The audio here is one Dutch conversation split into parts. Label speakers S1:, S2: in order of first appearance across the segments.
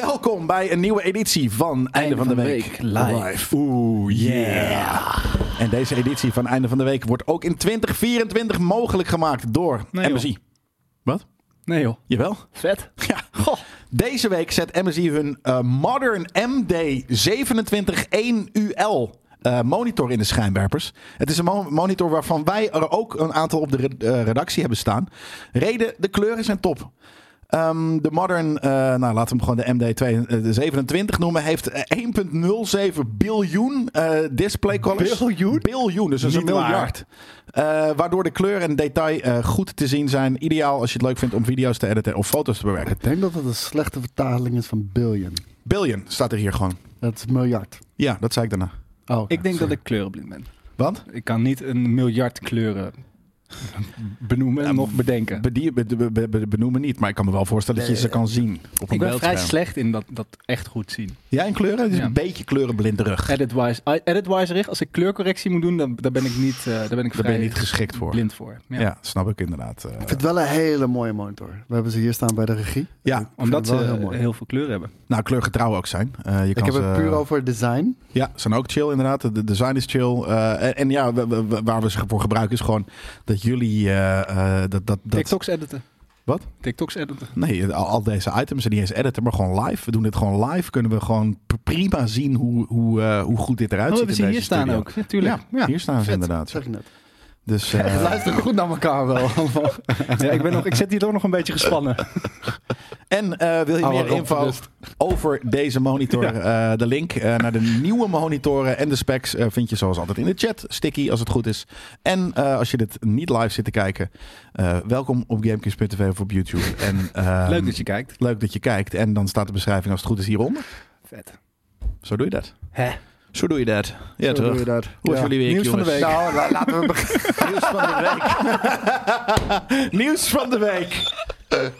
S1: Welkom bij een nieuwe editie van Einde, van, de, week, live. Oeh, yeah. En deze editie van Einde van de Week wordt ook in 2024 mogelijk gemaakt door
S2: Nee, joh.
S1: MSI. Wat?
S2: Nee joh.
S1: Jawel?
S2: Vet.
S1: Ja. Deze week zet MSI hun eh, Modern MD 271UL eh, monitor in de schijnwerpers. Het is een mo- monitor waarvan wij er ook een aantal op de red- eh, redactie hebben staan. Reden, de kleuren zijn top. Ehm, de Modern, eh, nou laten we hem gewoon eh, de MD27 noemen, heeft eh, 1,07 biljoen eh, display colors.
S2: Biljoen?
S1: Biljoen, dus dat is een
S2: Niet waar.
S1: miljard. Eh, waardoor de kleur en detail eh, goed te zien zijn. Ideaal als je het leuk vindt om video's te editen of foto's te bewerken.
S3: Ik denk dat het een slechte vertaling is van billion.
S1: Billion staat er hier gewoon.
S3: Dat is miljard.
S1: Ja, dat zei ik daarna.
S3: Oh,
S2: Ik denk dat ik kleurenblind ben.
S1: Want?
S2: Ik kan niet een miljard kleuren benoemen en nog bedenken.
S1: Bedie- be- be- be- be- benoemen niet, maar ik kan me wel voorstellen dat je ze kan zien op een
S2: eh, Ik ben vrij
S1: beeldscherm.
S2: slecht in dat, dat echt goed zien.
S1: Ja, in kleuren? Het is
S2: Ja.
S1: een beetje kleurenblinderig.
S2: Edit-wise, I- edit-wise richt, als ik kleurcorrectie moet doen, dan, daar ben ik niet, eh, daar ben ik
S1: Daar ben
S2: vrij
S1: je niet geschikt voor.
S2: blind voor. Ja.
S1: Ja. snap ik inderdaad. eh.
S3: Ik vind het wel een hele mooie monitor. We hebben ze hier staan bij de regie.
S1: ja,
S2: Omdat
S3: Ik vind
S2: ze
S3: het wel
S2: heel,
S3: heel mooi.
S2: veel kleur hebben.
S1: nou, kleurgetrouw ook zijn. Eh, je
S3: ik
S1: kan
S3: heb
S1: ze-
S3: het puur over design.
S1: Ja, ze zijn ook chill inderdaad. De design is chill. Eh, en, en ja, we- we- we- waar we ze voor gebruiken is gewoon dat jullie... eh, eh, dat, dat, dat,
S2: TikToks editen.
S1: Wat?
S2: TikToks editen.
S1: Nee, al, al deze items en niet eens editen, maar gewoon live. We doen dit gewoon live. Kunnen we gewoon p- prima zien hoe, hoe, eh, hoe goed dit eruit
S2: Oh, we
S1: ziet.
S2: hebben
S1: in
S2: ze hier
S1: deze studio.
S2: staan ook. Ja, tuurlijk.
S1: Ja,
S2: Ja,
S1: hier staan ze
S2: vet.
S3: Dat
S1: inderdaad.
S3: zeg ik net.
S1: Dus eh,
S2: Luister goed naar elkaar wel. ja, ik, ben nog, ik zit hier toch nog een beetje gespannen.
S1: En eh, wil je
S2: Oude
S1: meer
S2: Rob
S1: info
S2: gerust.
S1: over deze monitor? eh, de link eh, naar de nieuwe monitoren en de specs eh, vind je zoals altijd in de chat. Sticky als het goed is. En eh, als je dit niet live zit te kijken, eh, welkom op GameKings.tv of op YouTube. En, ehm,
S2: Leuk dat je kijkt.
S1: leuk dat je kijkt. En dan staat de beschrijving als het goed is hieronder.
S2: Vet.
S1: Zo doe je dat.
S2: Hè?
S1: Zo doe je dat. Ja,
S3: Zo
S1: toch?
S3: doe je dat.
S1: Hoe is
S3: Ja.
S1: jullie week,
S2: Nieuws van de
S1: jongens?
S2: week.
S3: Nou, la- laten we beginnen.
S1: Nieuws van de week. Nieuws van de week.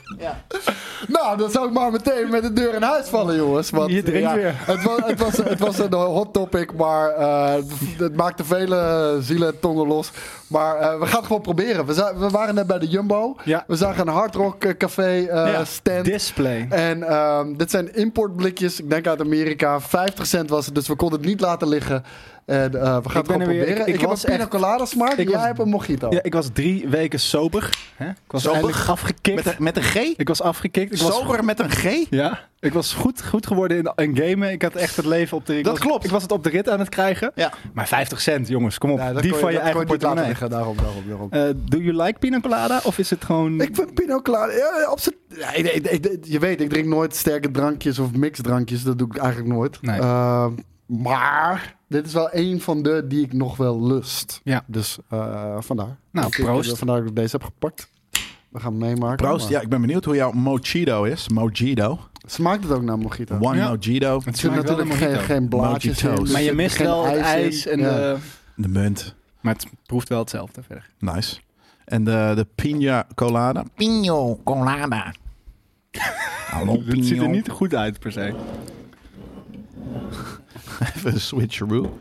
S3: Nou, dan zou ik maar meteen met de deur in huis vallen, jongens. Want,
S2: Je drinkt
S3: ja,
S2: weer.
S3: Het was, het, was, het was een hot topic, maar eh, het- het maakte vele eh, zielen en tongen los. Maar eh, we gaan het gewoon proberen. We, za- we waren net bij de Jumbo.
S2: Ja.
S3: We zagen een Hard Rock eh, Café eh,
S2: Ja,
S3: stand.
S2: Display.
S3: En ehm, dit zijn importblikjes, ik denk uit Amerika. 50 cent was het, dus we konden het niet laten liggen. En eh, we gaan het
S2: ben
S3: gewoon
S2: er weer-
S3: proberen.
S2: ik-
S3: Ik,
S2: ik
S3: heb
S2: was
S3: een pina
S2: echt-
S3: colada smaak,
S2: ik
S3: jij
S2: was-
S3: hebt een mojito.
S2: Ja, ik was drie weken sober. Hè? Ik was
S1: Sober?
S2: eindelijk afgekikt.
S1: Met, een- met een G?
S2: Ik was afgekikt. Ik was
S1: Sober met een G?
S2: Ja, ik was goed, goed geworden in, in gamen. Ik had echt het leven op de... Ik
S1: Dat
S2: was,
S1: klopt.
S2: Ik was het op de rit aan het krijgen.
S1: Ja.
S2: Maar 50 cent, jongens, kom op.
S3: Nee, dat
S2: die
S3: kon
S2: van je,
S3: dat kon
S2: eigen
S3: niet laten
S2: portemonnee.
S3: liggen, daarom, daarom, daarom.
S2: Eh do you like pina colada? Of is het gewoon...
S3: Ehm, Ik vind Pino Colada. Ja, ja, absoluut. Ja, ik- ik- ik- je weet, ik drink nooit sterke drankjes of mixdrankjes. Dat doe ik eigenlijk nooit.
S2: Nee.
S3: Ehm, maar dit is wel een van de die ik nog wel lust.
S2: Ja.
S3: Dus eh, vandaar.
S2: Nou,
S3: Ik- ik-
S2: proost.
S3: vandaar dat ik deze heb gepakt. We gaan meemaken.
S1: Proost.
S3: maar-
S1: Ja, ik ben benieuwd hoe jouw mojito is. Mojito.
S3: Smaakt het ook naar mojito?
S1: One
S2: Ja.
S1: mojito.
S2: Het
S3: Er zitten
S2: smaakt wel
S3: natuurlijk
S2: naar
S3: geen,
S2: mojito.
S3: geen blaadjes in.
S1: Mojito's.
S3: dus
S2: maar je
S3: er
S2: mist
S3: zit
S2: wel
S3: geen
S2: het
S3: in.
S2: ijs en
S3: Ja.
S2: de...
S1: De munt.
S2: Maar het proeft wel hetzelfde verder.
S1: Nice. En de, de pina colada. Pino colada. Hallo pino.
S2: Het ziet er niet goed uit, per se.
S1: Even een switcheroo.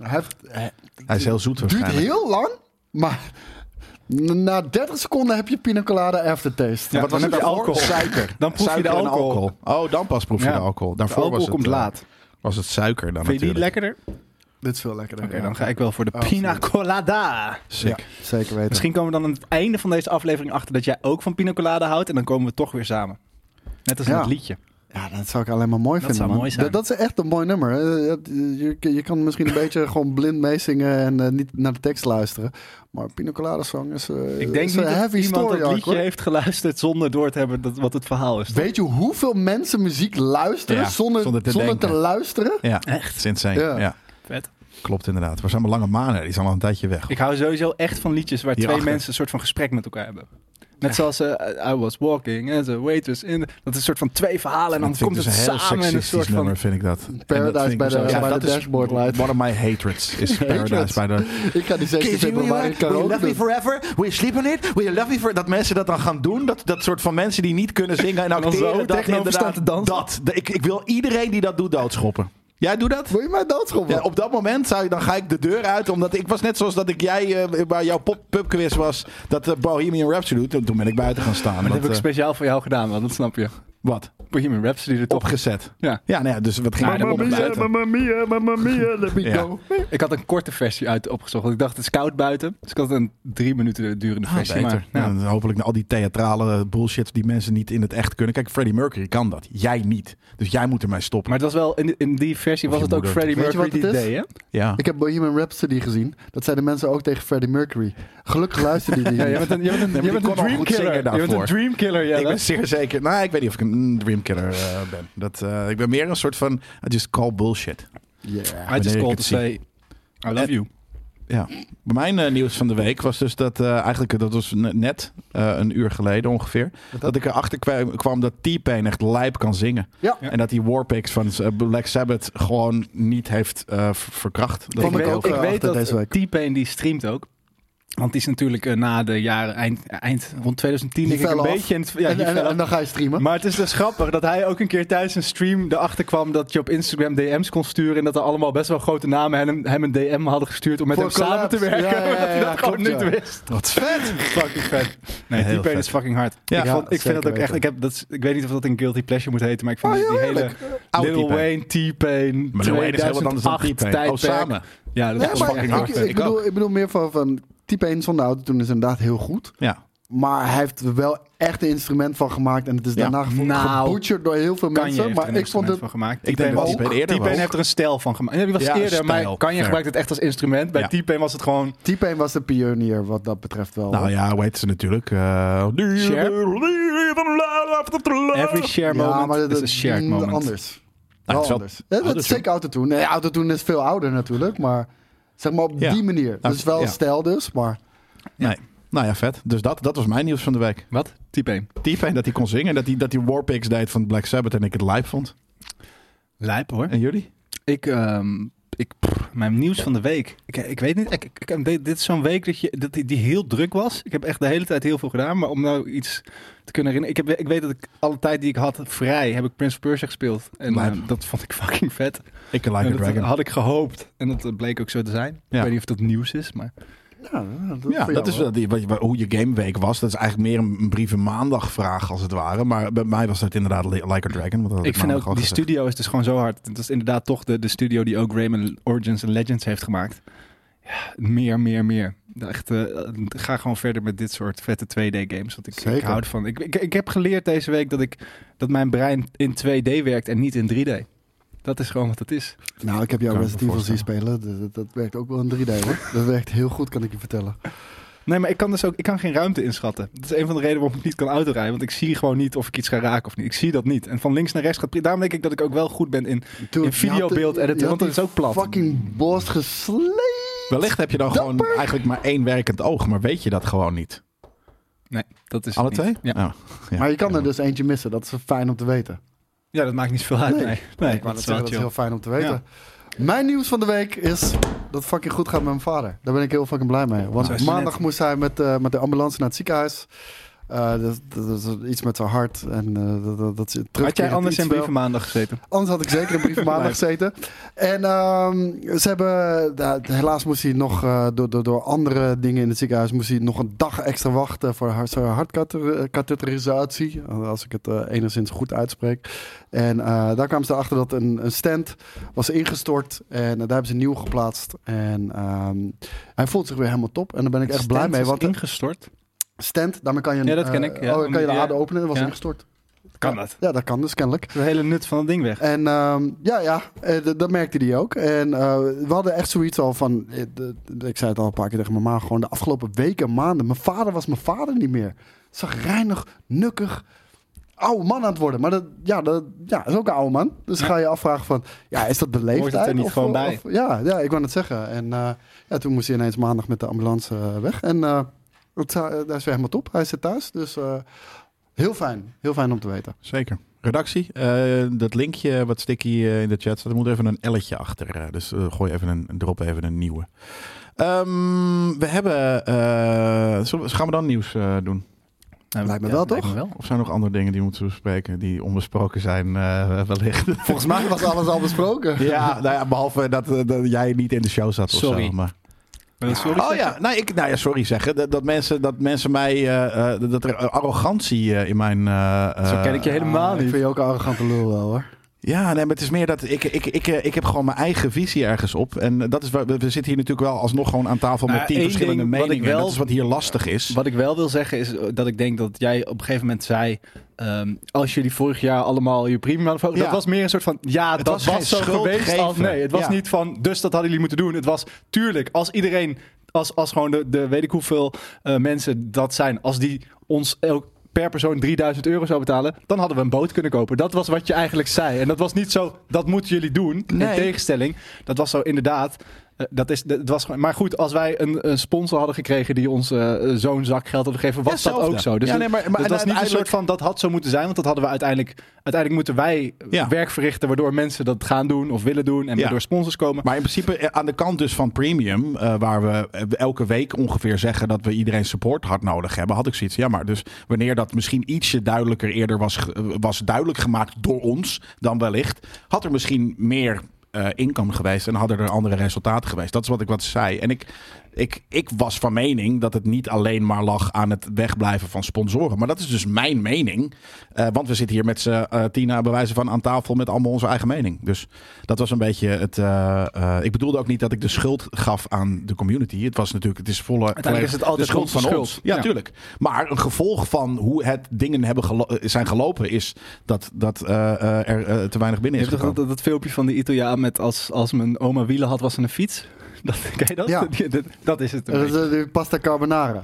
S3: Hij heeft- hij
S1: Hij is heel zoet
S3: duurt
S1: waarschijnlijk.
S3: heel lang, maar n- na 30 seconden heb je pina colada aftertaste.
S2: Ja,
S1: Wat was
S2: dan
S1: het
S2: heb je
S1: daarvoor?
S2: alcohol.
S1: Suiker.
S2: Dan proef je
S1: Suiker
S2: de
S1: en
S2: alcohol.
S1: Oh, dan pas proef je
S2: Ja.
S1: de alcohol. Daarvoor
S2: de alcohol
S1: was het,
S2: komt
S1: eh,
S2: laat. Vind
S1: Was het suiker dan
S2: je die
S1: natuurlijk.
S2: lekkerder? Oké,
S3: Dit is veel lekkerder. ja.
S2: dan ga ik wel voor de
S3: Oh,
S2: pina
S3: absoluut.
S2: colada.
S1: Sick.
S3: Ja, zeker weten.
S2: Misschien komen we dan aan het einde van deze aflevering achter dat jij ook van pina colada houdt. En dan komen we toch weer samen. Net als in
S3: Ja.
S2: het liedje.
S3: Ja, dat zou ik alleen maar mooi
S2: Dat
S3: vinden.
S2: zou
S3: man.
S2: mooi zijn.
S3: Dat, dat is echt een mooi nummer. Eh, dat- Je, je kan misschien een beetje gewoon blind meezingen en eh, niet naar de tekst luisteren. Maar Pina Colada Song is, eh,
S2: Ik denk
S3: is
S2: niet
S3: een
S2: dat
S3: heavy
S2: iemand
S3: story
S2: dat
S3: arc,
S2: liedje
S3: hoor.
S2: heeft geluisterd zonder door te hebben dat, wat het verhaal is.
S3: Weet je hoeveel mensen muziek luisteren
S1: Ja,
S3: zonder,
S1: zonder te
S3: zonder, te,
S1: denken.
S3: luisteren?
S1: Ja,
S2: Echt?
S1: It's insane. Ja.
S3: Ja.
S2: Vet.
S1: klopt inderdaad. We zijn maar lange manen. Die zijn al een tijdje weg.
S2: Ik hou sowieso echt van liedjes waar twee
S1: Hierachter.
S2: mensen een soort van gesprek met elkaar hebben. Net zoals eh, I was walking as a waitress in. Dat is een soort van twee verhalen en dan
S1: Dat vind
S2: komt
S1: ik
S2: het
S1: dus een heel
S2: samen in een
S1: seksistisch
S2: soort van.
S1: nummer, vind ik dat. En dat
S3: Paradise
S1: vind ik dus
S3: by the-
S1: mezelf-
S3: by the
S1: dat is
S3: dashboard light.
S1: One of my hatreds is Paradise by the...
S3: Ik ga die zeker vinden, maar ik
S1: Will
S3: kan
S1: you
S3: ook
S1: love me
S3: doen.
S1: forever? Will you sleep on it? Will you love me for... Dat mensen dat dan gaan doen. Dat, dat soort van mensen die niet kunnen zingen en
S2: dan
S1: acteren.
S2: zo
S1: dat
S2: tegenover
S1: inderdaad-
S2: staan te dansen.
S1: Dat. De- Ik, ik wil iedereen die dat doet doodschoppen. Jij doet dat?
S3: Wil je mij doodschoppen?
S1: Ja, op dat moment zou je, dan ga ik de deur uit. Omdat ik was net zoals dat ik jij eh, bij jouw pop- pubquiz was. Dat eh, Bohemian Rhapsody doet. Toen ben ik buiten gaan staan.
S2: Maar dat
S1: want,
S2: heb ik
S1: eh,
S2: speciaal voor jou gedaan, want dat snap je.
S1: Wat?
S2: Bohemian Rhapsody er toch.
S1: Opgezet.
S2: Ja.
S1: Ja, nou ja, dus wat ging
S2: Maar
S1: er
S2: dan
S1: op
S2: moet je-
S1: buiten?
S3: Mamma mia, mamma mia, let me
S1: Ja.
S3: go.
S2: Ik had een korte versie uit opgezocht. Want ik dacht, het is koud buiten. Dus ik had een drie minuten durende
S1: Ah,
S2: versie.
S1: beter.
S2: Maar, ja.
S1: Nou, dan hopelijk al die theatrale bullshit die mensen niet in het echt kunnen. Kijk, Freddie Mercury kan dat. Jij niet. Dus jij moet ermee stoppen.
S2: maar het was wel, in, in die versie
S1: Of
S2: was
S1: je
S2: het ook
S1: moeder.
S2: Freddie
S3: Weet je
S2: Mercury die
S3: wat
S2: het
S3: het
S2: deed, hè?
S1: ja.
S3: Ik heb Bohemian Rhapsody gezien. Dat zeiden mensen ook tegen Freddie Mercury. Gelukkig luisterde die
S2: Ja,
S3: niet.
S2: je bent een, je bent een,
S1: maar
S2: je
S1: die
S2: bent een
S1: kon al goed
S2: dreamkiller.
S1: zingen
S2: Je bent een
S1: daarvoor.
S2: dreamkiller,
S1: ik
S2: Jelle.
S1: ben zeer zeker. Nou, ik weet niet of ik een dreamkiller eh, ben. Dat, eh, ik ben meer een soort van. I just call bullshit.
S3: Yeah.
S2: I just
S1: ik
S2: called
S1: het zie.
S2: to say, I love you.
S1: Ja. Mijn eh, nieuws van de week was dus dat eh, eigenlijk, dat was ne- net eh, een uur geleden ongeveer, dat, ik erachter kwam, kwam dat T-Pain echt lijp kan zingen.
S3: Ja.
S1: En dat die Warpix van eh, Black Sabbath gewoon niet heeft eh, ver- verkracht. Dat
S3: Vond
S2: ik
S3: ik
S2: weet,
S3: ook,
S2: ik
S3: eh,
S2: weet
S3: achter
S2: dat
S3: deze week.
S2: T-Pain die streamt ook. Want die is natuurlijk eh, na de jaren eind, eind rond 2010
S3: Die
S2: denk ik een
S3: fell af.
S2: beetje in het, ja,
S3: en,
S2: die
S3: en,
S2: fell
S3: en dan ga je streamen.
S2: Maar het is dus grappig dat hij ook een keer tijdens een stream erachter kwam dat je op Instagram DM's kon sturen. En dat er allemaal best wel grote namen hem, hem een DM hadden gestuurd om met
S3: Voor
S2: hem samen te
S3: collabs.
S2: werken.
S3: Ja, ja, ja,
S2: omdat hij
S3: ja,
S2: dat gewoon
S3: klopt,
S2: niet
S3: ja.
S2: wist.
S1: Wat vet!
S2: Fucking vet.
S1: Heel
S2: Nee, die
S1: vet.
S2: is fucking hard.
S1: Ja.
S2: ik, vond,
S3: Ja,
S2: ik vind dat ook
S3: zeker
S2: echt. Ik, heb, dat is- ik weet niet of dat een guilty pleasure moet heten, maar ik vind
S3: Oh,
S2: die- die
S3: heel
S2: hele
S3: eerlijk.
S1: Oud
S2: Lil
S1: T-Pain.
S2: Wayne, T-Pain,
S1: Maar Lil Wayne is heel wat anders dan
S2: 2008
S1: T-Pain. Oh,
S2: tijdperk.
S1: samen.
S2: Ja, dat
S3: Nee,
S2: is
S3: maar
S2: fucking
S3: ik,
S2: hard.
S3: ik,
S1: vind ik
S3: bedoel,
S1: ook.
S3: ik bedoel meer van, van type 1 zonder autotune is inderdaad heel goed.
S1: Ja.
S3: Maar hij heeft er wel echt een instrument van gemaakt. En het is
S1: Ja.
S3: daarna gevo-
S2: Nou,
S3: gebutcherd door heel veel
S2: Kanye
S3: mensen.
S2: heeft er
S3: Maar
S2: een
S3: ik vond
S2: instrument
S3: het...
S2: van gemaakt.
S1: Ik denk
S2: T-Pain
S1: dat
S2: was-
S1: T-Pain eerder
S2: T-Pain
S1: was.
S2: heeft er een stijl van gemaakt. Nee, die was
S1: Ja,
S2: eerder,
S1: een stijl.
S2: maar Kanye
S1: Fair.
S2: gebruikt het echt als instrument. Bij
S1: Ja.
S2: T-Pain was het gewoon...
S3: type 1 was de pionier wat dat betreft wel.
S1: Nou ja, weet ze natuurlijk. eh,
S2: Every share
S3: Ja,
S2: moment
S3: dat
S2: is een shared
S3: mm,
S2: moment.
S3: Anders.
S1: het
S3: Wel
S1: is wel
S3: Nou, anders. Ja, dat is
S1: autotune.
S3: zeker autotune. Nee, autotune is veel ouder natuurlijk. Maar zeg maar op
S1: Ja.
S3: die manier.
S1: Nou,
S3: Dus wel
S1: ja.
S3: stijl dus. Maar
S1: Nee. Nou ja, vet. Dus dat, dat was mijn nieuws van de week.
S2: Wat? T-Pain.
S1: T-Pain dat hij kon zingen. en Dat hij, dat hij Warpix deed van Black Sabbath en ik het live vond.
S2: Lijp hoor.
S1: En jullie?
S2: Ik, ehm, ik, pff, mijn nieuws van de week. Ik, ik weet niet, ik, ik- ik- dit, dit is zo'n week dat je, dat die, die heel druk was. Ik heb echt de hele tijd heel veel gedaan. Maar om nou iets te kunnen herinneren. Ik, heb, ik weet dat ik alle tijd die ik had vrij, heb ik Prince of Persia gespeeld. En
S1: Lijp.
S2: ehm, dat vond ik fucking vet.
S1: Ik en Like
S2: En
S1: a
S2: dat
S1: Dragon.
S2: had ik gehoopt. En dat eh, bleek ook zo te zijn.
S1: Ja.
S2: Ik weet niet of dat nieuws is, maar...
S3: ja, dat,
S1: Ja, dat is wel die, wat, wat- hoe je gameweek was. Dat is eigenlijk meer een, een brieven maandag vraag als het ware. Maar bij mij was dat inderdaad Li- Like a Dragon. Want dat had
S2: Ik vind
S1: maandag
S2: ook,
S1: al
S2: die
S1: gezegd.
S2: studio is dus gewoon zo hard. Het is inderdaad toch de, de studio die ook Rayman Origins en Legends heeft gemaakt. Ja, meer, meer, meer. Echt, eh, ga gewoon verder met dit soort vette 2D-games. Want ik, ik
S3: Zeker.
S2: hou ervan. Ik, ik, ik heb geleerd deze week dat, ik, dat mijn brein in 2D werkt en niet in 3D. Dat is gewoon wat het is.
S3: Nou, ik heb jou
S1: Kan ik me
S3: Resident Evil zien spelen. Dat, dat- dat werkt ook wel in 3D hoor. Dat werkt heel goed, kan ik je vertellen.
S2: Nee, maar ik kan dus ook ik kan geen ruimte inschatten. Dat is een van de redenen waarom ik niet kan autorijden. Want ik zie gewoon niet of ik iets ga raken of niet. Ik zie dat niet. En van links naar rechts gaat... pri- Daarom denk ik dat ik ook wel goed ben in...
S3: Dude,
S2: In videobeeld
S3: je had-
S2: editen,
S3: je had
S2: want dat is
S3: die
S2: ook plat.
S3: fucking bos gesleept.
S1: Wellicht heb je dan gewoon eigenlijk maar één werkend oog. Maar weet je dat gewoon niet?
S2: Nee, dat is
S1: Alle
S2: het niet.
S1: twee?
S2: Ja.
S1: Oh, ja.
S3: Maar je kan
S1: Ja.
S3: er dus eentje missen. Dat is fijn om te weten.
S2: Ja, dat maakt niet zoveel uit.
S3: Nee.
S2: Nee, nee, dat
S3: ik wou net
S2: is
S3: zeggen,
S2: wel
S3: dat is
S2: chill.
S3: heel fijn om te weten. Mijn nieuws van de week is dat het fucking goed gaat met mijn vader. Daar ben ik heel fucking blij mee. Want
S2: Zo is het
S3: maandag
S2: net.
S3: moest hij met, eh, met de ambulance naar het ziekenhuis. Eh, dat, dat is iets met zijn hart. En eh, dat, dat, dat is terugkerend
S2: Had jij anders
S3: iets
S2: in
S3: wel.
S2: brieven maandag gezeten?
S3: Anders had ik zeker een brief maandag gezeten. En ehm, ze hebben, nou, helaas moest hij nog eh, door, door, door andere dingen in het ziekenhuis, moest hij nog een dag extra wachten voor haar- zijn hartkatheterisatie. Als ik het eh, enigszins goed uitspreek. En eh, daar kwamen ze erachter dat een, een stand was ingestort en eh, daar hebben ze een nieuw geplaatst. En ehm, hij voelt zich weer helemaal top. En daar ben ik echt blij mee. Want een
S2: ingestort.
S3: stand, daarmee kan je, een,
S2: Ja, dat ken
S3: eh,
S2: ik, ja.
S3: oh, kan je de
S2: Ja.
S3: ader openen en was
S2: Ja. Eh,
S3: ingestort.
S2: Kan
S3: Ja.
S2: dat?
S3: Ja, dat kan dus kennelijk.
S2: De hele nut van het ding weg.
S3: En ehm, ja, ja eh, d- dat merkte hij ook. En eh, we hadden echt zoiets al van. eh, d- d- ik zei het al een paar keer tegen mijn ma. Gewoon de afgelopen weken, maanden. Mijn vader was mijn vader niet meer. Zag reinig, nukkig. Oude man aan het worden. Maar dat, ja, dat ja, is ook een oude man. Dus
S2: Ja.
S3: ga je afvragen van. Ja, is dat de leeftijd?
S2: Hoort het er niet gewoon bij?
S3: ja, ja, ik wou het zeggen. En eh, ja, toen moest hij ineens maandag met de ambulance eh, weg. En eh, het, eh, hij is weer helemaal top. Hij zit thuis. Dus eh, heel fijn. Heel fijn om te weten.
S1: Zeker. Redactie, eh, dat linkje wat Sticky eh, in de chat staat, er moet even een elletje achter. eh, dus eh, gooi even een, drop even een nieuwe. Ehm, we hebben. eh, zullen we- gaan we dan nieuws eh, doen?
S2: Nou,
S3: lijkt me wel,
S2: lijkt
S3: toch?
S2: me wel.
S1: Of zijn er nog andere dingen die we moeten bespreken, die onbesproken zijn, eh, wellicht?
S3: Volgens mij was alles al besproken.
S1: ja, nou ja, behalve dat, eh, dat jij niet in de show zat of
S2: Sorry.
S1: zo. Maar
S2: Eh, sorry
S1: oh
S2: zeggen?
S1: ja, nou, ik, nou ja, sorry zeggen. Dat, dat, mensen, dat mensen mij. eh, eh, dat er arrogantie eh, in mijn. eh,
S2: Zo ken ik je
S1: eh,
S2: helemaal
S3: Ah, Ik
S2: niet.
S3: vind je ook een arrogante lul wel hoor.
S1: Ja, nee, maar het is meer dat ik, ik, ik, eh, ik heb gewoon mijn eigen visie ergens op. En dat is waar, we we zitten hier natuurlijk wel alsnog gewoon aan tafel met
S2: Nou,
S1: tien
S2: één
S1: verschillende
S2: ding wat ik
S1: meningen.
S2: wel-
S1: Dat is wat hier lastig is.
S2: Wat ik wel wil zeggen is eh, dat ik denk dat jij op een gegeven moment zei... ehm, als jullie vorig jaar allemaal je premium hadden verhoogd...
S1: Ja.
S2: Dat was meer een soort van, ja,
S1: Het
S2: dat
S1: was
S2: was,
S1: geen
S2: zo
S1: schuld
S2: geweest. Als,
S1: geven.
S2: nee, het was
S1: Ja.
S2: niet van, dus dat hadden jullie moeten doen. Het was, tuurlijk, als iedereen, als, als gewoon de, de weet ik hoeveel eh, mensen dat zijn... als die ons elk per persoon 3000 euro zou betalen... dan hadden we een boot kunnen kopen. Dat was wat je eigenlijk zei. En dat was niet zo, dat moeten jullie doen.
S1: Nee.
S2: In tegenstelling, dat was zo inderdaad... Eh, Dat is, dat was, gewoon- maar goed, als wij een, een sponsor hadden gekregen die ons eh, zo'n zak geld had gegeven, was
S1: Ja,
S2: dat
S1: zelfde.
S2: ook zo. Dus
S1: Ja,
S2: dat-
S1: nee, maar- maar
S2: dat was niet een
S1: uiteindelijk-
S2: soort van dat had zo moeten zijn, want dat hadden we uiteindelijk. Uiteindelijk moeten wij
S1: Ja.
S2: werk verrichten waardoor mensen dat gaan doen of willen doen en
S1: Ja.
S2: waardoor sponsors komen.
S1: Maar in principe eh, aan de kant dus van premium, eh, waar we eh, elke week ongeveer zeggen dat we iedereen support hard nodig hebben, had ik zoiets. Ja, maar dus wanneer dat misschien ietsje duidelijker eerder was, ge- eh, was duidelijk gemaakt door ons dan wellicht, had er misschien meer eh income geweest en hadden er andere resultaten geweest. Dat is wat ik wat zei. En ik, ik, ik was van mening dat het niet alleen maar lag aan het wegblijven van sponsoren. Maar dat is dus mijn mening. Eh, want we zitten hier met z'n eh, Tina bewijzen van aan tafel met allemaal onze eigen mening. Dus dat was een beetje het. eh, eh, ik bedoelde ook niet dat ik de schuld gaf aan de community. Het was natuurlijk, het is volle.
S2: Uiteindelijk is het altijd
S1: de schuld
S2: onze
S1: van
S2: schuld.
S1: ons. Ja,
S2: Ja.
S1: tuurlijk. Maar een gevolg van hoe het dingen hebben gelo- eh, zijn gelopen is dat, dat eh, eh, er eh, te weinig binnen
S2: Je
S1: is.
S2: hebt toch dat,
S1: gekomen.
S2: dat, dat filmpje van de Italiaan met als, als mijn oma wielen had was ze een fiets? Dat, ken je dat?
S3: Ja.
S2: Die- dat, dat is het. een
S3: Dat
S2: beetje.
S3: is Eh, de pasta carbonara.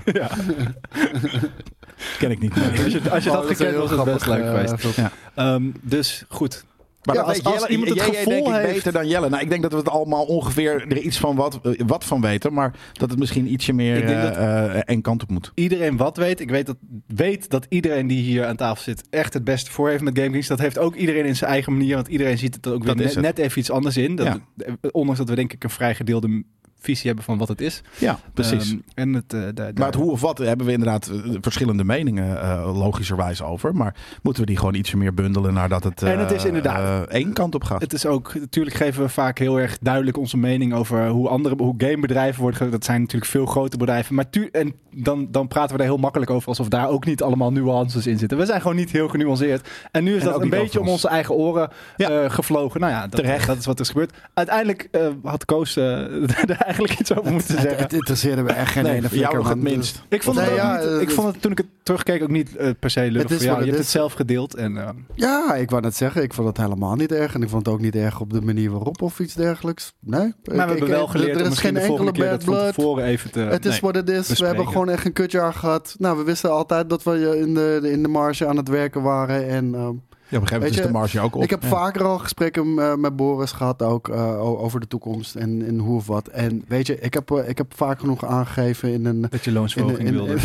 S1: ken ik niet. nee.
S2: Als je, als je
S3: Oh,
S2: dat
S3: is
S2: gekend
S3: heel
S2: was het best leuk
S3: grappig, eh,
S2: geweest.
S3: filmpje.
S2: Ehm, dus goed.
S1: Maar
S2: Ja,
S1: dat
S2: als-
S1: weet
S2: als
S1: Jelle-
S2: iemand het
S1: jij
S2: gevoel
S1: denk ik
S2: heeft-
S1: beter dan Jelle. Nou, ik denk dat we het allemaal ongeveer er iets van wat, eh, wat van weten. Maar dat het misschien ietsje meer
S2: Ik denk
S1: eh,
S2: dat-
S1: eh, één kant op moet.
S2: iedereen wat weet. Ik weet dat, weet dat iedereen die hier aan tafel zit echt het beste voor heeft met GameKings. Dat heeft ook iedereen in zijn eigen manier. Want iedereen ziet het ook weer
S1: Dat is
S2: net,
S1: het.
S2: net even iets anders in. Dat, eh, Ondanks dat we denk ik een vrij gedeelde visie hebben van wat het is.
S1: Ja, precies.
S2: Ehm, en het, eh, daar-
S1: maar
S2: daar-
S1: het hoe of wat hebben we inderdaad eh, verschillende meningen eh, logischerwijs over. Maar moeten we die gewoon ietsje meer bundelen nadat het, eh,
S2: En het is inderdaad-
S1: eh, één kant op gaat.
S2: Het is ook, natuurlijk geven we vaak heel erg duidelijk onze mening over hoe andere hoe gamebedrijven worden. ge- Dat zijn natuurlijk veel grote bedrijven. Maar tu en dan, dan praten we daar heel makkelijk over alsof daar ook niet allemaal nuances in zitten. We zijn gewoon niet heel genuanceerd. En nu is
S1: En ook
S2: dat een
S1: niet
S2: beetje
S1: over
S2: om
S1: ons.
S2: onze eigen oren
S1: Ja.
S2: eh, gevlogen. Nou ja, dat,
S1: Terecht.
S2: dat is wat er is gebeurd. Uiteindelijk eh, had Koos eh, daar eigenlijk iets over moeten
S3: Het,
S2: zeggen.
S3: het interesseerde me echt geen
S1: nee,
S3: ene
S1: voor jou
S3: flikker,
S1: nog het
S3: man.
S1: minst.
S2: Ik vond,
S3: Nee,
S2: het ook
S3: ja,
S2: niet-
S3: eh,
S2: ik
S3: het-
S2: vond het toen ik het terugkeek ook niet eh, per se lullig
S3: Het is
S2: voor jou.
S3: wat
S2: Je
S3: het
S2: hebt het
S3: is.
S2: zelf gedeeld. En, eh,
S3: Ja, ik wou net zeggen, ik vond het helemaal niet erg. En ik vond het ook niet erg op de manier waarop of iets dergelijks. Nee.
S2: maar we hebben wel geleerd om misschien de volgende keer dat van tevoren even te...
S3: Het is
S2: Nee.
S3: wat het is. We
S2: bespreken.
S3: hebben gewoon echt een kutjaar gehad. Nou, we wisten altijd dat we eh, in de, in de marge aan het werken waren. En ehm,
S1: Ja, op een gegeven moment
S3: Weet
S1: is
S3: je,
S1: de marge ook op.
S3: ik heb
S1: Ja.
S3: vaker al gesprekken eh, met Boris gehad ook eh, o- over de toekomst en, en hoe of wat. En weet je, ik heb, eh, ik heb vaak genoeg aangegeven in een...
S2: Dat je
S3: In, de-
S2: loonsverhoging
S3: in-
S2: wilde.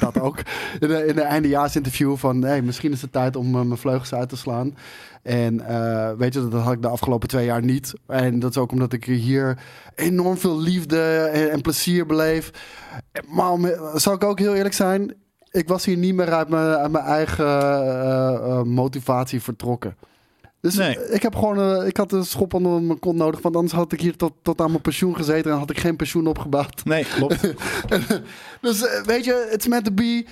S3: dat ook. In een in een eindejaarsinterview van... Hey, misschien is het tijd om eh, mijn vleugels uit te slaan. En eh, weet je, dat had ik de afgelopen twee jaar niet. En dat is ook omdat ik hier enorm veel liefde en, en plezier beleef. Maar om, zal ik ook heel eerlijk zijn... Ik was hier niet meer uit mijn, uit mijn eigen eh, eh, motivatie vertrokken. Dus
S1: Nee.
S3: ik, heb gewoon, eh, ik had een schop onder mijn kont nodig. Want anders had ik hier tot, tot aan mijn pensioen gezeten. En had ik geen pensioen opgebouwd.
S1: Nee, klopt.
S3: Dus eh, weet je, it's meant to be.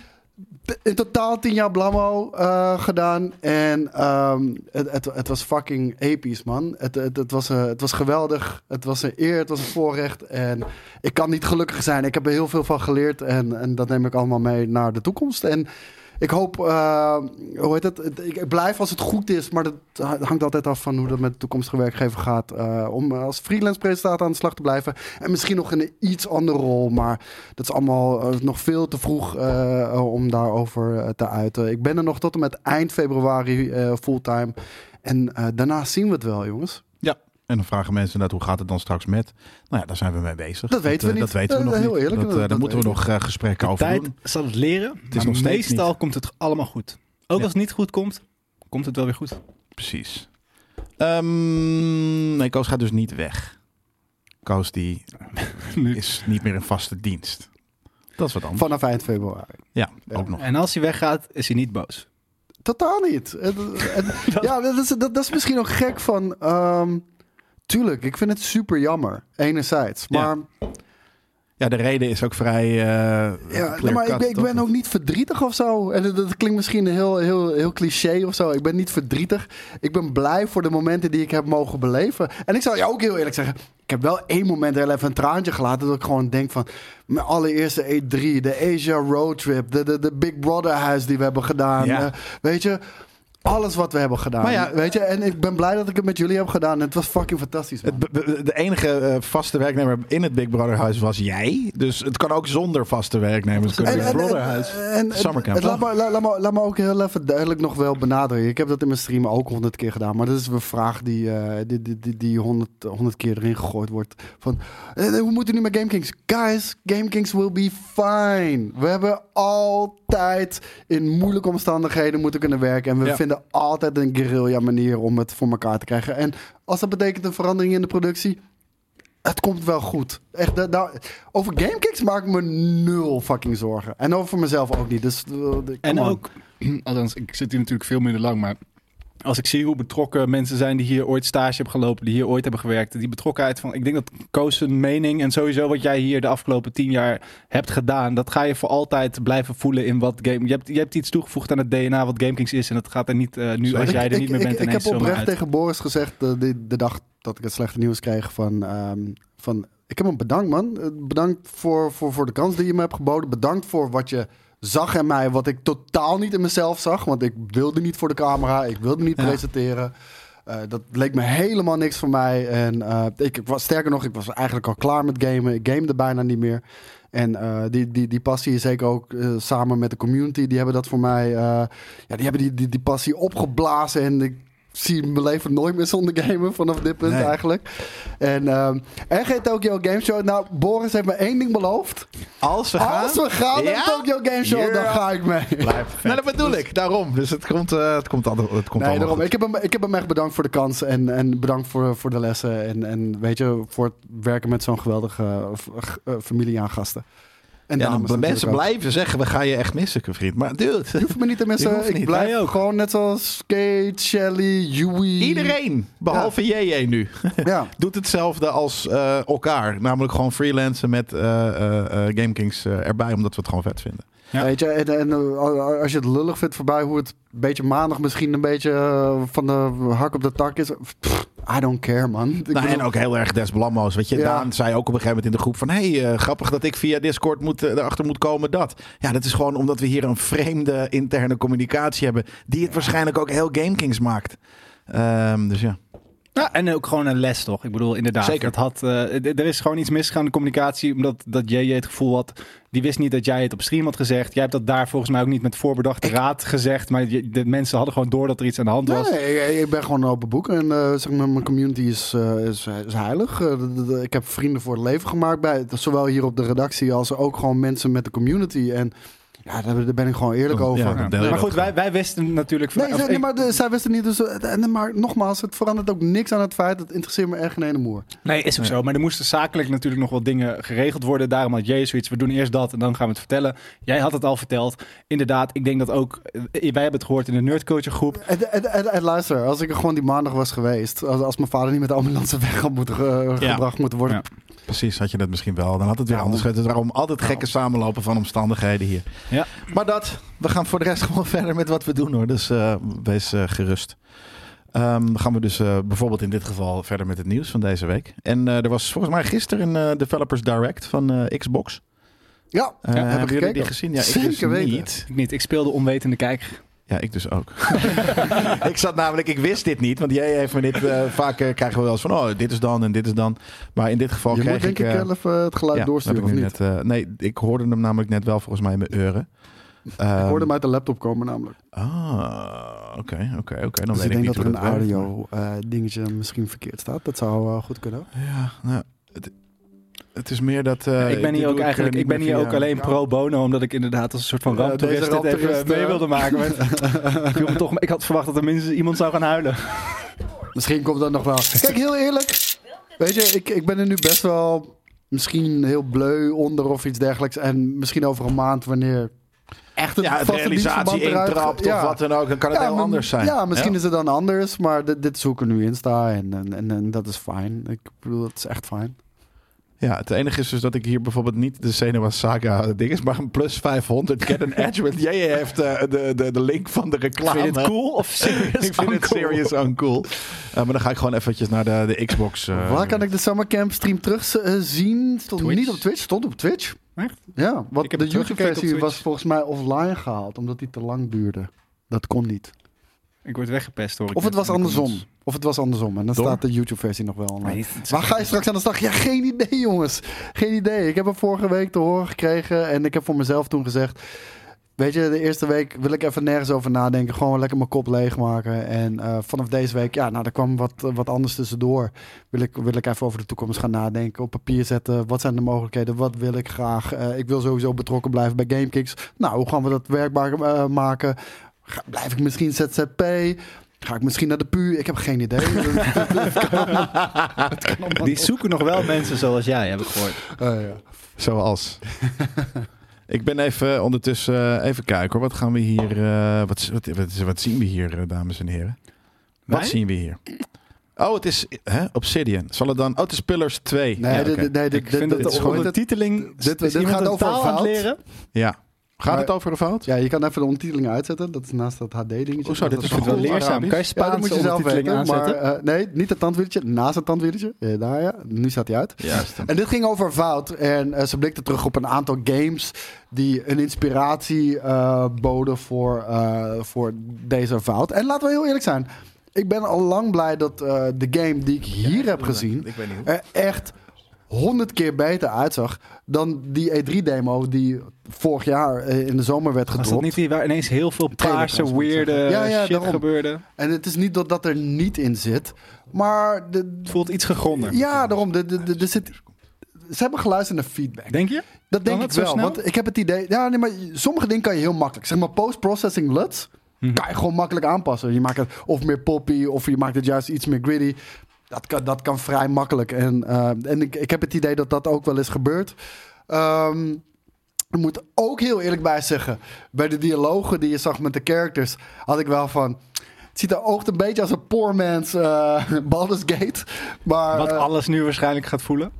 S3: In totaal tien jaar blammo eh, gedaan. En ehm, het, het, het was fucking episch, man. Het, het, het, was, eh, het was geweldig. Het was een eer, het was een voorrecht. En ik kan niet gelukkig zijn. Ik heb er heel veel van geleerd. En, en dat neem ik allemaal mee naar de toekomst. En ik hoop, eh, hoe heet het? Het- Ik ik blijf als het goed is, maar dat hangt altijd af van hoe dat met de toekomstige werkgever gaat. eh, om als freelance presentator aan de slag te blijven. En misschien nog in een iets andere rol, maar dat is allemaal eh, nog veel te vroeg eh, om daarover eh, te uiten. Ik ben er nog tot en met eind februari eh, fulltime. En eh, daarna zien we het wel, jongens.
S1: En dan vragen mensen inderdaad, hoe gaat het dan straks met? Nou ja, daar zijn we mee bezig.
S3: Dat weten we
S1: eh, Dat
S3: niet.
S1: weten we
S3: Eh,
S1: nog
S3: heel
S1: niet.
S3: eerlijk,
S1: dat, eh,
S3: dat-
S1: daar
S3: dat
S1: moeten we
S3: weten
S1: nog eh, gesprekken over
S2: tijd
S1: doen.
S2: zal het leren. Het is nog
S1: steeds
S2: meestal
S1: niet.
S2: komt het allemaal goed. Ook
S1: Ja.
S2: als het niet goed komt, komt het wel weer goed.
S1: Precies. Ehm, nee, Koos gaat dus niet weg. Koos die
S2: Nu.
S1: is niet meer in vaste dienst. Dat is wat anders.
S3: Vanaf eind februari.
S1: Ja,
S3: Ja.
S1: ook nog.
S2: En als hij weggaat, is hij niet boos.
S3: Totaal niet. Eh, Het- het- ja, dat is, dat, dat is misschien ook gek van. ehm, tuurlijk, ik vind het super jammer, enerzijds.
S1: Ja.
S3: Maar
S1: Ja, Ja, de reden is ook vrij. eh,
S3: Ja,
S1: clear
S3: maar ik
S1: cut,
S3: ben, ik
S1: toch?
S3: ben ook niet verdrietig of zo. En dat, dat klinkt misschien heel, heel, heel cliché of zo. Ik ben niet verdrietig. Ik ben blij voor de momenten die ik heb mogen beleven. En ik zal je ook heel eerlijk zeggen. Ik heb wel één moment heel even een traantje gelaten. Dat ik gewoon denk van... Mijn allereerste E3, de Asia Roadtrip, de, de, de Big Brother huis die we hebben gedaan.
S1: Ja.
S3: eh, weet je... Alles wat we hebben gedaan.
S1: Maar ja,
S3: weet je, en ik ben blij dat ik het met jullie heb gedaan. Het was fucking fantastisch. man.
S1: Het be- be- de enige eh, vaste werknemer in het Big Brother huis was jij. Dus het kan ook zonder vaste werknemers. kunnen.
S2: Big Brother huis.
S3: en- en-
S1: Summercamp.
S3: het- laat, me, laat, laat me, laat me ook heel even duidelijk nog wel benadrukken. Ik heb dat in mijn stream ook honderd keer gedaan. Maar dat is een vraag die honderd die, die, die, die 100 100 keer erin gegooid wordt. Van, eh, hoe moeten we nu met GameKings? Guys, GameKings will be fine. We hebben altijd in moeilijke omstandigheden moeten kunnen werken. En we
S1: Ja.
S3: vinden altijd een guerrilla manier om het voor elkaar te krijgen. En als dat betekent een verandering in de productie... Het komt wel goed. Echt, da- daar- over GameKicks maak ik me nul fucking zorgen. En over mezelf ook niet. Dus, eh, come
S2: En
S3: on.
S2: ook, althans, ik zit hier natuurlijk veel minder lang, maar als ik zie hoe betrokken mensen zijn die hier ooit stage hebben gelopen, die hier ooit hebben gewerkt, die betrokkenheid van, ik denk dat Koos zijn mening en sowieso wat jij hier de afgelopen tien jaar hebt gedaan, dat ga je voor altijd blijven voelen in wat game. Je hebt, je hebt iets toegevoegd aan het DNA wat GameKings is en dat gaat er niet eh, nu als
S3: Ik-
S2: jij er
S3: ik-
S2: niet meer
S3: ik-
S2: bent
S3: Ik,
S2: ineens
S3: heb
S2: zomaar
S3: oprecht
S2: uit.
S3: tegen Boris gezegd eh, de, de dag dat ik het slechte nieuws kreeg van... ehm, van ik heb hem bedankt, man. Eh, Bedankt voor, voor, voor de kans die je me hebt geboden. Bedankt voor wat je zag in mij, wat ik totaal niet in mezelf zag. Want ik wilde niet voor de camera, ik wilde niet
S1: Ja.
S3: presenteren. Eh, dat leek me helemaal niks voor mij. En eh, ik, ik was, sterker nog, ik was eigenlijk al klaar met gamen. Ik gamede bijna niet meer. En eh, die, die, die passie is zeker ook eh, samen met de community. Die hebben dat voor mij. eh, ja, die hebben die, die, die passie opgeblazen. En ik zie mijn leven nooit meer zonder gamen vanaf dit punt
S1: Nee.
S3: eigenlijk. En ehm RG Tokyo Game Show. Nou, Boris heeft me één ding beloofd.
S1: Als we gaan.
S3: Als we gaan
S1: Ja?
S3: naar de Tokyo Game Show, dan
S1: Ja.
S3: ga ik mee.
S1: Nou, dat bedoel ik. Daarom. Dus het komt, eh, het komt, altijd, het komt
S3: Nee,
S1: allemaal
S3: daarom.
S1: goed.
S3: Ik heb, hem, ik heb hem echt bedankt voor de kans en, en bedankt voor, voor de lessen. En, en weet je, voor het werken met zo'n geweldige eh, v- g- eh, familie aan gasten. En
S1: Ja,
S3: dames
S1: dan
S3: natuurlijk
S1: mensen
S3: ook.
S1: blijven zeggen, we gaan je echt missen, vriend. Maar
S3: Je
S1: dude,
S3: hoeft me niet te
S1: Je
S3: missen.
S1: hoeft
S3: Ik
S1: niet.
S3: blijf
S2: Hij ook.
S3: gewoon net zoals Skate, Shelly, Yui.
S1: iedereen, behalve JJ nu,
S3: Ja.
S1: doet hetzelfde als eh, elkaar. Namelijk gewoon freelancen met eh eh, eh, GameKings eh, erbij, omdat we het gewoon vet vinden.
S2: Ja.
S3: Weet je, en, en eh, als je het lullig vindt voorbij hoe het een beetje maandag misschien een beetje eh, van de hak op de tak is. Pff, I don't care, man. Ik
S1: Nou,
S3: bedoel-
S1: en ook heel erg des Blammo's. Weet je,
S3: Ja.
S1: Daan zei ook op een gegeven moment in de groep van... hey, eh, grappig dat ik via Discord moet, eh, erachter moet komen dat. Ja, dat is gewoon omdat we hier een vreemde interne communicatie hebben... die het waarschijnlijk ook heel GameKings maakt. Ehm, dus ja.
S2: Ja, en ook gewoon een les, toch? Ik bedoel, inderdaad.
S1: Zeker.
S2: Het had, eh, d- er is gewoon iets misgegaan in de communicatie. Omdat dat JJ het gevoel had. Die wist niet dat jij het op stream had gezegd. Jij hebt dat daar volgens mij ook niet met voorbedachte raad gezegd. Maar je- de mensen hadden gewoon door dat er iets aan de hand was.
S3: Nee, ik- ik ben gewoon een open boek. En eh, zeg maar, mijn community is, eh, is, is heilig. Eh, d- d- d- ik heb vrienden voor het leven gemaakt. Bij, zowel hier op de redactie als ook gewoon mensen met de community. En ja, daar, daar ben ik gewoon eerlijk
S1: Ja,
S3: over.
S1: dan deel je
S2: maar
S1: dat
S2: goed, wij, wij wisten natuurlijk. van-
S3: Nee,
S2: of
S3: ze- nee,
S2: ik-
S3: maar de- zij wisten niet. Dus, eh, en, maar nogmaals, het verandert ook niks aan het feit. Het interesseert me echt geen ene moer.
S2: nee, is ook zo. Maar er moesten zakelijk natuurlijk nog wat dingen geregeld worden. Daarom had JJ zoiets. We doen eerst dat en dan gaan we het vertellen. Jij had het al verteld. Inderdaad, ik denk dat ook. eh, Wij hebben het gehoord in de Nerdculture groep.
S3: En, en, en, en luister, als ik er gewoon die maandag was geweest. Als, als mijn vader niet met de ambulance weg had moeten, ge-
S1: Ja.
S3: gebracht moeten worden.
S2: Ja.
S1: Precies, had je dat misschien wel. Dan had het weer
S3: Ja,
S1: anders geweest. Daarom altijd
S3: nou.
S1: gekke samenlopen van omstandigheden hier.
S2: Ja.
S1: Maar dat, we gaan voor de rest gewoon verder met wat we doen hoor. Dus eh, wees eh, gerust. Ehm, dan gaan we dus eh, bijvoorbeeld in dit geval verder met het nieuws van deze week. En eh, er was volgens mij gisteren een eh, Developers Direct van eh, Xbox.
S3: Ja,
S1: Eh,
S3: heb ik
S1: hebben jullie
S3: gekeken.
S1: die gezien? Ja, ik
S3: Zeker
S1: dus
S3: weten.
S1: niet.
S2: Ik niet. Ik speelde onwetende kijker.
S1: Ja, ik dus ook. ik zat namelijk, ik wist dit niet. Want jij heeft me dit, eh, vaak eh, krijgen we wel eens van, oh, dit is dan en dit is dan. Maar in dit geval
S3: Je
S1: kreeg
S3: moet denk ik,
S1: eh,
S3: wel even het geluid
S1: Ja,
S3: doorsturen,
S1: heb
S3: of
S1: ik
S3: niet?
S1: nu net, eh, nee, ik hoorde hem namelijk net wel volgens mij in mijn euren.
S3: Ik
S1: Ehm,
S3: hoorde hem uit de laptop komen namelijk.
S1: Ah, oké, oké, oké. Dan weet
S3: Dus ik denk
S1: niet
S3: dat er
S1: hoe
S3: een
S1: werkt,
S3: audio eh, dingetje misschien verkeerd staat. Dat zou eh, goed kunnen.
S1: maar- Ja, nou, het, het is meer dat... eh,
S2: Ja, ik ben
S1: dit
S2: hier ook
S1: doe
S2: eigenlijk,
S1: eh,
S2: ik ben
S1: niet
S2: hier
S1: meer
S2: ook
S1: via-
S2: alleen
S3: Ja.
S2: pro bono, omdat ik inderdaad als een soort van
S3: Ja,
S2: ramptoerist
S3: deze
S2: dit even
S3: ramptoerist,
S2: mee
S3: eh.
S2: wilde maken. Maar het viel me toch, ik had verwacht dat er minstens iemand zou gaan huilen.
S3: Misschien komt dat nog wel. Kijk, heel eerlijk. Weet je, ik, ik ben er nu best wel misschien heel bleu onder of iets dergelijks. En misschien over een maand wanneer echt het
S1: Ja, het
S3: vaste
S1: realisatie
S3: dienstverband eruit-
S1: intrapt
S3: Ja.
S1: of wat dan ook. Dan kan het heel
S3: maar-
S1: anders zijn.
S3: Ja, misschien
S1: Ja.
S3: is het dan anders. Maar dit, dit is hoe ik er nu in sta. En, en, en, en dat is fijn. Ik bedoel, dat is echt fijn.
S1: Ja, het enige is dus dat ik hier bijvoorbeeld niet de Senua Saga ding is, maar een plus 500 Get an Edge. Want jij heeft eh, de, de, de link van de reclame.
S2: Vind je het cool of serious?
S1: Ik vind het
S2: uncool?
S1: serious uncool. Eh, maar dan ga ik gewoon eventjes naar de, de Xbox. eh,
S3: Waar kan ik de Summer Camp stream terug eh, zien? Stond
S2: Twitch.
S3: niet op Twitch, stond op Twitch.
S2: Echt?
S3: Ja,
S2: Ik
S3: want
S2: heb
S3: de
S2: het teruggekeken op
S3: YouTube-versie
S2: Twitch.
S3: was volgens mij offline gehaald, omdat die te lang duurde. Dat kon niet.
S2: Ik word weggepest hoor. ik
S3: Of het
S2: net
S3: was
S2: in de
S3: andersom.
S2: comments.
S3: Of het was andersom. En dan
S1: Door?
S3: staat de YouTube-versie nog wel online.
S2: Maar het-
S3: Waar ga je straks aan de slag? Ja, geen idee, jongens. Geen idee. Ik heb hem vorige week te horen gekregen en ik heb voor mezelf toen gezegd... Weet je, de eerste week wil ik even nergens over nadenken. Gewoon lekker mijn kop leegmaken. En eh, vanaf deze week, ja, nou, er kwam wat, wat anders tussendoor. Wil ik, wil ik even over de toekomst gaan nadenken. Op papier zetten. Wat zijn de mogelijkheden? Wat wil ik graag? Eh, ik wil sowieso betrokken blijven bij GameKicks. Nou, hoe gaan we dat werkbaar eh, maken? Ga- blijf ik misschien ZZP? Ga ik misschien naar de PU? Ik heb geen idee.
S2: Die zoeken nog wel mensen zoals jij, heb ik gehoord.
S3: Eh, ja.
S1: Zoals. ik ben even ondertussen eh, even kijken hoor. Wat gaan we hier. eh, wat, wat, wat, wat zien we hier, eh, dames en heren? Wat
S2: Wij?
S1: zien we hier? Oh, het is hè, Obsidian. Zal het dan. Oh, het is Pillars 2.
S3: Nee,
S1: ja,
S3: dit-
S1: oké.
S3: dit- nee, dit-
S2: Ik
S3: dit-
S2: vind
S3: dit-
S2: dat
S1: is
S2: de
S1: gewoon-
S2: ondertiteling...
S3: dit- dit
S2: is iemand
S3: gaat
S2: een
S3: over
S2: taal aan het
S3: fout.
S2: leren?
S1: ja. Gaat
S3: Maar-
S1: het over een fout?
S3: Ja, je kan even de ondertiteling uitzetten. Dat is naast dat HD-dingetje.
S1: Hoezo, dit is
S2: Ik vind het wel
S1: Goed,
S2: leerzaam.
S1: Arabisch.
S2: Kan je
S3: Ja, dat
S2: Spaanse
S3: moet je zelf
S2: ondertiteling
S3: weten. Maar,
S2: aanzetten?
S3: eh, nee, niet het tandwieltje. Naast het tandwieltje. Eh, daar ja, nu staat hij uit.
S1: Juist.
S3: En dit ging over fout. En eh, ze blikte terug op een aantal games die een inspiratie eh, boden voor, eh, voor deze fout. En laten we heel eerlijk zijn. Ik ben al lang blij dat eh, de game die ik hier heb gezien
S1: Ik weet niet hoe.
S3: er echt honderd keer beter uitzag dan die E3-demo die vorig jaar eh, in de zomer werd
S2: Was dat
S3: gedropt.
S2: niet die waar ineens heel veel
S3: Trailer
S2: paarse,
S3: trouwens, moet ik
S2: weirde
S3: zeggen. Ja, ja,
S2: shit
S3: daarom.
S2: gebeurde?
S3: En het is niet dat dat er niet in zit, maar de,
S2: Het voelt iets gegronder.
S3: ja, daarom. De, de, de, er zit, ze hebben geluisterd naar feedback.
S2: Denk je?
S3: Dat denk
S2: Kan
S3: ik
S2: het zo
S3: wel.
S2: snel?
S3: Want ik heb het idee. Ja, nee, maar sommige dingen kan je heel makkelijk. Zeg maar post-processing LUTs.
S2: Mhm.
S3: Kan je gewoon makkelijk aanpassen. Je maakt het of meer poppy. Of je maakt het juist iets meer gritty. Dat kan, dat kan vrij makkelijk. En, eh, en ik, ik heb het idee dat dat ook wel eens gebeurt. Ehm, ik moet ook heel eerlijk bij zeggen. Bij de dialogen die je zag met de characters. Had ik wel van. Het ziet er oogt een beetje als een poor man's eh, Baldur's Gate. Maar,
S2: Wat
S3: eh,
S2: alles nu waarschijnlijk gaat voelen.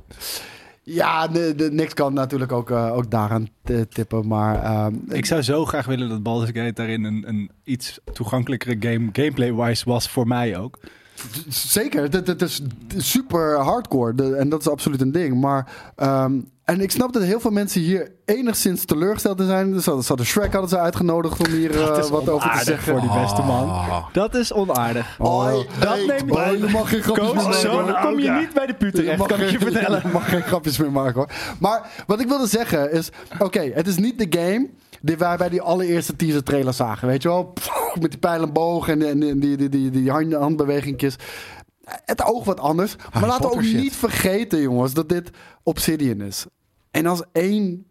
S3: ja, de, de- niks kan natuurlijk ook, eh, ook daaraan t- tippen. Maar ehm,
S2: Ik zou zo graag willen dat Baldur's Gate daarin een, een iets toegankelijkere game, gameplay-wise was voor mij ook.
S3: d- zeker, dit, dit is d- super hardcore. De- en dat is absoluut een ding. Maar, ehm, en ik snap dat heel veel mensen hier enigszins teleurgesteld in zijn. Dus ze hadden- ze hadden Shrek hadden ze uitgenodigd om hier eh,
S2: Dat is
S3: wat over te
S2: onaardig
S3: zeggen.
S2: voor die beste man.
S1: Ah.
S2: Dat is onaardig.
S3: Oi,
S2: dat
S3: hey,
S2: neem ik-
S3: Bo, je mag geen grapjes meer
S2: Koos,
S3: maken.
S2: zo
S3: hoor.
S2: kom je
S1: ja.
S2: niet bij de puur
S3: Je
S2: terecht,
S3: mag
S2: kan ik je
S3: geen-
S2: vertellen.
S3: Je mag geen grapjes meer maken hoor. Maar wat ik wilde zeggen is: oké, het is niet de game die wij bij die allereerste teaser trailer zagen. Weet je wel? Pff, met die pijlenboog en, en die, die, die, die, die hand- handbewegingjes. Het oog wat anders. maar laten we ook
S1: Potter shit.
S3: niet vergeten, jongens, dat dit Obsidian is. En als één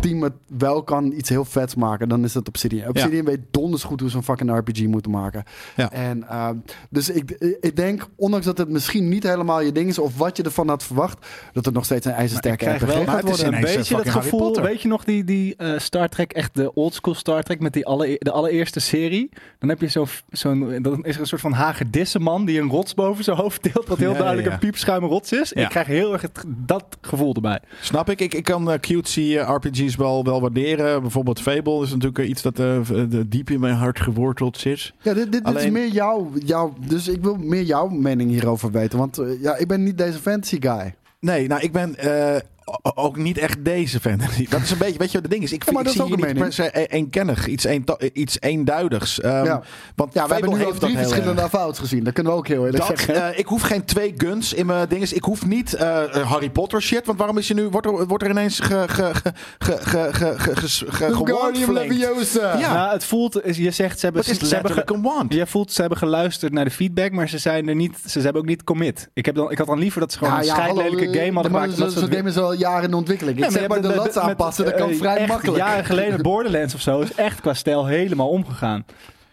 S3: team het wel kan iets heel vets maken, dan is dat Obsidian. Obsidian weet donders goed hoe ze een fucking RPG moeten maken.
S1: Ja.
S3: En, ehm, dus ik, ik denk, ondanks dat het misschien niet helemaal je ding is... of wat je ervan had verwacht, dat het nog steeds een
S2: Ik
S3: ijzersterke
S2: krijg
S3: RPG
S2: wel
S3: gaat
S1: maar het is
S3: worden.
S2: een
S1: ineens, eh,
S2: beetje dat
S1: fucking Harry
S2: gevoel.
S1: Potter.
S2: Weet je nog die, die eh, Star Trek, echt de oldschool Star Trek met die alle, de allereerste serie? Dan heb je zo'n, zo'n, dan is er een soort van hagedissenman die een rots boven zijn hoofd tilt, wat heel
S1: Ja, ja,
S2: duidelijk
S1: ja.
S2: een piepschuim rots is.
S1: Ja.
S2: Ik krijg heel erg het- dat gevoel erbij.
S1: Snap ik. Ik, ik kan eh, cutesy eh, RPG's wel, wel waarderen. Bijvoorbeeld Fable is natuurlijk eh, iets dat eh, v- eh, diep in mijn hart geworteld zit.
S3: Ja, dit, dit, dit
S1: Alleen-
S3: is meer jouw, jouw... Dus ik wil meer jouw mening hierover weten. Want eh, ja, ik ben niet deze fantasy guy.
S1: Nee, nou, ik ben eh, o- ook niet echt deze fan. Dat is een beetje, weet je wat het ding is? Ik, vind,
S3: maar
S1: ik
S3: dat
S1: zie
S3: is
S1: hier
S3: ook
S1: niet
S3: een
S1: per se e- eenkennig, iets, een, iets eenduidigs. Ehm,
S3: Ja.
S1: Want
S3: Ja, we
S1: Fable
S3: hebben nu al
S1: heeft dat
S3: drie
S1: heel erg.
S3: verschillende fouts gezien. Dat kunnen we ook heel eerlijk
S1: Dat,
S3: zeggen.
S1: eh, ik hoef geen twee guns in mijn dinges. Ik hoef niet eh, Harry Potter shit. Want waarom is je nu, wordt, er, wordt er ineens ge, ge, ge, ge, ge, ge, ge, ge, ge,
S3: Eh,
S1: gewordflamed?
S3: Leviosa.
S1: Ja.
S2: Nou, het voelt, is- je zegt ze hebben,
S1: Wat is het? Ze hebben
S2: letterlijk-
S1: gecommand.
S2: Jij voelt, ze hebben geluisterd naar de feedback, maar ze zijn er niet, ze hebben ook niet commit. Ik, heb dan, ik had dan liever dat ze gewoon
S3: Ja,
S2: een
S3: ja,
S2: scheidlelijke
S3: hallo, eh,
S2: game hadden
S3: maar
S2: gemaakt.
S3: Zo'n
S2: omdat ze het
S3: zo'n game is al jaren in ontwikkeling. Ik
S2: Ja,
S3: zeg maar
S2: je
S3: de
S2: hebt
S3: lats
S2: met- met-
S3: aanpassen, dat kan
S2: eh,
S3: vrij
S2: echt
S3: makkelijk.
S2: Jaren geleden Borderlands of zo is echt qua stijl helemaal omgegaan.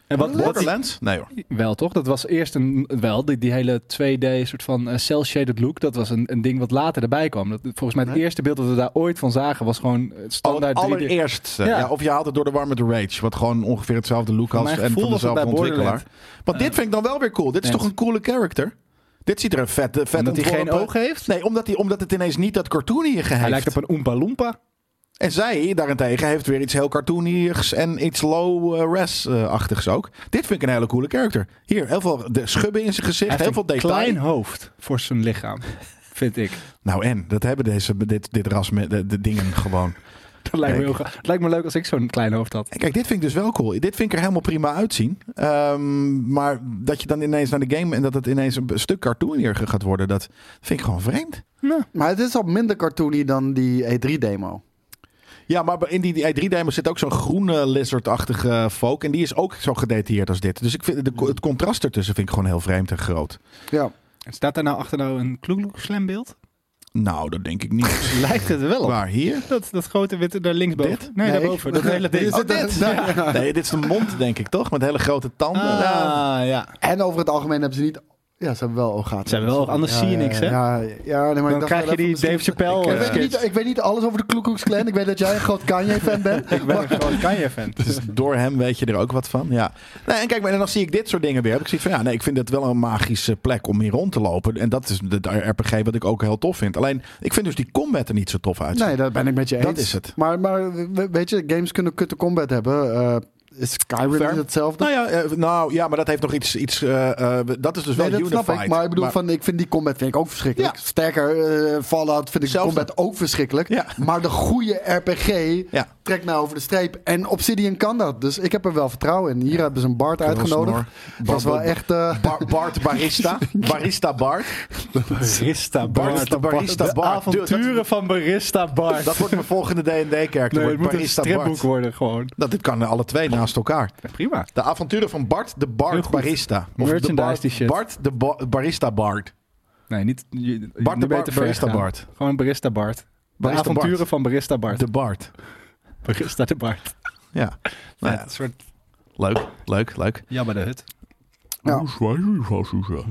S2: En wat
S1: Borderlands? Nee hoor.
S2: wat- Wel toch? Dat was eerst een. Wel, die, die hele 2D soort van eh, cel-shaded look. Dat was een, een ding wat later erbij kwam. Dat, volgens mij het eerste beeld dat we daar ooit van zagen was gewoon eh,
S1: Oh, het
S2: standaard 3D.
S1: allereerst. eh,
S2: Ja.
S1: Ja, of je haalt het door de war met de Rage. Wat gewoon ongeveer hetzelfde look
S2: Voor
S1: had
S2: mijn
S1: en
S2: gevoel
S1: van
S2: was het
S1: dezelfde
S2: bij
S1: ontwikkelaar.
S2: Borderlands.
S1: Want dit vind ik dan wel weer cool. Dit is
S2: nee.
S1: toch een coole character? Dit ziet er een vet, vet
S2: Omdat hij geen
S1: ontworpen-
S2: ogen heeft?
S1: Nee, omdat, hij, omdat het ineens niet dat cartoonige
S2: Hij
S1: heeft.
S2: lijkt op een Oompa Loompa.
S1: En zij daarentegen heeft weer iets heel cartoonigs en iets eh, low-res-achtigs ook. Dit vind ik een hele coole character. Hier, heel veel de schubben in zijn
S2: Hij
S1: gezicht,
S2: heeft
S1: heel
S2: een
S1: veel detail.
S2: klein hoofd voor zijn lichaam, vind ik.
S1: Nou en, dat hebben deze, dit, dit ras met de, de dingen gewoon.
S2: Dat lijkt me
S1: Kijk.
S2: heel gaaf. Het lijkt me leuk als ik zo'n klein hoofd had.
S1: En Kijk, dit vind ik dus wel cool. Dit vind ik er helemaal prima uitzien. Ehm, maar dat je dan ineens naar de game en dat het ineens een stuk cartoonier gaat worden, dat vind ik gewoon vreemd.
S2: Nou,
S3: Maar het is al minder cartoony dan die E E3-demo.
S1: Ja, maar in die, die i3-demo zit ook zo'n groene lizardachtige folk. En die is ook zo gedetailleerd als dit. Dus ik vind de, het contrast ertussen vind ik gewoon heel vreemd en groot.
S3: Ja.
S2: staat daar nou achter nou een Kloekloek Slam beeld?
S1: Nou, dat denk ik niet.
S2: Lijkt het er wel op.
S1: Waar, hier?
S2: Dat, dat grote witte daar linksboven.
S1: Dit?
S2: Nee, daarboven. Dat hele ding.
S3: Dit Nou, is het-
S1: Oh, dit?
S3: Nee.
S1: Nee, dit is de mond, denk ik, toch? Met hele grote tanden.
S2: Ah, ja.
S3: En over het algemeen hebben ze niet... Ja, ze hebben wel ooggaten.
S2: Ze hebben wel oog- anders
S3: Ja,
S2: zie je
S3: ja,
S2: niks, hè?
S3: Ja, ja, nee, maar ik
S2: Dan
S3: dacht
S2: krijg je
S3: wel even
S2: die
S3: misschien-
S2: Dave Chappelle.
S3: Ik weet,
S2: eh,
S3: niet, ik weet niet alles over de Ku Klux Klan. Ik weet dat jij een groot Kanye-fan bent.
S2: Ik ben een groot Kanye-fan.
S1: Dus door hem weet je er ook wat van. Ja. Nee, en kijk, maar dan zie ik dit soort dingen weer. Heb ik zoiets van ja, nee, ik vind het wel een magische plek om hier rond te lopen. En dat is de RPG wat ik ook heel tof vind. Alleen, ik vind dus die combat er niet zo tof uit.
S3: Nee, dat ben ik met je eens.
S1: Dat is het.
S3: Maar, maar we- weet je, games kunnen kutte combat hebben. Eh, is Skyrim
S1: Fair.
S3: niet hetzelfde?
S1: Nou ja, eh, nou ja, maar dat heeft nog iets. iets eh, eh, dat is dus
S3: Nee,
S1: wel
S3: dat
S1: unified.
S3: snap ik. Maar ik bedoel, van, ik vind die combat vind ik ook verschrikkelijk.
S1: Ja.
S3: Sterker, eh, Fallout vind ik de
S1: Zelfde.
S3: combat ook verschrikkelijk.
S1: Ja.
S3: Maar de goede RPG
S1: Ja.
S3: trekt nou over de streep. En Obsidian kan dat. Dus ik heb er wel vertrouwen in. Hier hebben ze een Bart uitgenodigd.
S1: Snor.
S3: Dat is wel
S1: Bar-
S3: echt... eh,
S1: Bar- Bart Barista. Barista Bart.
S2: Barista
S1: Bart, de barista
S2: De
S1: Bart. Dude,
S2: avonturen van Barista Bart.
S1: Dat wordt mijn volgende D&D-kerk.
S2: nee, het moet een
S1: Barista
S2: stripboek
S1: Bart.
S2: worden gewoon.
S1: Dat, dit kan alle twee naast elkaar.
S2: Prima.
S1: De avonturen van Bart de
S2: Heel
S1: Bart
S2: goed.
S1: Barista. de
S2: Merchandise
S1: Bart,
S2: die shit.
S1: Bart de Ba- Barista Bart.
S2: Nee, niet... je- je-
S1: Bart de
S2: nu ben je
S1: Bar-
S2: te ver
S1: Barista
S2: gegaan.
S1: Bart.
S2: Gewoon Barista Bart. De
S1: Barista
S2: avonturen
S1: Bart.
S2: van Barista Bart.
S1: De Bart.
S2: Barista de Bart.
S1: Ja. Nou ja,
S2: Een soort
S1: leuk, leuk, leuk.
S2: Jabba de Hut.
S3: Ja.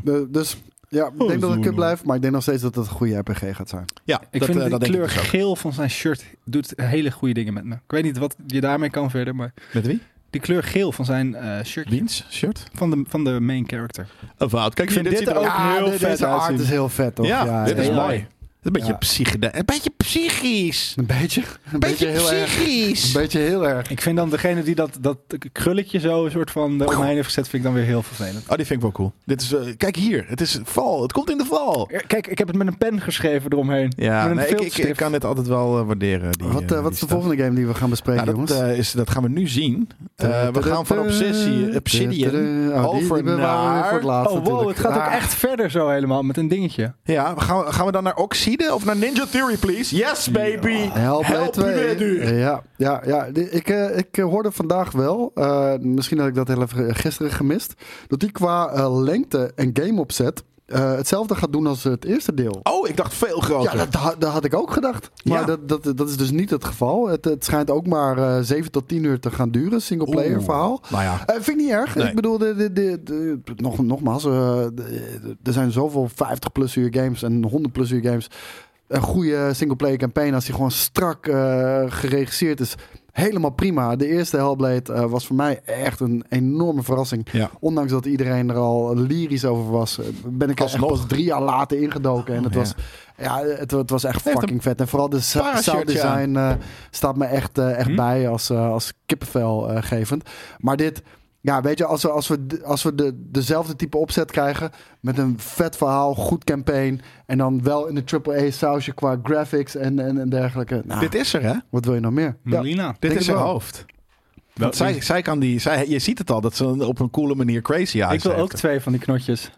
S3: de- dus ja,
S1: Oh,
S3: ik denk dat het kut blijft. Maar ik denk nog steeds dat het een goede RPG gaat zijn.
S1: Ja,
S2: Ik
S1: dat,
S2: vind
S1: eh,
S2: de
S1: dat denk
S2: kleur
S1: ik dus ook.
S2: geel van zijn shirt doet hele goede dingen met me. Ik weet niet wat je daarmee kan verder, maar
S1: Met wie?
S2: die kleur geel van zijn eh shirt
S1: Wiens shirt?
S2: van de, van de main character.
S1: Een fout. Kijk, ik vind
S2: Dit
S1: dit, ziet er
S2: ook
S1: ook...
S2: heel
S3: de-
S2: vet
S3: deze art
S2: uitzien.
S3: is heel vet, toch?
S1: Ja, dit is
S2: ja.
S1: mooi. Een beetje,
S3: Ja.
S1: psychede- een beetje psychisch.
S3: Een beetje, een
S1: Beetje
S3: beetje, heel erg. Een
S1: psychisch.
S3: beetje heel erg.
S2: Ik vind dan degene die dat, dat krulletje zo een soort van eh, omheen heeft gezet, vind ik dan weer heel vervelend.
S1: Oh, die vind ik wel cool. Dit is, eh, kijk hier, het is val. Het komt in de val.
S2: Kijk, ik heb het met een pen geschreven eromheen. met
S1: Ja,
S2: een
S1: nee, ik, ik,
S2: viltstift.
S1: ik kan dit altijd wel eh, waarderen. Die,
S3: wat
S1: eh,
S3: eh,
S1: die
S3: wat is de
S1: stad.
S3: volgende game die we gaan bespreken,
S1: Nou, dat,
S3: jongens?
S1: eh, is, dat gaan we nu zien. Eh, we gaan van Obsessie, Obsidian.
S3: Oh, die- die
S1: over
S3: bewaren we weer voor
S1: naar-
S3: het laatst
S2: Oh wow,
S3: natuurlijk.
S2: het gaat ook
S3: Ah,
S2: echt verder zo helemaal met een dingetje.
S1: Ja, we gaan, gaan we dan naar Oxide of naar Ninja Theory, please? Yes, baby!
S3: Help mij
S1: Help me
S3: twee.
S1: met u.
S3: Ja, ja, ja. Die- Ik, eh, ik eh, hoorde vandaag wel, eh, misschien had ik dat heel even gisteren gemist, dat die qua eh, lengte en gameopzet eh, hetzelfde gaat doen als het eerste deel.
S1: Oh, ik dacht veel groter.
S3: Ja, dat, ha- dat had ik ook gedacht. Maar
S1: Ja.
S3: dat, dat, dat is dus niet het geval. Het, het schijnt ook maar eh 7 tot 10 uur te gaan duren, singleplayer
S1: Oeh.
S3: verhaal.
S1: Nou ja.
S3: Eh, vind ik niet erg.
S1: Nee.
S3: Ik bedoel, de, de, de, de- nog, nogmaals, eh, de- de- er zijn zoveel 50 plus uur games en 100 plus uur games. Een goede singleplayer campaign, als die gewoon strak eh, geregisseerd is, helemaal prima. De eerste Hellblade eh, was voor mij echt een enorme verrassing.
S1: Ja.
S3: Ondanks dat iedereen er al lyrisch over was, eh, ben ik er echt
S1: Alsnog.
S3: pas drie jaar later ingedoken. En het
S1: ja.
S3: was, ja, het, het was echt
S1: Heeft
S3: fucking vet. En vooral de sa-
S1: parashirtje
S3: sound design eh, staat me echt, eh, echt
S2: Hm?
S3: bij als, eh, als kippenvel eh, gevend. Maar dit, ja, weet je, als we, als we, de- als we de, dezelfde type opzet krijgen met een vet verhaal, goed campaign en dan wel in de AAA sausje qua graphics en, en, en dergelijke. Nou,
S1: Ah. Dit is er, hè?
S3: wat wil je nog meer? Ja.
S2: Melina.
S1: Dit
S3: Denk
S1: is
S3: het
S1: haar
S3: wel.
S1: hoofd. Want zij, zij kan die, zij, je ziet het al, dat ze op een coole manier crazy eyes
S2: ik wil
S1: heeft.
S2: ook twee van die knotjes.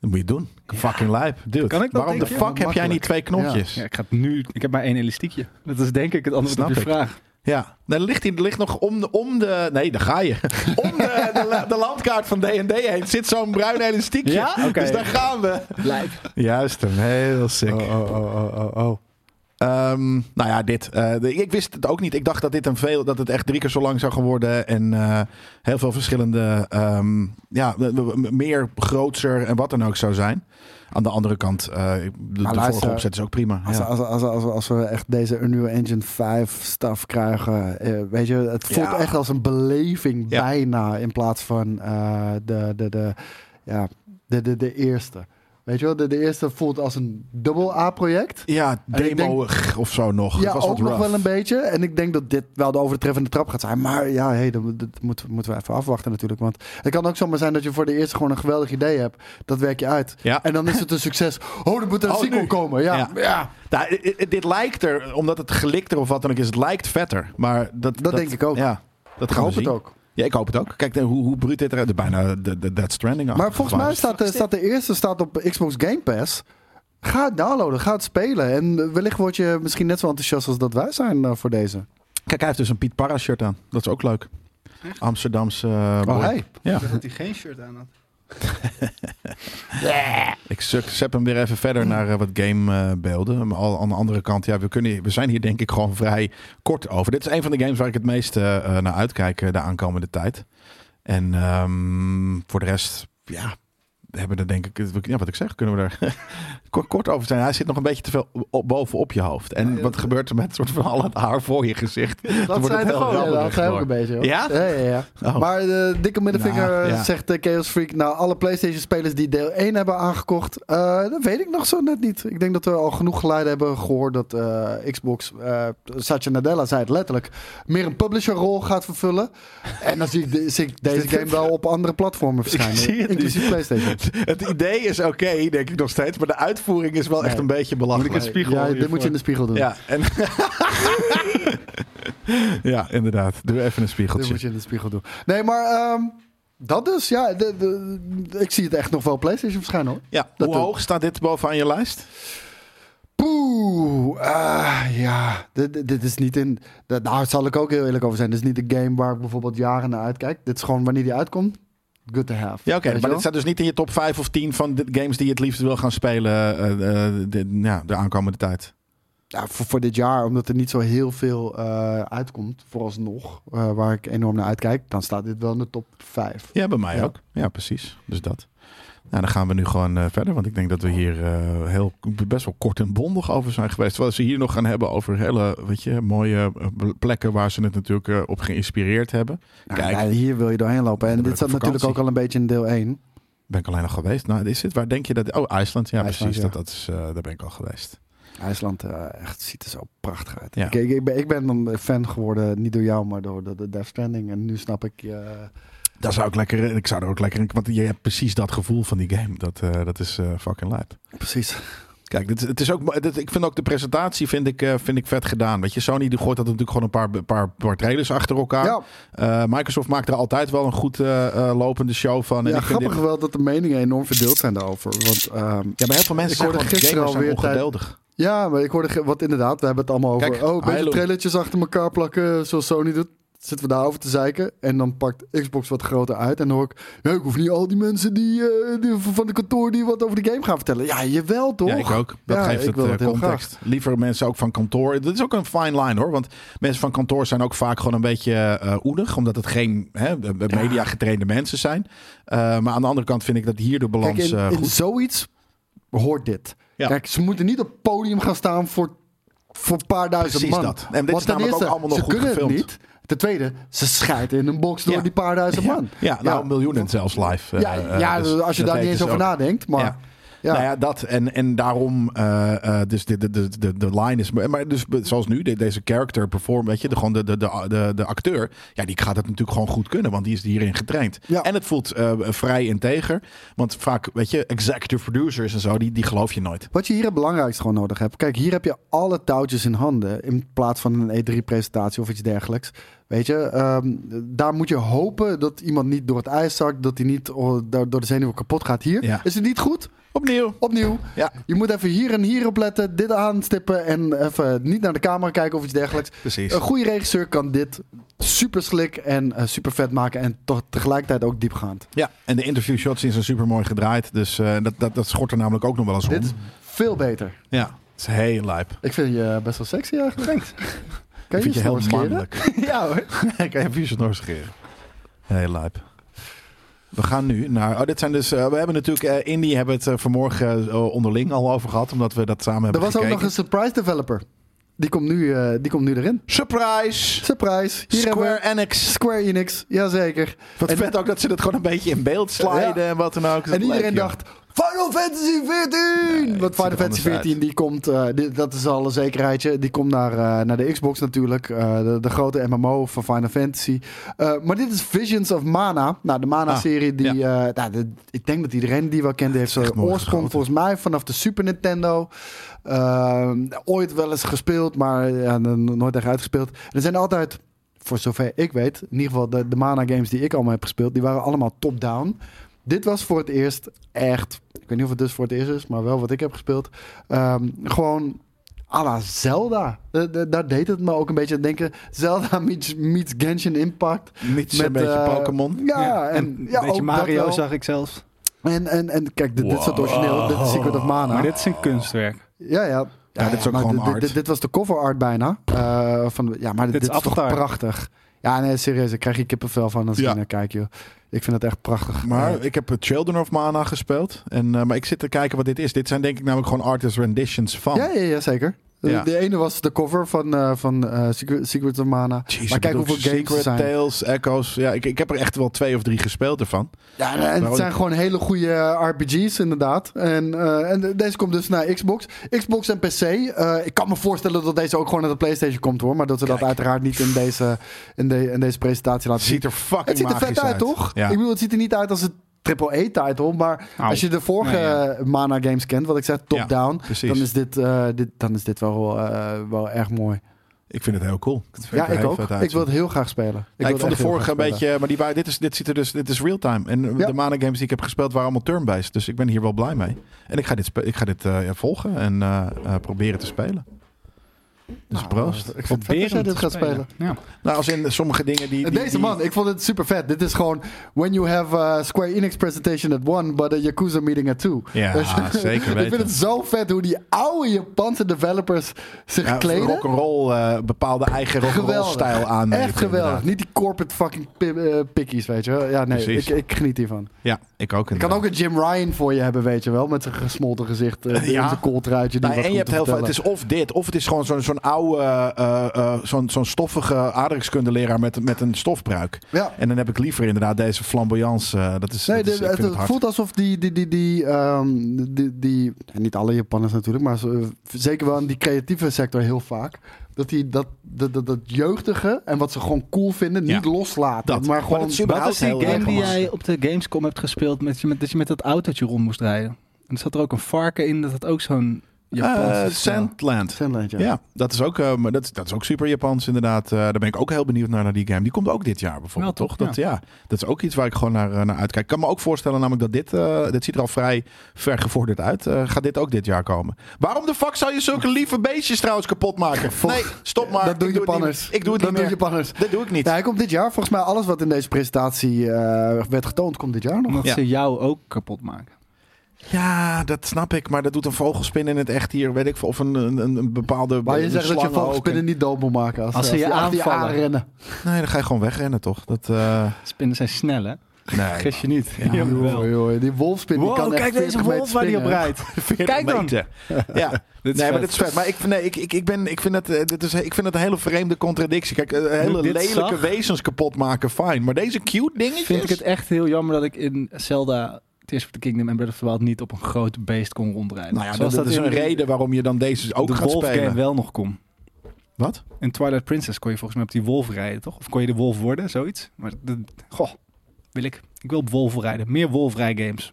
S1: Dat moet je doen. Fucking lijp. Dude,
S2: Kan ik dat,
S1: waarom de
S2: denk
S1: fuck
S2: je?
S1: heb jij
S3: Makkelijk.
S1: niet twee knopjes?
S2: Ja, ik ga het nu. Ik heb maar één elastiekje. Dat is denk ik het antwoord
S1: Snap
S2: op je
S1: ik.
S2: vraag.
S1: Ja, dan ligt hij ligt nog om de, om de. Nee, daar ga je. Om de, de, la- de landkaart van DD heen zit zo'n bruin elastiekje.
S2: Ja? Oké.
S1: Dus daar gaan we.
S2: Blijf.
S1: Juist hem, heel sick.
S3: Oh, oh, oh, oh, oh, oh.
S1: Ehm, nou ja, dit. eh, de- ik wist het ook niet. Ik dacht dat dit een veel. dat het echt drie keer zo lang zou gaan worden. En eh, heel veel verschillende. ehm, ja, m- m- meer, groter en wat dan ook zou zijn. Aan de andere kant, eh, de, de vorige
S3: luister,
S1: opzet is ook prima.
S3: Als,
S1: ja.
S3: als, als, als, als we echt deze Unreal Engine 5 stuff krijgen, eh, weet je, het voelt
S1: Ja.
S3: echt als een beleving
S1: Ja.
S3: bijna in plaats van eh, de, de, de, ja, de, de, de eerste. Weet je wel, de, de eerste voelt als een dubbel A-project.
S1: Ja,
S3: En ik
S1: demo of zo nog.
S3: Ja,
S1: het was wat
S3: ook nog
S1: rough.
S3: wel een beetje. En ik denk dat dit wel de overtreffende trap gaat zijn. Maar ja, hey, dat, dat moet- moeten we even afwachten natuurlijk. Want het kan ook zomaar zijn dat je voor de eerste gewoon een geweldig idee hebt. Dat werk je uit.
S1: Ja.
S3: En dan is het een succes. Oh, er moet een
S1: Oh,
S3: sequel
S1: nu.
S3: komen. Ja.
S1: Ja.
S3: Ja.
S1: Nou, i- i- dit lijkt er, omdat het gelikter of wat dan ook is, het lijkt vetter. Maar dat,
S3: Dat denk ik ook.
S1: Ja, dat
S3: Ik
S1: gaan we
S3: hoop
S1: zien.
S3: het ook.
S1: Ja, ik hoop het ook. Kijk de- hoe, hoe bruut dit eruit. de- Bijna de, de Dead Stranding.
S3: Ah, Maar volgens mij staat de, staat de eerste staat op Xbox Game Pass. Ga het downloaden, ga het spelen. En wellicht word je misschien net zo enthousiast als dat wij zijn eh, voor deze.
S1: Kijk, hij heeft dus een Piet Parra shirt aan. Dat is ook leuk. Amsterdamse. eh,
S3: Oh, hey.
S1: Ja.
S2: Dat hij geen shirt aan had.
S1: Ik zuk- zet hem weer even verder naar eh, wat gamebeelden. maar al, aan de andere kant, ja, we, kunnen, hier- we zijn hier denk ik gewoon vrij kort over. Dit is een van de games waar ik het meest eh, eh, naar uitkijk eh, de aankomende tijd. En ehm, voor de rest, ja, we hebben er denk ik, ja, wat ik zeg, kunnen we er kort, kort over zijn. Hij zit nog een beetje te veel op, bovenop je hoofd. En
S2: Ja, ja,
S1: wat
S2: dat-
S1: gebeurt er met soort van al het haar voor je gezicht?
S3: Dat
S1: wordt het
S3: zijn er
S1: heel
S3: gewoon. Ja, dat
S1: rabbelig
S3: zijn ook
S1: door.
S3: een beetje. hoor.
S1: Ja?
S3: Ja, ja, ja.
S1: Oh.
S3: Maar de dikke middenvinger
S1: Nou, ja.
S3: eh, zegt eh, Chaos Freak... Nou, alle PlayStation-spelers die deel 1 hebben aangekocht... eh, dat weet ik nog zo net niet. Ik denk dat we al genoeg geluiden hebben gehoord... dat eh, Xbox, eh Satya Nadella zei het letterlijk... meer een publisherrol gaat vervullen. En dan zie ik, de- zie ik deze game wel op andere platformen
S1: zie het
S3: verschijnen.
S1: niet.
S3: Inclusief PlayStation.
S1: het idee is oké, denk ik nog steeds. Maar de uitvoering is wel echt
S3: Nee.
S1: een beetje
S2: Moet ik
S1: belachelijk.
S2: een spiegel
S3: ja, dit
S2: hiervoor?
S3: moet je in de spiegel doen.
S1: Ja, en ja, inderdaad. Doe even een
S3: Dit moet
S1: spiegeltje.
S3: je in de spiegel doen. Nee, maar... ehm, dat dus, ja. de- de- ik zie het echt nog wel PlayStation verschijnen hoor.
S1: Ja,
S3: Dat
S1: hoe
S3: doe-
S1: hoog staat dit bovenaan je lijst?
S3: Poeh, ah, ja, dit, dit- dit is niet in. dat- Daar zal ik ook heel eerlijk over zijn. Dit is niet een game waar ik bijvoorbeeld jaren naar uitkijk. Dit is gewoon wanneer die uitkomt. Good to have.
S1: Ja, oké.
S3: Weet je
S1: maar
S3: wel?
S1: dit staat dus niet in je top 5 of 10 van de games die je het liefst wil gaan spelen eh, eh, de, ja, de aankomende tijd.
S3: ja, voor, voor dit jaar, omdat er niet zo heel veel eh, uitkomt, vooralsnog, eh, waar ik enorm naar uitkijk, dan staat dit wel in de top 5.
S1: Ja, bij mij
S3: Ja.
S1: ook. Ja, precies. Dus dat. Nou, dan gaan we nu gewoon eh, verder. Want ik denk dat we hier eh, heel, best wel kort en bondig over zijn geweest. Terwijl ze hier nog gaan hebben over hele weet je, mooie eh, plekken waar ze het natuurlijk eh, op geïnspireerd hebben.
S3: Nou,
S1: Kijk.
S3: ja, hier wil je doorheen lopen. En
S1: Dan ben
S3: dit
S1: ik
S3: zat
S1: op
S3: natuurlijk ook
S1: vakantie.
S3: al een beetje in deel 1.
S1: Ben ik alleen nog geweest. Nou, is het? Waar denk je dat... Oh, IJsland. Ja,
S3: IJsland,
S1: precies.
S3: ja.
S1: Dat, dat is, eh, daar ben ik al geweest.
S3: IJsland eh, echt, ziet er zo prachtig uit.
S1: Ja.
S3: Ik, ik, ik ben, ik ben een fan geworden, niet door jou, maar door de, de Death Stranding. En nu snap ik... eh,
S1: Daar zou ik lekker, ik zou er ook lekker in, want je hebt precies dat gevoel van die game. Dat, eh, dat is eh, fucking lijp.
S3: precies.
S1: Kijk, dit, het is ook, dit- ik vind ook de presentatie vind ik, eh, vind ik vet gedaan. Weet je, Sony die gooit dat natuurlijk gewoon een paar, een paar, paar trailers achter elkaar.
S3: ja.
S1: Eh, Microsoft maakt er altijd wel een goed eh, eh, lopende show van. En
S3: ja,
S1: ik vind dit-
S3: grappig wel dat de meningen enorm verdeeld zijn daarover. Want ehm,
S1: ja, maar heel veel mensen
S3: Ik
S1: zeggen
S3: hoorde
S1: gewoon,
S3: gisteren
S1: gamers zijn
S3: alweer tijd-
S1: ongeduldig.
S3: ja, maar ik hoorde, ge- want inderdaad, we hebben het allemaal over.
S1: Kijk,
S3: oh, een beetje
S1: Halo.
S3: trailertjes achter elkaar plakken, zoals Sony doet. Zitten we daarover te zeiken. En dan pakt Xbox wat groter uit. En dan hoor ik, nee, ik hoef niet al die mensen die, eh, die- van de kantoor die wat over de game gaan vertellen. Ja, jawel toch?
S1: Ja, ik ook. Dat
S3: Ja,
S1: geeft
S3: ik
S1: het
S3: wil
S1: eh,
S3: dat heel
S1: context. Liever mensen ook van kantoor. Dat is ook een fine line hoor. Want mensen van kantoor zijn ook vaak gewoon een beetje eh, oedig. Omdat het geen hè, media getrainde mensen zijn. Eh, maar aan de andere kant vind ik dat hier de balans
S3: Kijk, in,
S1: eh,
S3: in
S1: goed
S3: zoiets hoort dit.
S1: Ja.
S3: Kijk, ze moeten niet op het podium gaan staan voor, voor een paar duizend
S1: Precies
S3: man.
S1: dat. En dit
S3: Want
S1: is
S3: ten
S1: namelijk ook allemaal nog
S3: ze
S1: goed
S3: kunnen
S1: gefilmd.
S3: het niet. Ten tweede, ze scheiden in een box door
S1: Ja.
S3: die paar duizend man.
S1: Ja, nou miljoenen zelfs live. eh,
S3: Ja,
S1: eh,
S3: ja,
S1: dus
S3: dus als je
S1: dat
S3: daar niet
S1: weet
S3: eens
S1: dus
S3: over
S1: ook.
S3: nadenkt. Maar
S1: Ja.
S3: ja.
S1: Nou ja, dat. En, en daarom, eh, eh, dus de, de, de, de, de line is... Maar dus, zoals nu, de- deze character perform, weet je, de, gewoon de, de, de, de, de acteur, ja, die gaat het natuurlijk gewoon goed kunnen, want die is hierin getraind.
S3: Ja.
S1: En het voelt eh, vrij integer, want vaak, weet je, executive producers en zo, die, die geloof je nooit.
S3: Wat je hier het belangrijkste gewoon nodig hebt. Kijk, hier heb je alle touwtjes in handen. In plaats van een E3-presentatie of iets dergelijks. Weet je, ehm, daar moet je hopen dat iemand niet door het ijs zakt. Dat hij niet oh, door door de zenuwen kapot gaat. Hier
S1: Ja.
S3: is het niet goed.
S1: Opnieuw.
S3: Opnieuw.
S1: Ja.
S3: Je moet even hier en hier op letten. Dit aanstippen. En even niet naar de camera kijken of iets dergelijks.
S1: Precies.
S3: Een goede regisseur kan dit super slick en eh, super vet maken. En toch tegelijkertijd ook diepgaand.
S1: Ja, en de interview shots zijn super mooi gedraaid, dus eh, dat, dat, dat schort er namelijk ook nog wel eens om.
S3: Dit is veel beter.
S1: Ja, het is heel lijp.
S3: Ik vind je best wel sexy eigenlijk. Kan
S1: Ik
S3: je
S1: vind
S3: je
S1: je heel
S3: snor scheren?
S1: mannelijk.
S3: Ja hoor.
S1: Ik heb hier snor scheren. Heel lijp. We gaan nu naar. Oh, dit zijn dus. eh, we hebben natuurlijk. eh Indie hebben het eh, vanmorgen eh, onderling al over gehad. Omdat we dat samen
S3: Er
S1: hebben
S3: was ook
S1: gekeken.
S3: nog een surprise developer. Die komt nu, eh, die komt nu erin.
S1: Surprise!
S3: Surprise. Hier
S1: Square
S3: hebben we
S1: Enix.
S3: Square Enix. Jazeker.
S1: Wat
S3: En-
S1: vet ook dat ze dat gewoon een beetje in beeld sliden
S3: Ja.
S1: en wat dan ook. Dat
S3: En
S1: leuk,
S3: iedereen
S1: joh.
S3: dacht, Final Fantasy 14!
S4: het
S3: Want
S4: ziet
S3: Final
S4: er
S3: Fantasy
S4: anders
S3: 14
S4: uit.
S3: die komt, eh, die- dat is al een zekerheidje, die komt naar, eh, naar de Xbox natuurlijk. Eh, de, de grote MMO van Final Fantasy. Eh, maar dit is Visions of Mana. Nou, de
S4: Ah,
S3: Mana-serie die, eh, nou, de- ik denk dat iedereen die wel kende heeft. Zijn
S1: echt mooi
S3: oorsprong
S1: geschoten.
S3: volgens mij vanaf de Super Nintendo. Eh, ooit wel eens gespeeld, maar ja, n- nooit echt uitgespeeld. Er zijn altijd voor zover ik weet, in ieder geval de, de Mana games die ik allemaal heb gespeeld, die waren allemaal top-down. Dit was voor het eerst echt, ik weet niet of het dus voor het eerst is, maar wel wat ik heb gespeeld, ehm, gewoon à la Zelda. Eh, eh, daar deed het me ook een beetje aan denken. Zelda meets, meets Genshin Impact.
S1: Niet zo'n beetje
S3: eh,
S1: Pokémon.
S3: Ja, en,
S2: een
S3: ja,
S2: beetje
S3: ook dat
S2: Mario
S3: wel.
S2: zag ik zelfs.
S3: En, en, en kijk, dit, dit is het
S4: Wow.
S3: origineel, dit is Secret of Mana.
S2: Maar dit is een kunstwerk.
S3: Ja, ja.
S1: Ja, dit is ook
S3: maar
S1: gewoon
S3: dit,
S1: art.
S3: dit- dit was de cover art bijna. Eh, van, de- ja, maar dit,
S2: Dit is
S3: dit is toch
S2: Avatar.
S3: prachtig. Ja, nee, serieus. Ik krijg hier kippenvel van als ik
S1: Ja.
S3: hier naar kijk, joh. Ik vind het echt prachtig.
S1: Maar
S3: Eh,
S1: ik heb Children of Mana gespeeld. En, eh, maar ik zit te kijken wat dit is. Dit zijn denk ik namelijk gewoon artist renditions van.
S3: ja, ja, ja, zeker. De-
S1: Ja.
S3: De ene was de cover van, eh van eh, Secret, Secret of Mana.
S1: Jeez,
S3: maar
S1: ik
S3: kijk
S1: bedoel,
S3: hoeveel games er
S1: Secret
S3: zijn.
S1: Tales, Echoes. Ja, ik, ik heb er echt wel twee of drie gespeeld ervan.
S3: Ja, en het
S1: Waarom-
S3: zijn gewoon hele goede eh, RPG's inderdaad. En, eh, en de- deze komt dus naar Xbox. Xbox en PC. Eh, ik kan me voorstellen dat deze ook gewoon naar de PlayStation komt hoor. Maar dat ze dat uiteraard niet in deze, in de, in deze presentatie laten zien.
S1: Ziet er fucking
S3: Het ziet er vet
S1: magisch
S3: uit, toch?
S1: Ja.
S3: Ik bedoel, het ziet er niet uit als een triple-A-title, maar
S2: Au.
S3: als je de vorige
S2: Nee, ja.
S3: eh, Mana games kent, wat ik zeg, top-down,
S1: Precies.
S3: dan, is dit, eh, dit, dan is dit wel, eh, wel erg mooi.
S1: Ik vind het heel cool.
S3: ja, ik ook. Ik wil het heel graag spelen.
S1: Ik,
S3: wil het
S1: vond de
S3: echt heel
S1: vorige een
S3: graag spelen.
S1: beetje, maar die, waren- dit, is, dit, ziet er dus, dit is real-time. En eh,
S3: Ja.
S1: de mana games die ik heb gespeeld waren allemaal turn-based. Dus ik ben hier wel blij mee. En ik ga dit, spe- ik ga dit eh, ja, volgen en eh, eh, proberen te spelen. Dus
S3: Nou,
S1: proost.
S3: eh, Ik vond het vet als jij dit gaat spelen.
S2: Ja.
S1: Nou, als in sommige dingen die... die-
S3: Deze
S1: die-
S3: man, ik vond het super vet. Dit is gewoon when you have a Square Enix presentation at one, but a Yakuza meeting at two.
S1: Ja,
S3: Dus-
S1: zeker
S3: ik
S1: weten.
S3: vind het zo vet hoe die oude Japanse developers zich
S1: Ja,
S3: kleden.
S1: rock'n'roll, eh bepaalde eigen rock'n'roll
S3: Geweldig.
S1: stijl aan.
S3: Echt geweldig. Niet die corporate fucking pi- eh, pikkies, weet je wel. Ja, nee, ik,
S1: Precies.
S3: ik geniet hiervan.
S1: Ja, ik ook.
S3: Ik kan ook een Jim Ryan voor je hebben, weet je wel. Met zijn gesmolten gezicht eh, en
S1: Ja.
S3: zijn kooltruitje. Die
S1: Nou,
S3: wat
S1: en je
S3: goed
S1: hebt heel
S3: te
S1: veel, het is of dit, of het is gewoon zo'n zo'n oude, eh, eh, zo'n zo'n stoffige aardrijkskundeleraar met, met een stofbruik.
S3: vertellen. Ja.
S1: En dan heb ik liever inderdaad deze flamboyance. eh, dat is,
S3: Nee,
S1: dat is-
S3: de-
S1: ik vind
S3: het,
S1: het
S3: het
S1: hard.
S3: voelt alsof die, die, die, die, ehm, die, die en niet alle Japanners natuurlijk, maar zo- eh, zeker wel in die creatieve sector heel vaak, dat die dat, dat, dat, dat jeugdige en wat ze gewoon cool vinden,
S1: Ja.
S3: niet loslaten.
S1: Dat.
S3: Maar gewoon,
S1: dat is
S2: Wat
S1: überhaupt
S2: is die
S1: heel
S2: game
S1: erg
S2: die
S1: anders.
S2: jij op de Gamescom hebt gespeeld met, je- met, dat je met dat autootje rond moest rijden? En er zat er ook een varken in, dat had ook zo'n Japanse
S1: Eh,
S2: stijl.
S1: Sandland.
S3: Sandland, ja.
S1: Ja. dat is ook, eh, maar dat, is- dat is ook super Japans inderdaad. Eh, daar ben ik ook heel benieuwd naar, naar die game. Die komt ook dit jaar bijvoorbeeld,
S2: Wel,
S1: toch?
S2: toch?
S1: Dat, ja. dat is ook iets waar ik gewoon naar, eh, naar uitkijk. Ik kan me ook voorstellen namelijk dat dit, eh, dit ziet er al vrij vergevorderd uit. Eh, gaat dit ook dit jaar komen? Waarom de fuck zou je zulke lieve beestjes trouwens kapot maken? Nee, stop maar.
S3: dat doen
S1: ik doe het niet
S3: Japanners.
S1: meer. Ik doe het
S3: dat
S1: niet
S3: doen
S1: meer.
S3: Japanners.
S1: Dat doe ik niet.
S3: Ja, hij komt dit jaar. Volgens mij alles wat in deze presentatie eh, werd getoond, komt dit jaar nog.
S2: Omdat
S1: Ja.
S2: ze jou ook kapot maken.
S1: Ja, dat snap ik. Maar dat doet een vogelspin in het echt hier. Weet ik veel. Of een, een, een- een bepaalde
S3: Maar je
S1: een
S3: zegt dat je
S1: slang ook.
S3: vogelspinnen niet dood moet maken. Als,
S2: Als ze je
S3: die achter
S2: aanvallen.
S3: aanrennen.
S1: Nee, dan ga je gewoon wegrennen toch? Dat, eh,
S2: Spinnen zijn snel, hè?
S1: nee.
S2: Gis je niet.
S3: Ja,
S2: Jawel.
S3: joh, joh, die wolfspin die kan echt 40 meter springen.
S1: Kijk dan. Ja,
S2: Dit is
S1: nee, maar
S2: vet.
S1: dit is vet. Maar ik, vind- nee, ik, ik, ik, ben, ik, vind het, eh, dit is, ik vind het een hele vreemde contradictie. Kijk, eh, hele
S2: dit
S1: lelijke
S2: zag-
S1: wezens kapot maken, fijn. Maar deze cute dingetjes...
S2: Vind ik het echt heel jammer dat ik in Zelda Tears of the Kingdom en Breath of the Wild niet op een groot beest kon rondrijden.
S1: Nou ja, dat,
S2: Zoals
S1: dat is
S2: in
S1: een reden waarom je dan deze ook
S2: de
S1: gaat
S2: Wolf
S1: spelen.
S2: Game wel nog kon.
S1: Wat?
S2: In Twilight Princess kon je volgens mij op die wolf rijden, toch? Of kon je de wolf worden, zoiets? Maar de, goh, wil ik. Ik wil op wolf rijden. Meer wolfrijgames.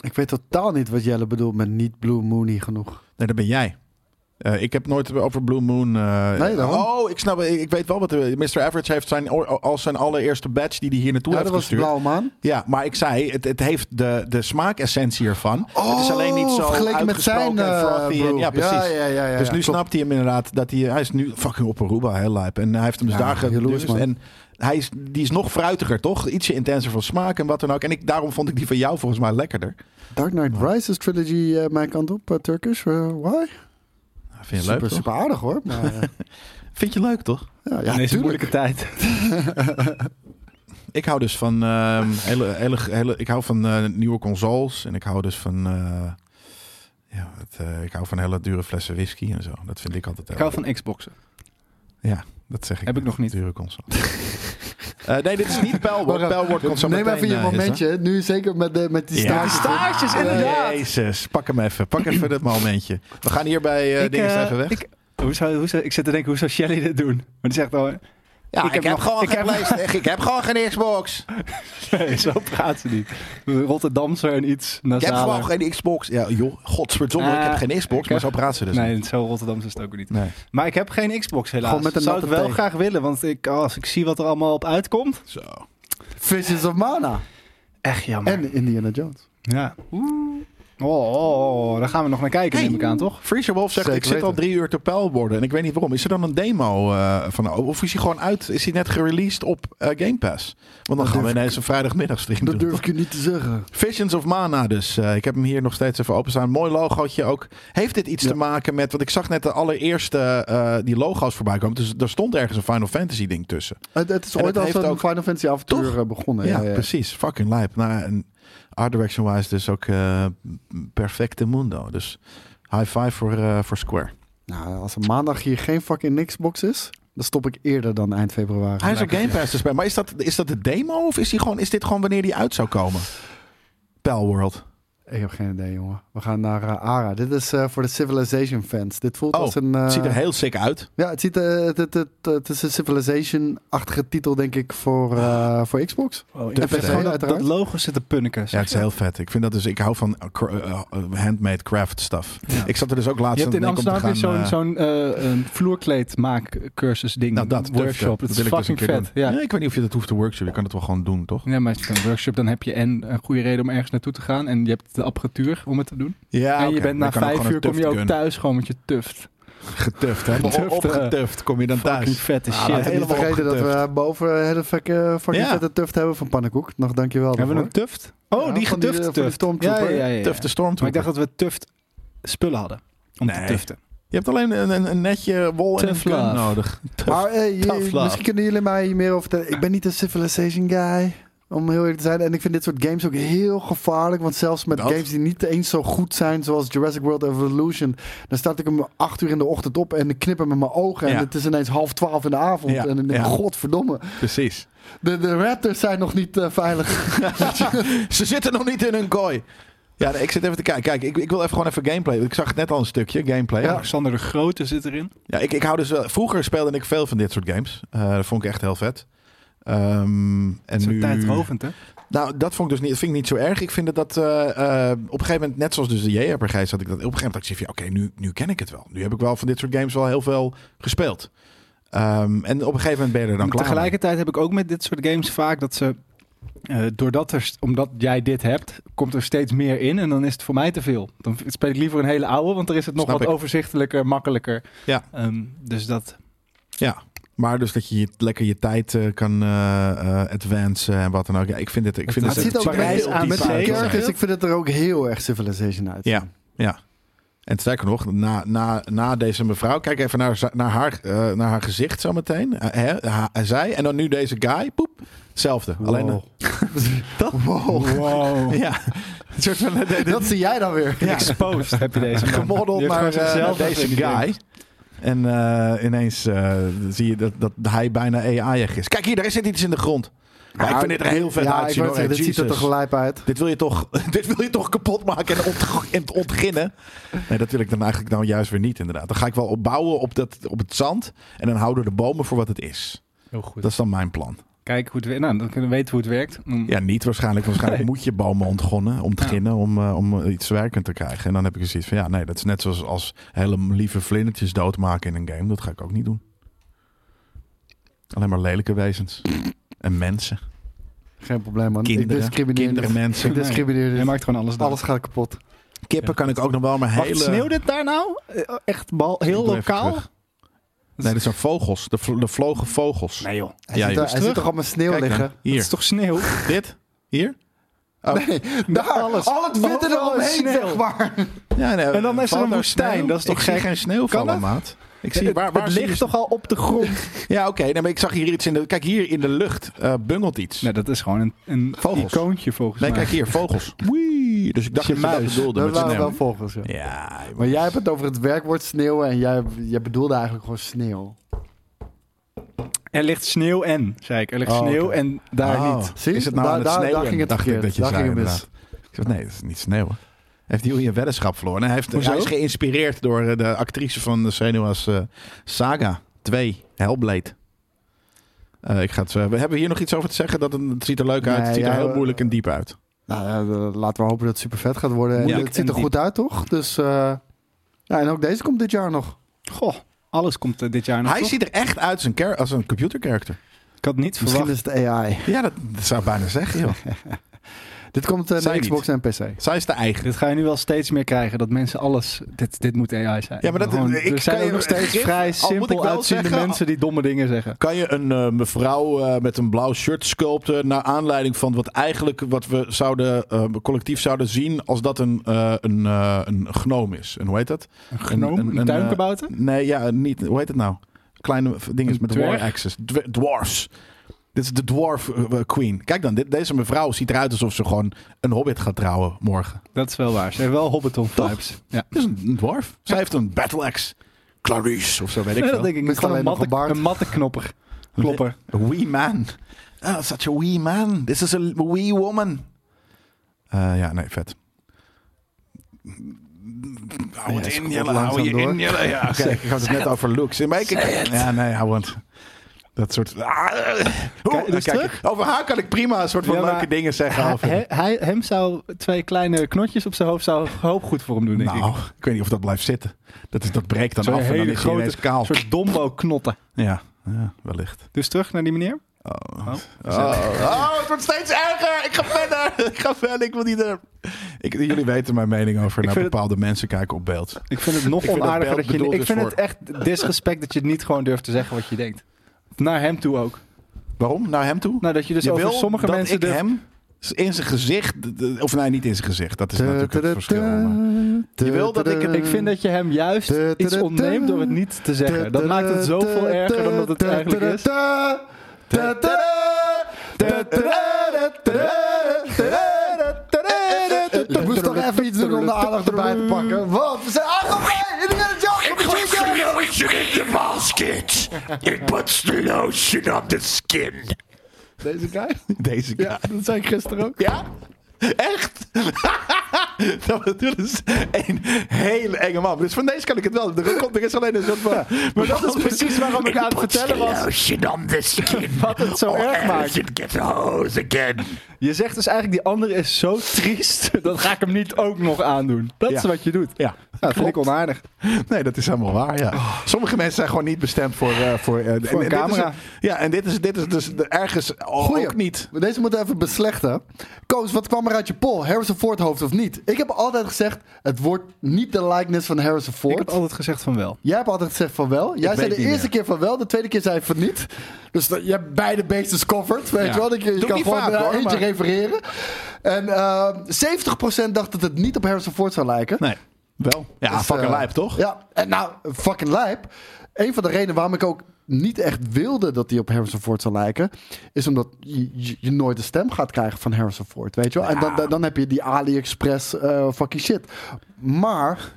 S3: Ik weet totaal niet wat Jelle bedoelt met niet Blue Moony genoeg.
S1: Nee, dat ben jij. Eh, ik heb nooit over Blue Moon... eh,
S3: Nee, daarom.
S1: Oh, ik snap Ik, ik weet wel wat... de- Mr. Average heeft zijn, als zijn allereerste badge die hij hier naartoe
S3: ja,
S1: heeft
S3: dat was
S1: gestuurd.
S3: Blauwe Maan.
S1: Ja, maar ik zei, het, het heeft de, de smaakessentie ervan. het is alleen niet zo
S3: Oh, vergeleken met zijn
S1: uitgesproken en frothy en-
S3: eh, Blue.
S1: ja, precies.
S3: Ja, ja, ja, ja,
S1: dus
S3: ja,
S1: nu
S3: klopt.
S1: snapt hij hem inderdaad dat hij, hij is nu fucking op Aruba, heel lijp. En hij heeft hem dus
S3: Ja,
S1: daar
S3: jaloers,
S1: gedurfd.
S3: man.
S1: En hij is, die is nog fruitiger, toch? Ietsje intenser van smaak en wat dan ook. En ik, daarom vond ik die van jou volgens mij lekkerder.
S3: Dark Knight Rises trilogy eh, mijn kant op, eh, Turkish. eh, why?
S1: Vind je leuk,
S3: super,
S1: toch?
S3: super aardig hoor. Maar, eh,
S1: Vind je leuk, toch?
S3: ja, ja
S2: in deze
S3: tuurlijk.
S2: moeilijke tijd.
S1: Ik hou dus van, ehm, hele, hele, hele, ik hou van eh, nieuwe consoles. En ik hou dus van... eh, ja, het, eh, ik hou van hele dure flessen whisky en zo. Dat vind ik altijd heel
S2: Ik hou van Xboxen.
S1: Dat zeg ik.
S2: Heb ik nog niet.
S1: Dure console. Eh, nee, dit is niet pijlwoord.
S3: Wacht,
S1: Pijlwoord komt zo
S3: eh, Neem
S1: meteen.
S3: even je
S1: eh, Jesse.
S3: momentje. Nu zeker met, de, met
S1: Ja.
S3: die staartjes.
S1: Die
S4: staartjes, inderdaad.
S1: Jezus, pak hem even. Pak even dat momentje. We gaan hier bij eh
S2: Ik,
S1: dingen
S2: eh,
S1: even weg.
S2: Ik, hoe zou, hoe zou, ik zit te denken, hoe zou Shelly dit doen? Maar die zegt al,
S1: ja,
S2: ik
S1: ik,
S2: heb
S1: heb
S2: nog-
S1: gewoon
S2: ik
S1: geen
S2: heb-
S1: PlayStation. Ik heb gewoon geen Xbox.
S2: nee, zo praat ze niet. Rotterdamse en iets
S1: Ik heb
S2: nasaler.
S1: gewoon geen Xbox. Ja, joh, godverdomme, ik heb
S2: Eh,
S1: geen Xbox.
S2: ik
S1: Maar
S2: heb-
S1: zo praat ze dus. niet.
S2: Nee, zo Rotterdamse is het ook niet.
S1: Nee.
S2: Maar ik heb geen Xbox helaas.
S3: Gewoon met een
S2: zou ik
S3: natte
S2: wel
S3: thee.
S2: graag willen, want ik, als ik zie wat er allemaal op uitkomt.
S1: Zo.
S3: Visions of Mana.
S2: Echt jammer.
S3: En Indiana Jones.
S2: Ja. Oh, oh, oh, daar gaan we nog naar kijken,
S1: Hey.
S2: neem ik aan, toch?
S1: Freezer Wolf zegt,
S3: Zeker
S1: ik zit al
S3: weten.
S1: drie uur te pijlborden en ik weet niet waarom. Is er dan een demo eh, van, of is hij gewoon uit, is hij net gereleased op eh, Game Pass? Want dan
S3: Dat
S1: gaan we
S3: durf
S1: ineens een vrijdagmiddagstream
S3: Dat
S1: doen.
S3: durf ik je niet te zeggen.
S1: Visions of Mana dus. Eh, ik heb hem hier nog steeds even openstaan. Mooi logootje ook. Heeft dit iets
S3: Ja.
S1: te maken met, want ik zag net de allereerste eh, die logo's voorbij komen. Dus daar stond ergens een Final Fantasy ding tussen.
S3: Het, het is
S1: En
S3: ooit
S1: dat
S3: als
S1: heeft
S3: een
S1: ook-
S3: Final Fantasy avontuur
S1: Toch?
S3: eh, begonnen.
S1: ja,
S3: Ja, ja.
S1: precies. Fucking lijp. Nou, en art direction wise dus ook eh, perfecte mundo. Dus high five voor, eh, voor Square.
S3: Nou, als er maandag hier geen fucking Xbox is, dan stop ik eerder dan eind februari.
S1: Hij is op Game Pass te spelen. Maar is dat, is dat de demo of is, die gewoon, is dit gewoon wanneer die uit zou komen? Palworld.
S3: Ik heb geen idee, jongen. We gaan naar eh, ARA. Dit is eh, voor de Civilization fans. Dit voelt
S1: Oh,
S3: als een... eh,
S1: Het ziet er heel sick uit.
S3: Ja, het, ziet, eh, het, het, het, het is een Civilization-achtige titel, denk ik, voor, eh, voor Xbox.
S2: Oh,
S1: Te vet,
S2: gewoon
S3: hè?
S2: dat, dat
S3: Uiteraard.
S2: logo zit te punniken.
S1: Ja, het is heel vet. Ik, vind dat dus, ik hou van eh, cra- eh, eh, handmade craft stuff. Ik zat er dus ook laatst
S2: Nou. Je hebt in
S1: aan te denken
S2: Amsterdam
S1: om
S2: weer
S1: te gaan,
S2: zo'n
S1: eh,
S2: zo'n eh, een vloerkleed maakcursus ding.
S1: nou, dat durf ik.
S2: workshop. Dat,
S1: wil
S2: is
S1: ik dus een
S2: fucking
S1: keer
S2: vet.
S1: doen.
S2: Ja.
S1: Nee, ik weet niet of je dat hoeft te workshop. Je kan het wel gewoon doen, toch?
S2: ja, maar als je een workshop, dan heb je en een goede reden om ergens naartoe te gaan. En je hebt de apparatuur om het te doen.
S1: Ja,
S2: en je bent na vijf uur kom je ook thuis gewoon met je tuft.
S1: Getuft, hè?
S2: Getuft, eh.
S1: Opgetuft kom je dan
S2: Fucking
S1: thuis.
S2: vette
S1: Ah,
S2: shit.
S1: dat
S3: Ik heb niet
S1: helemaal
S3: vergeten dat
S1: opgetuft.
S3: we eh, boven hele fucking, fucking
S1: Ja.
S3: vette tuft hebben van Pannenkoek. Nog dankjewel
S2: Hebben we
S3: daarvoor.
S2: een tuft? Oh,
S3: Ja,
S2: die
S3: van die,
S2: getufte
S3: eh, van die
S2: tuft.
S3: stormtrooper.
S2: Ja, ja, ja, ja.
S1: Tuft de
S2: Maar ik
S1: stormtrooper.
S2: dacht dat we tuft spullen hadden. Om
S1: Nee.
S2: te tuften.
S1: Je hebt alleen een, een, een netje wol en een
S2: Tough
S1: gun
S2: love.
S1: nodig.
S3: Maar eh, je-
S1: Tough love.
S3: misschien kunnen jullie mij hier meer over vertellen. Ik ben niet een Civilization guy, om heel eerlijk te zijn. En ik vind dit soort games ook heel gevaarlijk. Want zelfs met
S1: Dat?
S3: games die niet eens zo goed zijn, zoals Jurassic World Evolution. Dan staat ik om acht uur in de ochtend op en ik knipper met mijn ogen.
S1: Ja.
S3: En het is ineens half twaalf in de avond.
S1: Ja,
S3: En dan denk ik,
S1: ja.
S3: godverdomme.
S1: Precies.
S3: De, de raptors zijn nog niet eh, veilig.
S1: Ze zitten nog niet in hun kooi. Ja, nee, ik zit even te kijken. Kijk, ik, ik wil even gewoon even gameplay. Ik zag net al een stukje gameplay. Ja,
S2: Alexander de Grote zit erin.
S1: ik, ik hou dus wel. Vroeger speelde ik veel van dit soort games. Eh, dat vond ik echt heel vet. Ehm, en
S2: Dat is
S1: nu,
S2: een tijdrovend, hè?
S1: Nou, dat vond ik dus niet, dat vind ik niet zo erg. Ik vind dat, dat eh, eh, op een gegeven moment, net zoals dus de JRPG's, had ik dat op een gegeven moment dacht ik zoiets van, ja, oké, nu, nu ken ik het wel. Nu heb ik wel van dit soort games wel heel veel gespeeld. Ehm, en op een gegeven moment ben je er dan klaar mee.
S2: Tegelijkertijd heb ik ook met dit soort games vaak dat ze. eh, doordat er, st- omdat jij dit hebt, komt er steeds meer in en dan is het voor mij te veel. Dan v- speel ik liever een hele oude, want er is het nog
S1: Snap
S2: wat
S1: ik.
S2: overzichtelijker, makkelijker.
S1: Ja.
S2: Ehm, dus dat.
S1: Maar dus dat je je- lekker je tijd eh, kan eh eh, advancen en wat dan ook. Ja, ik vind dit, ik vind
S2: Maar
S1: dit
S3: Het ziet ook
S2: een Parijs
S3: heel
S2: aan
S3: met
S2: zee.
S3: die
S2: zeker.
S3: characters. Ik vind het er ook heel erg Civilization uit.
S1: Ja. En sterker nog, na, na, na deze mevrouw, kijk even naar, za- naar, haar, eh, naar haar gezicht zometeen. Eh, hè, ha- zij. En dan nu deze guy. Poep. Hetzelfde. Alleen.
S3: Wow. Nou,
S1: dat?
S2: Wow.
S1: Ja. Oh, Een soort van, eh, de- de-
S3: Dat zie jij dan weer.
S1: ja.
S2: Exposed heb je deze. man.
S1: Gemodeld
S2: Die heeft
S1: naar,
S2: gewoon
S1: eh,
S2: zichzelf
S1: naar deze guy. En eh, ineens eh, zie je dat, dat hij bijna AI-ig is. Kijk hier, daar zit iets in de grond. Ja, ik vind dit er heel vet
S3: ja,
S1: uitzien.
S3: ik wou
S1: hoor.
S3: zeggen, dit
S1: Hey,
S3: ziet er
S1: eh, Jesus.
S3: toch gelijk uit.
S1: Dit wil je toch, dit wil je toch kapot maken en, ont, en ontginnen? Nee, dat wil ik dan eigenlijk nou juist weer niet, inderdaad. Dan ga ik wel opbouwen op, dat, op het zand. En dan houden we de bomen voor wat het is.
S2: Heel goed.
S1: Dat is dan mijn plan.
S2: Kijk hoe het werkt. Nou, dan kunnen we weten hoe het werkt. Mm.
S1: Ja, niet waarschijnlijk. Waarschijnlijk
S2: Nee.
S1: moet je bomen ontgonnen, ontginnen om, eh, om iets werkend te krijgen. En dan heb ik zoiets van, ja, nee, dat is net zoals als hele lieve vlindertjes doodmaken in een game. Dat ga ik ook niet doen. Alleen maar lelijke wezens. En mensen.
S3: Geen probleem, man. ik
S1: Kinderen.
S3: discrimineer
S1: Kinderen,
S3: niet.
S1: mensen.
S3: Ik discrimineer
S2: Hij
S3: dit.
S2: maakt gewoon alles dood.
S3: Alles gaat kapot.
S1: Kippen kan ik ook nog wel, maar hele...
S2: Wacht, sneeuwt dit daar nou? Eh, Echt bal, heel
S1: Ik doe even
S2: lokaal?
S1: terug. Nee, dat zijn vogels. De, vl- de vlogen vogels.
S2: Nee joh.
S3: Hij,
S1: Ja,
S3: zit,
S1: joh.
S3: er, hij zit toch allemaal sneeuw
S1: Kijk dan.
S3: liggen?
S2: Dat
S1: Hier.
S2: is toch sneeuw?
S1: Dit? Hier?
S3: Daar,
S2: alles.
S3: al het witte
S2: Overal
S3: eromheen,
S2: sneeuw.
S3: zeg maar.
S1: Ja, nee,
S2: En dan is er
S1: valt
S2: een
S1: daar
S2: woestijn,
S1: sneeuw?
S2: dat is toch
S1: Ik zie
S2: gek?
S1: geen sneeuw
S2: Kan
S1: vallen,
S2: dat?
S1: maat. Ik zie,
S2: Het-
S1: waar, waar
S2: het
S1: zie
S2: ligt
S1: je-
S2: toch al op de grond?
S1: Ja, oké. nee, maar ik zag hier iets in de... Kijk, hier in de lucht eh, bungelt iets.
S2: Nee, dat is gewoon een, een
S1: Vogels.
S2: icoontje volgens
S1: Nee,
S2: mij.
S1: kijk hier, vogels. Wee. Dus ik dacht
S2: je
S1: dat je dat
S2: muis.
S1: bedoelde
S3: Dat
S1: met
S3: waren
S1: sneeuw.
S3: wel volgens, ja.
S1: Ja,
S3: Maar jij hebt het over het werkwoord sneeuwen en jij, jij bedoelde eigenlijk gewoon sneeuw.
S2: Er ligt sneeuw en, zei ik. Er ligt
S1: Oh,
S2: sneeuw
S1: oké.
S2: en daar
S1: Oh,
S2: niet.
S3: Zie je?
S1: Is het nou
S3: Daar-
S1: aan het
S3: daar-
S1: sneeuwen?
S3: daar ging het
S1: Dacht ik
S3: verkeerd.
S1: dat je
S3: Daar
S1: zei,
S3: ging het mis.
S1: inderdaad. Ik zeg, nee, dat is niet sneeuwen. Heeft hij een weddenschap verloren? Hij, heeft,
S2: Hoezo?
S1: hij is geïnspireerd door eh, de actrice van de Senua's eh, Saga 2, Hellblade. Eh, ik ga het, eh, we hebben hier nog iets over te zeggen. Dat een- het ziet er leuk uit.
S3: Nee,
S1: het ziet er
S3: ja,
S1: heel
S3: we-
S1: moeilijk en diep uit.
S3: Nou, ja, eh, laten we hopen dat het super vet gaat worden. En
S2: Moeilijk
S3: het ziet
S2: en
S3: er goed uit, toch? Dus, eh, ja, en ook deze komt dit jaar nog.
S2: Goh, alles komt eh, dit jaar nog.
S1: Hij
S2: toch?
S1: ziet er echt uit als een, char- als een computercharacter.
S2: Ik had niet
S3: Misschien
S2: verwacht.
S3: is het AI.
S1: Ja, dat, dat zou ik bijna zeggen, joh.
S3: Dit komt eh,
S1: Zij
S3: naar Xbox en PC.
S1: Zij is de eigen.
S2: Dit ga je nu wel steeds meer krijgen, dat mensen alles... Dit, dit moet AI zijn.
S1: Ja, maar dat-
S2: Gewoon,
S1: ik
S2: er zijn
S1: kan
S2: ook
S1: je-
S2: nog steeds
S1: gif- al
S2: vrij
S1: moet ik
S2: simpel
S1: wel
S2: uitziende
S1: zeggen-
S2: mensen die domme dingen zeggen.
S1: Kan je een eh, mevrouw eh, met een blauw shirt sculpten naar aanleiding van wat eigenlijk wat we zouden, eh, collectief zouden zien als dat een, eh een, eh, een gnoom is? En hoe heet dat?
S2: Een gnoom,
S1: een- eh,
S2: een,
S1: een,
S2: tuinkabouter?
S1: Nee, ja, niet. Hoe heet het nou? Kleine v- dinges
S2: Een
S1: met
S2: dwerg?
S1: war axis. Dw- dwarfs. Dit is de dwarf eh, queen. Kijk dan, dit, deze mevrouw ziet eruit alsof ze gewoon een hobbit gaat trouwen morgen.
S2: dat is wel waar. Ze hebben wel Hobbiton
S1: Toch?
S2: vibes. Ja.
S1: Dit is een, een dwarf. Zij heeft een battle axe. Clarice of zo weet ik
S2: Nee,
S1: veel.
S2: dat denk ik
S3: Met
S2: niet. Gewoon
S3: alleen
S2: een
S3: nog
S2: matte,
S3: een baard.
S2: een matte knopper. Klopper.
S1: Wee man. Ah, such a wee man. This is a wee woman. Eh, ja, nee, vet. Hou het
S3: Ja,
S1: in,
S3: scroll
S1: Jelle. Hou
S3: langzaam
S1: je
S3: door.
S1: in, Jelle. Ja, oké. Ik had het net over looks. Maar ik, ik, ja, nee, hou het. Dat soort... Ah, Oeh,
S2: dus
S1: kijk,
S2: terug?
S1: Over haar kan ik prima een soort van
S2: Ja, maar-
S1: leuke dingen zeggen.
S2: Hij,
S1: Over.
S2: hij- hij- hem zou twee kleine knotjes op zijn hoofd zou een hoop goed voor hem doen, denk ik.
S1: nou, ik weet niet of dat blijft zitten. Dat, is, dat breekt dan
S2: Zo'n
S1: af en dan
S2: hele
S1: is hij
S2: grote-
S1: ineens kaal.
S2: Een soort dombo-knotten.
S1: Ja, ja, wellicht.
S2: Dus terug naar die meneer.
S1: Oh.
S2: Oh,
S1: Oh, oh, het wordt steeds erger. Ik ga verder. Ik ga verder. Ik wil niet er. Ik, jullie weten mijn mening over
S2: Ik
S1: naar
S2: vind het-
S1: bepaalde mensen kijken op beeld.
S2: Ik vind het nog
S1: Ik vind dat
S2: onaardiger
S1: beeld
S2: dat, je...
S1: bedoeld
S2: Ik
S1: is
S2: vind
S1: voor-
S2: het echt disrespect dat je het niet gewoon durft te zeggen wat je denkt. Naar hem toe ook.
S1: Waarom? Naar hem toe?
S2: Nou, dat je dus
S1: je
S2: over
S1: wil
S2: sommige
S1: dat
S2: mensen...
S1: ik
S2: durft-
S1: hem in zijn gezicht... de- de- Of nee, niet in zijn gezicht. Dat is natuurlijk het verschil. maar-
S3: Je
S1: wil dat ik het-
S2: Ik vind dat je hem juist
S3: De- de-
S2: iets
S3: de-
S2: ontneemt door het niet te zeggen. Dat maakt het zoveel erger dan dat het eigenlijk is.
S3: Ik moest toch even iets doen om de aandacht erbij te pakken. Want we zijn aangekomen in de Jones.
S4: lotion in the basket. It puts the lotion on the skin.
S3: Deze guy?
S1: Deze guy.
S3: Ja, dat zei ik gisteren ook.
S1: Ja? Echt? dat was- dit is een hele enge man. Dus van deze kan ik het wel. Er, komt, er is alleen een soort van...
S2: Maar dat is precies waarom ik aan het
S4: Puts the
S2: vertellen was
S4: lotion on the skin.
S2: wat het zo
S4: or
S2: erg
S4: else
S2: maakt.
S4: it gets hose again.
S2: Je zegt dus eigenlijk, die andere is zo triest, dat ga ik hem niet ook nog aandoen. Dat
S1: Ja.
S2: is wat je doet.
S1: Ja,
S2: dat vind ik onaardig.
S1: Nee, dat is helemaal waar, ja. Sommige mensen zijn gewoon niet bestemd voor... eh, voor, eh, en- en dit
S2: camera.
S1: is- ja, en dit is, dit is dus de- ergens o-
S3: Goeie.
S1: ook niet.
S3: Maar Deze moeten we even beslechten. Koos, wat kwam er uit je poll? Harrison Ford hoofd of niet? Ik heb altijd gezegd, het wordt niet de likeness van Harrison
S2: Ik heb
S3: Ford.
S2: altijd gezegd van wel.
S3: Jij hebt altijd gezegd van wel. Jij zei
S1: weet
S3: de
S1: niet
S3: eerste keer van wel, de tweede keer zei je van niet. Dus dat- je hebt beide beestjes covered. Weet
S1: Ja.
S3: je wel, Dat je, je
S1: Doe ik
S3: kan
S1: niet
S3: gewoon
S1: vaak,
S3: naar
S1: hoor,
S3: eentje
S1: maar-
S3: refereren. En eh 70% dacht dat het niet op Harrison Ford zou lijken.
S1: Nee, wel. Ja,
S3: Dus,
S1: fucking
S3: eh,
S1: lijp, toch?
S3: Ja, en nou, fucking lijp. Een van de redenen waarom ik ook niet echt wilde dat hij op Harrison Ford zou lijken, is omdat je, je- je nooit de stem gaat krijgen van Harrison Ford, weet je wel? En dan, dan, dan heb je die AliExpress eh, fucking shit. Maar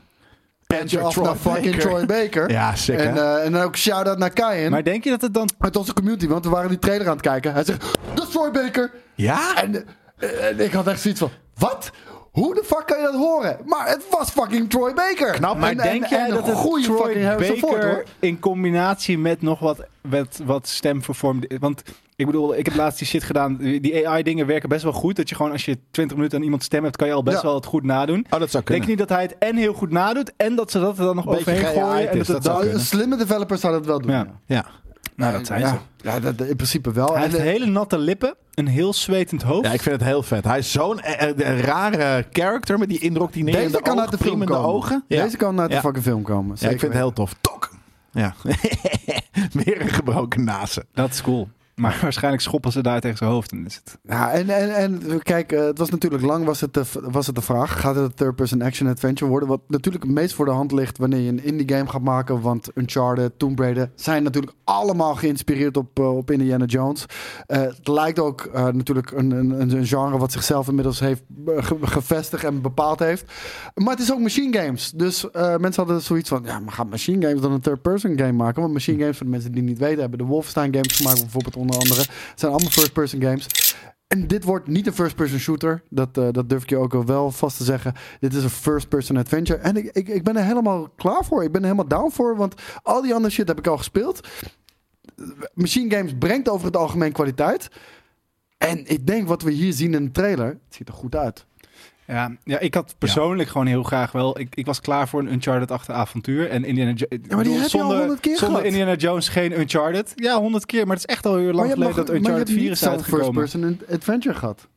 S3: pet je
S1: Patrick
S3: af
S1: Troy
S3: naar fucking
S1: Baker.
S3: Troy Baker.
S1: Ja, sick,
S3: En,
S1: hè?
S3: eh, en dan ook shout-out naar Kaien.
S2: Maar denk je dat het dan...
S3: Uit onze community, want we waren die trailer aan het kijken. Hij zegt, dat is Troy Baker.
S1: Ja?
S3: En, eh, en ik had echt zoiets van, wat? Hoe de fuck kan je dat horen? Maar het was fucking Troy Baker.
S1: Knap.
S2: Maar
S3: En-
S2: denk
S3: en-
S2: jij
S3: en een
S2: dat het
S3: goeie
S2: Troy
S3: fucking Harrison
S2: Baker
S3: Ford, hoor.
S2: in combinatie met nog wat, wat, wat stemvervormde... Want ik bedoel, ik heb laatst die shit gedaan. Die AI dingen werken best wel goed. Dat je gewoon als je 20 minuten aan iemand stem hebt, kan je al best
S3: Ja.
S2: wel het goed nadoen.
S1: Oh, dat zou
S2: Denk
S1: kunnen.
S2: je niet dat hij het en heel goed nadoet en dat ze dat er dan nog
S1: Beetje
S2: overheen
S1: ge-AI'd
S2: gooien? En
S1: is,
S2: dat het
S1: dat zou
S2: dan...
S1: kunnen.
S3: Een Slimme developers zouden het wel doen.
S2: Ja.
S1: Ja.
S2: Nou, dat zijn
S3: ja.
S2: ze.
S3: Ja, dat, in principe wel.
S2: Hij
S3: En,
S2: heeft
S3: eh,
S2: hele natte lippen, een heel zwetend hoofd.
S1: ja, ik vind het heel vet. Hij is zo'n eh, eh, rare character met die indoctrinerende
S3: deze kan
S1: oog,
S3: uit de film
S1: priemende
S3: komen.
S1: ogen. Ja.
S3: Deze kan uit
S1: Ja.
S3: de fucking film komen.
S1: Ja,
S3: Zeker
S1: ik vind het heel tof. Tok! Ja. Meer een gebroken nazen.
S2: Dat is cool. Maar waarschijnlijk schoppen ze daar tegen zijn hoofd en is het.
S3: Ja, en, en, en kijk, eh, het was natuurlijk lang was het, de, was het de vraag. Gaat het een third-person action adventure worden? Wat natuurlijk het meest voor de hand ligt wanneer je een indie game gaat maken. Want Uncharted, Tomb Raider zijn natuurlijk allemaal geïnspireerd op, eh, op Indiana Jones. Eh, het lijkt ook eh, natuurlijk een, een, een een genre wat zichzelf inmiddels heeft eh, ge- gevestigd en bepaald heeft. Maar het is ook machine games. Dus eh, mensen hadden zoiets van, ja, maar gaat machine games dan een third-person game maken? Want machine games, voor de mensen die het niet weten, hebben de Wolfenstein games gemaakt bijvoorbeeld onder andere. Het zijn allemaal first-person games. En dit wordt niet een first-person shooter. Dat, eh, dat durf ik je ook wel vast te zeggen. Dit is een first-person adventure. En ik, ik, ik ben er helemaal klaar voor. Ik ben er helemaal down voor. Want al die andere shit heb ik al gespeeld. Machine Games brengt over het algemeen kwaliteit. En ik denk wat we hier zien in de trailer. Het ziet er goed uit.
S2: Ja, ja ik had persoonlijk gewoon heel graag wel. Ik, ik was klaar voor een Uncharted-achtig avontuur. En Indiana Jo- ik
S3: die
S2: bedoel,
S3: heb je al 100 keer
S2: Zonder
S3: gehad.
S2: Indiana Jones geen Uncharted. Ja, 100 keer. Maar het is echt al heel lang
S3: maar je
S2: geleden
S3: hebt,
S2: dat
S3: nog- maar je
S2: Uncharted
S3: hebt
S2: 4
S3: niet
S2: is
S3: zo'n
S2: uitgekomen.
S3: first-person adventure gehad.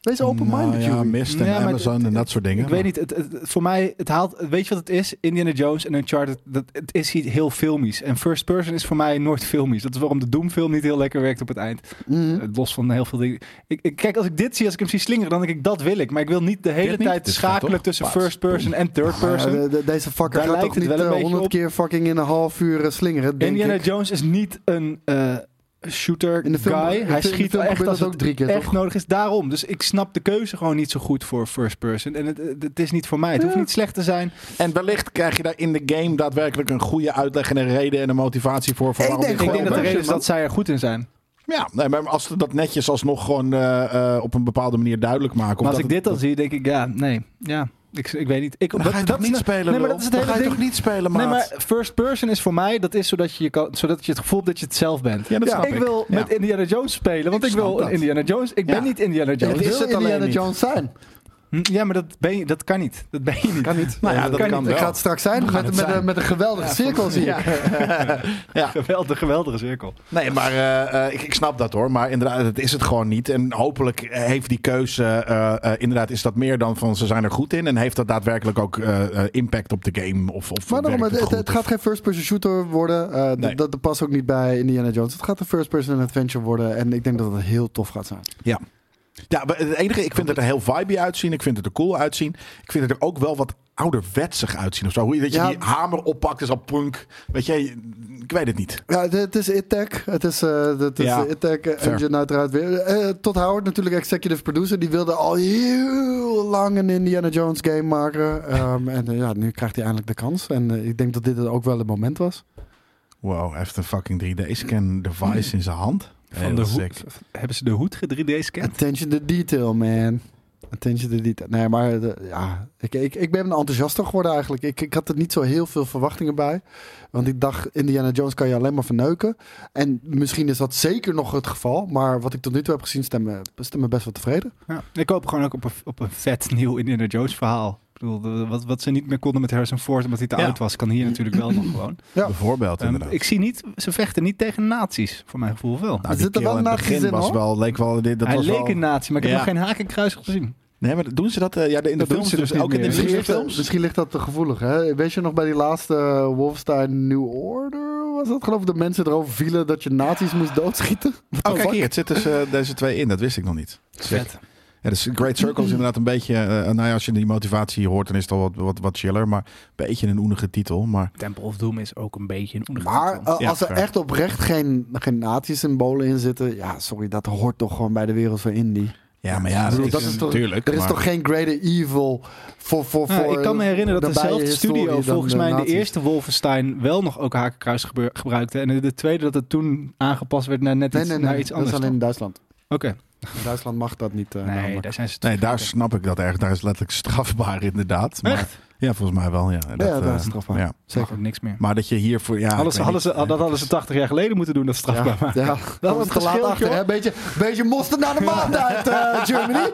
S3: Wees open-minded,
S1: Nou ja,
S3: Joey.
S1: Mist en
S2: Ja, maar
S1: Amazon
S2: het-
S1: en dat soort dingen.
S2: Ik weet niet, het, het- het- voor mij, het haalt, weet je wat het is? Indiana Jones en Uncharted, dat, het is iets heel filmisch. En first person is voor mij nooit filmisch. Dat is waarom de Doom-film niet heel lekker werkt op het eind.
S3: Mhm.
S2: Eh, Los van heel veel dingen. Ik, ik, kijk, als ik dit zie, als ik hem zie slingeren, dan denk ik, dat wil ik. Maar ik wil niet de hele
S1: het niet?
S2: tijd
S1: Het is vet,
S2: schakelen
S1: toch?
S2: tussen
S1: Paas.
S2: first person en third person.
S3: Ja, de- de- deze fucker
S2: Daar
S3: gaat
S2: lijkt
S3: toch
S2: het
S3: niet
S2: wel een
S3: eh,
S2: beetje
S3: 100
S2: op.
S3: keer fucking in een half uur eh, slingeren, denk
S2: Indiana
S3: ik.
S2: Jones is niet een eh, shooter
S3: In de film-
S2: guy.
S3: in de
S2: Hij
S3: film- in de
S2: schiet
S3: film
S2: echt
S3: gebeurt
S2: als
S3: dat
S2: het
S3: ook drie keer,
S2: echt
S3: toch?
S2: nodig is. Daarom. Dus ik snap de keuze gewoon niet zo goed voor first person. En het, het, het is niet voor mij. Het hoeft niet slecht te zijn.
S1: En wellicht krijg je daar in de game daadwerkelijk een goede uitleg en een reden en een motivatie voor. voor
S3: Ik
S1: waarom
S3: denk
S1: dit
S2: Ik
S3: Gewoon
S2: denk dat de
S1: gebeurt.
S2: reden is dat zij er goed in zijn.
S1: Ja, nee, maar als ze dat netjes alsnog gewoon eh, eh, op een bepaalde manier duidelijk maken. of
S2: Maar als
S1: dat
S2: ik
S1: het-
S2: dit dan zie, denk ik, ja, nee. Ja, ik, ik weet niet. Ik,
S1: Dan ga je toch niet spelen,
S2: Nee, maar
S1: lul?
S2: dat is het
S1: Dan
S2: hele
S1: ga je
S2: ding.
S1: toch niet spelen, maat?
S2: Nee, maar first person is voor mij, dat is zodat je, je kan, zodat je het gevoel hebt dat je het zelf bent. Dus
S1: Ja, dat snap
S2: ik
S1: ik.
S2: wil
S1: Ja.
S2: met Indiana Jones spelen, want
S1: Ik
S2: ik, wil
S1: snap
S2: een
S1: dat.
S2: Indiana Jones. Ik
S1: Ja.
S2: ben niet Indiana
S3: Ja,
S1: Dat
S2: Jones.
S1: is
S3: wil
S1: het alleen
S3: Indiana
S1: niet.
S3: Jones zijn.
S2: Hm, Ja, maar dat, ben je, dat kan niet. Dat ben je niet.
S3: Kan niet.
S1: Nou ja, dat kan
S3: niet.
S1: wel.
S3: Ik ga het straks zijn met, met,
S1: zijn.
S3: Een, met een geweldige cirkel zie ik.
S2: Geweldig, geweldige cirkel.
S1: Nee, maar eh, eh, ik, ik snap dat hoor. Maar inderdaad, dat is het gewoon niet. En hopelijk heeft die keuze, eh, eh, inderdaad, is dat meer dan van ze zijn er goed in. En heeft dat daadwerkelijk ook eh, eh, impact op de game? Of, of
S3: Maar daarom,
S1: werkt
S3: het, het,
S1: goed?
S3: het gaat geen first-person shooter worden. Eh, d-
S1: Nee.
S3: Dat dat past ook niet bij Indiana Jones. Het gaat een first-person adventure worden. En ik denk dat het heel tof gaat zijn.
S1: Ja, maar het enige, ik vind het er heel vibey uitzien. Ik vind het er cool uitzien. Ik vind het er ook wel wat ouderwetsig uitzien of zo. Hoe je dat je
S3: Ja.
S1: die hamer oppakt is al punk. Weet je, ik weet het niet.
S3: Ja, het, het is ITEC. Het is, eh het is
S1: Ja.
S3: de ITEC
S1: Fair.
S3: Engine uiteraard weer. Eh, Todd Howard, natuurlijk executive producer. Die wilde al heel lang een Indiana Jones game maken. Ehm, en eh, ja, nu krijgt hij eindelijk de kans. En eh, ik denk dat dit ook wel het moment was.
S1: Wow, hij heeft een fucking 3D-scan device in zijn hand.
S2: Van de hoed, hebben ze de hoed 3D-scan?
S3: Attention to detail, man. Attention to detail. Nee, maar eh, ja, ik, ik, ik ben enthousiaster geworden eigenlijk. Ik, ik had er niet zo heel veel verwachtingen bij. Want ik dacht, Indiana Jones kan je alleen maar verneuken. En misschien is dat zeker nog het geval. Maar wat ik tot nu toe heb gezien, stemmen, stemmen best wel tevreden.
S2: Ja. Ik hoop gewoon ook op een, op een vet nieuw Indiana Jones verhaal. Ik bedoel, de- wat, wat ze niet meer konden met Harrison Ford omdat hij te
S1: Ja.
S2: oud was, kan hier natuurlijk wel nog gewoon.
S3: Ja.
S1: Bijvoorbeeld,
S2: Ehm,
S1: inderdaad.
S2: ik zie niet, ze vechten niet tegen nazi's, voor mijn gevoel wel.
S1: nou,
S3: Er
S1: die
S3: zit er wel
S1: kerel in het
S3: nazi's
S1: begin
S3: in,
S1: was
S3: hoor.
S1: wel, leek wel... Dit, dat
S2: hij
S1: was
S2: leek
S1: wel-
S2: een nazi, maar ik heb
S1: Ja.
S2: nog geen haak en kruis gezien.
S1: Nee, maar doen ze dat? eh, ja, de- in de
S2: Dat doen
S1: films
S2: ze
S1: dus
S2: dus
S1: ook
S2: niet
S1: in de
S2: meer.
S1: nieuwe
S2: Dus
S3: Misschien ligt, dat,
S1: films.
S3: misschien ligt dat te gevoelig. Hè? Weet je nog bij die laatste eh, Wolfenstein New Order? Was dat geloof ik dat mensen erover vielen dat je nazi's moest doodschieten?
S1: Oh, kijk hier, het zitten ze, deze twee in. Dat wist ik nog niet.
S2: Vet.
S1: Ja, dus Great Circle is inderdaad een beetje... eh, nou ja, als je die motivatie hoort, dan is het al wat, wat, wat chiller. Maar een beetje een oenige titel. Maar
S2: Temple of Doom is ook een beetje een oenige
S3: Maar
S2: titel.
S3: eh,
S1: Ja,
S3: als er
S1: fair.
S3: echt oprecht geen, geen nazi-symbolen in zitten... Ja, sorry, dat hoort toch gewoon bij de wereld van indie.
S1: ja, maar ja,
S3: Ik bedoel,
S1: dat is
S3: toch,
S1: natuurlijk.
S3: Er is
S1: maar-
S3: toch geen greater evil voor... voor,
S2: Nou,
S3: voor
S2: ik kan me herinneren dat
S3: nabije
S2: dezelfde
S3: historie
S2: studio
S3: dan eh,
S2: volgens mij in de
S3: nazi's.
S2: eerste Wolfenstein wel nog ook hakenkruis gebeur- gebruikte. En in de tweede dat het toen aangepast werd naar net
S3: Nee,
S2: iets,
S3: nee, nee,
S2: naar iets
S3: dat
S2: anders.
S3: is alleen in Duitsland.
S2: Oké,
S3: In Duitsland mag dat niet. eh,
S2: nee,
S3: namelijk.
S2: daar zijn ze
S1: Nee, daar snap ik dat erg. Daar is letterlijk strafbaar inderdaad. Maar,
S2: Echt?
S1: Ja, volgens mij wel. Ja, dat,
S3: Ja, daar is
S1: eh,
S3: strafbaar.
S1: ja.
S2: Zeker. Niks meer.
S1: Maar dat je hiervoor... Ja, ik
S2: Hadden
S1: weet
S2: ze, hadden
S1: niet.
S2: ze, dat hadden ze 80 jaar geleden moeten doen, dat strafbaar
S3: Ja,
S2: maken.
S3: ja. dat
S2: een
S3: was te laat
S2: verschil,
S3: achter.
S2: joh.
S3: Hè? Beetje, beetje mosterd naar de maand uit eh, Germany.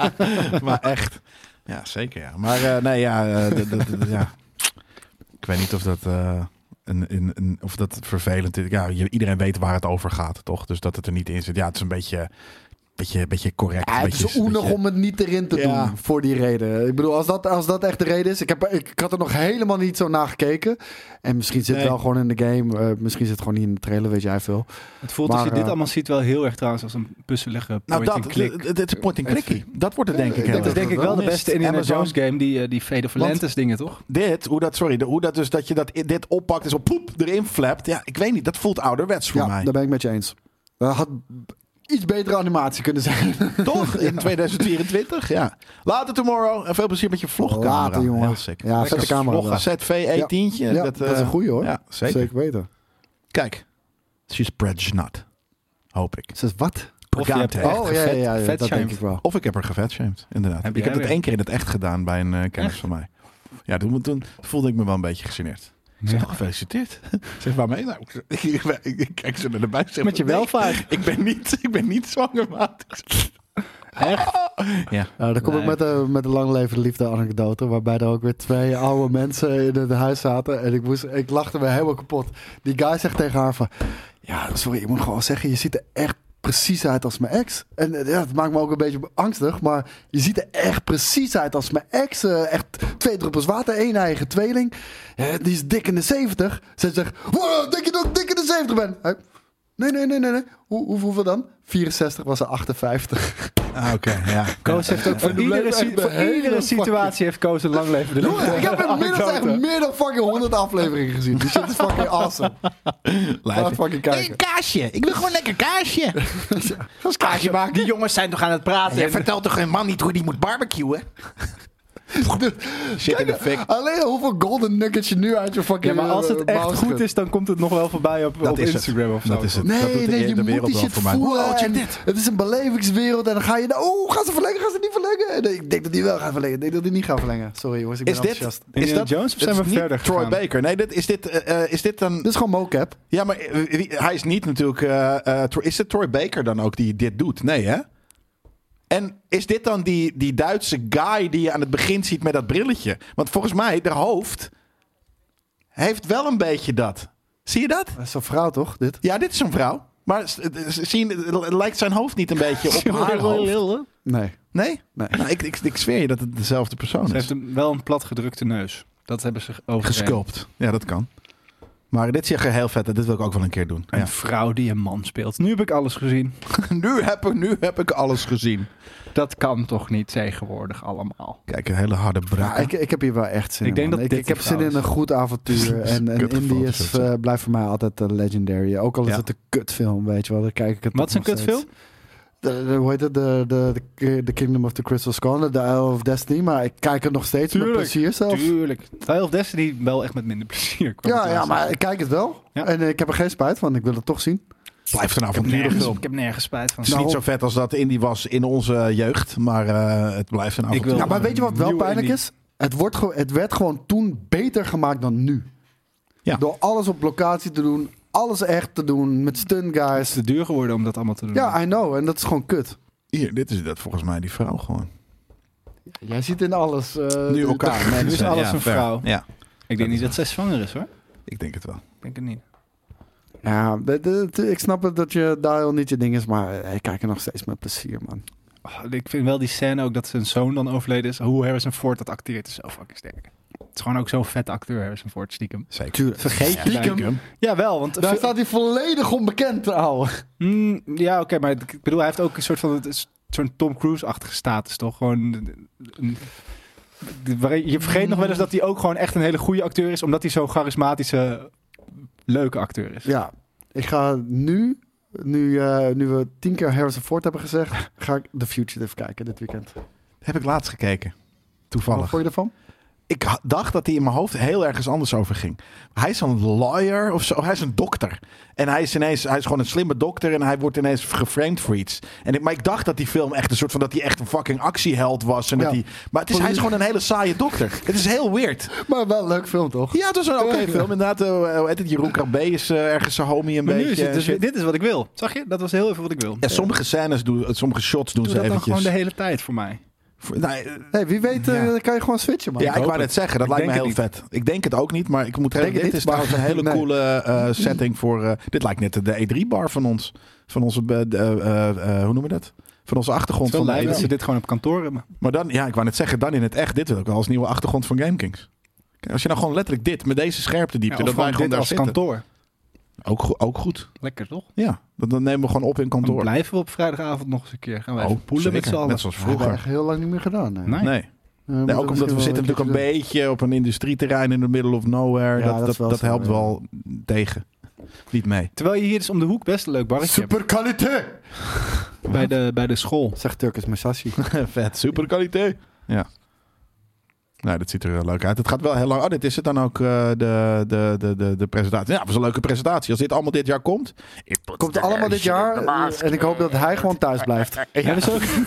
S1: maar echt. Ja, zeker ja. Maar eh, nee, ja, eh, dat- dat- dat- ja. Ik weet niet of dat, eh, een, een, een- of dat vervelend is. Ja, je- iedereen weet waar het over gaat, toch? Dus dat het er niet in zit. Ja, het is een beetje beetje, beetje correct.
S3: Ja, het
S1: beetje,
S3: is oenig
S1: beetje-
S3: om het niet erin te doen
S1: Ja.
S3: voor die reden. Ik bedoel, als dat, als dat echt de reden is. Ik, heb, ik, ik had er nog helemaal niet zo naar gekeken. En misschien zit het
S1: Nee.
S3: wel gewoon in de game. eh, misschien zit het gewoon niet in de trailer, weet jij veel.
S2: Het voelt
S3: Maar,
S2: als je dit
S3: eh,
S2: allemaal ziet wel heel erg trouwens als een puzzelige
S1: Nou,
S2: point
S1: dat,
S2: and click.
S1: d- d- dit is point and clickie. Dat wordt het denk ik.
S3: ik
S2: Dat
S1: heel
S2: is
S1: erg.
S2: denk ik wel de
S1: Mist,
S2: beste Indiana
S1: Amazon.
S2: Jones game, die, eh, die Fade of
S1: Want-
S2: Atlantis dingen, toch?
S1: Dit, hoe dat, sorry, de- hoe dat dus dat je dat, i- dit oppakt en zo poep erin flapt. Ja, ik weet niet, dat voelt ouderwets voor
S3: ja,
S1: mij.
S3: daar ben ik met je eens. Dat had b- iets betere animatie kunnen zijn.
S1: Toch? In 2024, ja. Later tomorrow en veel plezier met je vlogcamera.
S3: Later, jongen.
S1: Heel sick.
S3: Ja, zet de camera.
S1: Vloggen. E
S3: wel.
S1: ZV18.
S3: Ja, dat, is een goeie hoor.
S1: eh, Ja, zeker.
S3: zeker. weten.
S1: Kijk. She's pregnant. Hoop ik.
S3: Ze is wat?
S2: Of je hebt
S1: Pregnant.
S2: echt
S3: Oh ja, ja,
S2: gevet-
S3: ja, ja, dat
S2: vetshamed.
S3: denk ik wel.
S1: Of ik heb haar gevetshamed, inderdaad.
S2: Heb
S1: ik
S2: jij
S1: heb dat
S2: weer.
S1: één keer in het echt gedaan bij een eh, kennis van mij. Ja, toen, toen voelde ik me wel een beetje gegeneerd. Ik zeg,
S2: Ja.
S1: "Oh, gefeliciteerd. Zeg, waarmee nou? Ik, ik- ik kijk ze naar de buik. zeg,
S2: Met je
S1: "Nee,
S2: welvaart.
S1: Ik ben niet, ik ben niet zwanger, maat.
S2: Echt?
S1: Ja.
S3: Nou, dan kom
S2: Nee.
S3: ik met een, met een lang leven liefde anekdote. Waarbij er ook weer twee oude mensen in het huis zaten. En ik, moest, ik lachte me helemaal kapot. Die guy zegt tegen haar van... Ja, sorry, ik moet gewoon zeggen. Je ziet er echt precies uit als mijn ex. En eh, ja, dat maakt me ook een beetje angstig. Maar je ziet er echt precies uit als mijn ex. Eh, echt twee druppels water, één eigen tweeling. Eh, die is dik in de 70. Ze zegt... Wow, denk je dat ik dik in de 70 ben? Hij, nee, nee, nee, nee. nee. Hoe, hoe- hoeveel dan? 64 was ze 58.
S1: Ah, Oké, ja.
S2: Koos heeft ook voor
S3: En de
S2: iedere,
S3: blijft
S2: si-
S3: echt de
S2: voor
S3: hele
S2: iedere
S3: fucking-
S2: situatie heeft Koos een lang leven. de
S3: Jongens,
S2: liefde.
S3: ik heb inmiddels echt
S2: Anekdote.
S3: meer dan fucking 100 afleveringen gezien. Die shit is fucking awesome. Ga
S1: Lijf.
S3: fucking kijken.
S1: kaasje. Ik wil gewoon lekker kaasje.
S3: Dat is
S1: Kaasje maken. Die jongens zijn toch aan het praten. Jij vertelt toch een man niet hoe die moet barbecuen? Shit in de fik.
S3: Dus, Alleen hoeveel golden nuggets je nu uit je
S2: Ja,
S3: fucking
S2: maar als het
S3: eh,
S2: echt
S3: mouw
S2: goed
S3: schudt.
S2: is, dan komt het nog wel voorbij op, op Instagram of zo.
S1: Dat is het.
S3: Nee,
S1: dat doet de-
S3: nee, je
S1: de
S3: moet
S1: wereld
S3: die
S1: wel
S3: shit
S1: voor mij.
S3: voelen.
S1: Wow, check
S3: en
S1: dit.
S3: Het is een belevingswereld en dan ga je... nou, Oh, gaan ze verlengen? Gaan ze niet verlengen? Nee, ik denk dat die wel gaan verlengen. Ik denk dat die niet gaan verlengen. Sorry jongens, ik ben
S1: Is dit,
S3: enthousiast.
S1: is
S2: Indiana
S1: dat
S2: Jones, of zijn
S1: het
S2: we
S1: is niet
S2: verder
S1: Troy
S2: gegaan?
S1: Baker. Nee, dit, is, dit, eh, eh, is dit dan...
S3: Dit is gewoon mocap.
S1: Ja, maar eh, wie- hij is niet natuurlijk... eh, eh, Troy- is het Troy Baker dan ook die dit doet? Nee, hè? En is dit dan die, die Duitse guy die je aan het begin ziet met dat brilletje? Want volgens mij, de hoofd heeft wel een beetje dat. Zie je dat?
S3: Dat is zo'n vrouw toch, dit?
S1: Ja, dit is een vrouw. Maar s- eh, s- zie je, lijkt zijn hoofd niet een beetje op haar hoofd?
S3: Nee.
S1: Nee?
S3: Nee.
S1: Nou, ik, ik, ik zweer je dat het dezelfde persoon
S2: Ze
S1: is.
S2: heeft een, wel een platgedrukte neus. Dat hebben ze over
S1: Gesculpt. Ja, dat kan. Maar dit ziet er heel vet uit. Dit wil ik ook wel een keer doen.
S2: Een vrouw die een man speelt. Nu heb ik alles gezien.
S1: nu, heb ik, nu heb ik alles gezien.
S2: Dat kan toch niet tegenwoordig allemaal.
S1: Kijk, een hele harde
S3: Ja,
S1: braak.
S3: ik, ik heb hier wel echt zin
S2: Ik
S3: in.
S2: denk
S3: man.
S2: dat
S3: ik,
S2: dit
S3: ik heb
S2: het
S3: zin in een
S2: trouwens.
S3: goed avontuur. En, en
S1: Kutgevoel,
S3: Indie is,
S1: zo.
S3: eh, blijft voor mij altijd eh, legendary. Ook al is
S1: Ja.
S3: het een kutfilm, weet je wel. Dan kijk ik het
S2: Wat
S3: toch
S2: is een
S3: nog steeds.
S2: kutfilm?
S3: De, de- hoe heet het? De, de, de, de Kingdom of the Crystal Skull, de Isle of Destiny. Maar ik kijk het nog steeds met
S2: Tuurlijk,
S3: plezier zelf.
S2: Tuurlijk. Tile of Destiny wel echt met minder plezier. kwam
S3: Ja,
S2: ik
S3: ja,
S2: laatst
S3: maar
S2: achter.
S3: ik kijk het wel.
S2: Ja.
S3: En eh, ik heb er geen spijt van. Ik wil het toch zien.
S1: Blijft een
S2: ik heb,
S1: avontuurige
S2: nergens,
S1: film.
S2: ik heb nergens spijt van.
S1: Het is niet
S3: Nou,
S1: zo vet als dat indie was in onze jeugd, maar eh, het blijft een avontuur.
S2: wil-
S3: Ja, maar weet je wat wel
S2: Nieuw
S3: pijnlijk
S2: Indie.
S3: is? Het, wordt ge- het werd gewoon toen beter gemaakt dan nu.
S1: Ja.
S3: Door alles op locatie te doen. Alles echt te doen. Met stun
S2: Het is
S3: guys.
S2: te duur geworden om dat allemaal te doen.
S3: Ja, I know. En dat is gewoon kut.
S1: Hier, dit is dat volgens mij die vrouw gewoon.
S3: Jij ziet in alles. eh,
S1: nu
S3: de-
S1: elkaar.
S2: nu is
S1: mensen.
S2: alles
S1: Ja,
S2: een
S1: ver.
S2: vrouw.
S1: Ja,
S2: ik denk niet dat zij zwanger is hoor.
S1: ik denk het wel.
S2: Ik denk het niet.
S3: Ja, de- de- de- ik snap het dat je dial niet je ding is, maar eh, ik kijk er nog steeds met plezier, man.
S2: Oh, ik vind wel die scène ook dat zijn zoon dan overleden is. Hoe Harrison Ford dat acteert is zo fucking sterk. Het is gewoon ook zo'n vet acteur, Harrison Ford, stiekem.
S1: Zeker.
S3: Tuurlijk.
S2: Vergeet je
S1: Stiekem.
S2: bijna. Jawel, want...
S3: Daar staat hij volledig onbekend, ouwe.
S2: Mm, ja, oké, maar ik bedoel, hij heeft ook een soort van... het is Zo'n Tom Cruise-achtige status, toch? Gewoon... eh, een- de- waarin- Je vergeet nog wel eens dat hij ook gewoon echt een hele goede acteur is... omdat hij zo'n charismatische, leuke acteur is.
S3: Ja, ik ga nu, nu, eh, nu we tien keer Harrison Ford hebben gezegd, ga ik The Fugitive kijken dit weekend.
S1: Heb ik laatst gekeken.
S3: Wat
S1: Toevallig.
S3: vond je ervan?
S1: Ik ha- dacht dat hij in mijn hoofd heel ergens anders over ging. Hij is een lawyer of zo. Hij is een dokter. En hij is ineens, hij is gewoon een slimme dokter en hij wordt ineens geframed voor iets. En ik, maar ik dacht dat die film echt een soort van dat hij echt een fucking actieheld was. En dat
S3: Ja.
S1: hij, maar het is, hij is gewoon een hele saaie dokter. Het is heel weird.
S3: Maar wel een leuk film, toch?
S1: Ja, het was een oké film. Inderdaad, eh, hoe heet het? Jeroen Krabbe is eh, ergens zijn homie een
S2: Maar nu
S1: beetje.
S2: is het
S1: en
S2: dus...
S1: shit.
S2: Dit is wat ik wil. Zag je? Dat was heel even wat ik wil.
S1: ja, sommige scènes, doen, sommige shots doen
S2: Doe
S1: ze
S2: dat dan gewoon
S1: eventjes.
S2: de hele tijd voor mij.
S1: Voor- nou, eh,
S3: Hey, wie weet eh,
S1: Ja.
S3: kan je gewoon switchen, man.
S1: ja, ik
S2: hoop
S1: wou
S2: het.
S1: net zeggen, dat
S2: Ik
S1: lijkt me heel
S2: denk
S1: vet. Ik denk het ook niet, maar ik moet
S3: Denk
S1: zeggen, dit
S3: het niet,
S1: is trouwens een
S3: maar-
S1: hele
S3: Nee.
S1: coole eh, E setting voor... eh, dit lijkt net de E3-bar van ons. Van onze, eh, eh, eh, hoe noemen we dat? van onze
S2: Het
S1: achtergrond.
S2: is wel
S1: Van de
S2: leuk dat ze
S1: editie.
S2: dit gewoon op kantoor hebben.
S1: Maar dan, ja, ik wou net zeggen, dan in het echt dit wil ik wel als nieuwe achtergrond van GameKings. Kijk, Als je nou gewoon letterlijk dit, met deze scherpte
S2: Ja,
S1: diepte,
S2: of
S1: dat wij gewoon
S2: dit
S1: daar
S2: als
S1: zitten.
S2: kantoor.
S1: Ook, go- ook goed.
S2: Lekker toch?
S1: Ja, dat, dat nemen we gewoon op in
S2: Dan
S1: kantoor.
S2: blijven we op vrijdagavond nog eens een keer. Gaan wij
S1: Oh,
S2: even poelen met
S1: zeker.
S2: z'n allen.
S1: Net zoals
S3: Dat hebben we
S1: vroeger.
S3: echt heel lang niet meer gedaan. Nee.
S2: Nee.
S1: Nee.
S3: Eh,
S1: Nee,
S3: moeten
S1: ook omdat we zitten
S3: misschien wel
S1: natuurlijk een
S3: keertje
S1: beetje op een industrieterrein in the middle of nowhere. dat,
S3: Ja, dat
S1: dat,
S3: is wel
S1: dat
S3: zo,
S1: helpt
S3: ja.
S1: wel tegen. Niet mee.
S2: Terwijl je hier dus om de hoek best een leuk
S3: doen.
S2: barretje
S3: Super kwaliteit!
S2: hebt. Bij de, bij de school.
S3: Zegt Turkus Masashi.
S1: Vet, super kwaliteit. Ja. Nou, dat ziet er heel leuk uit. Het gaat wel heel lang. Oh, dit is het dan ook, eh, de, de, de, de, de presentatie. Ja, dat was een leuke presentatie. Als dit allemaal dit jaar komt.
S3: Komt allemaal dit jaar. eh, En ik hoop dat hij gewoon thuis blijft.
S1: Ja, dat is ook.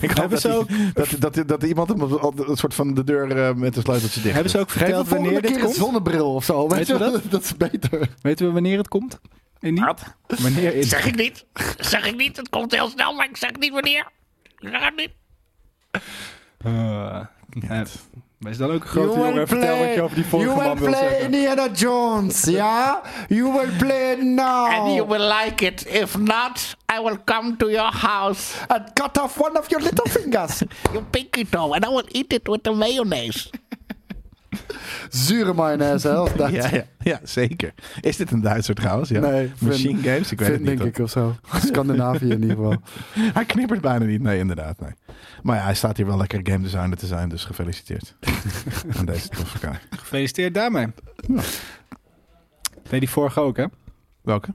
S1: ik hoop
S2: Hebben
S1: dat,
S2: ze ook-
S1: die- dat, dat, dat iemand hem op- op- een soort van de deur eh, met een sleuteltje dicht.
S2: Hebben ze ook
S3: Geef de
S2: verteld
S3: volgende
S2: wanneer dit
S3: keer een
S2: komt?
S3: zonnebril of zo. Weet
S2: Weet je
S3: je wel? Dat is beter.
S2: Weten we wanneer het komt? En niet?
S4: Wat?
S2: Wanneer is
S4: Zeg ik niet. Zeg ik niet. Het komt heel snel, maar ik zeg niet wanneer. Ik zeg het niet.
S2: Eh, ja, Wees dan ook een grote jongen. Vertel wat je over die vorige
S3: you
S2: man
S3: will
S2: wil
S3: play
S2: zeggen.
S3: Indiana Jones, ja? You will play it now.
S4: And you will like it. If not, I will come to your house.
S3: And cut off one of your little fingers.
S4: You pinky toe. And I will eat it with the mayonnaise.
S3: Zure mayonaise, hè? Of dat.
S1: Ja, ja, ja, zeker. Is dit een Duitser trouwens? Ja.
S3: Nee, Finn-
S1: Machine Games? Ik weet het
S3: Vind
S1: niet.
S3: denk
S1: hoor.
S3: ik of zo. Scandinavië in ieder geval.
S1: Hij knippert bijna niet. Nee, inderdaad. Nee. Maar ja, hij staat hier wel lekker game designer te zijn. Dus gefeliciteerd. aan deze toffe guy.
S2: Gefeliciteerd daarmee. Deed die vorige ook, hè?
S1: Welke?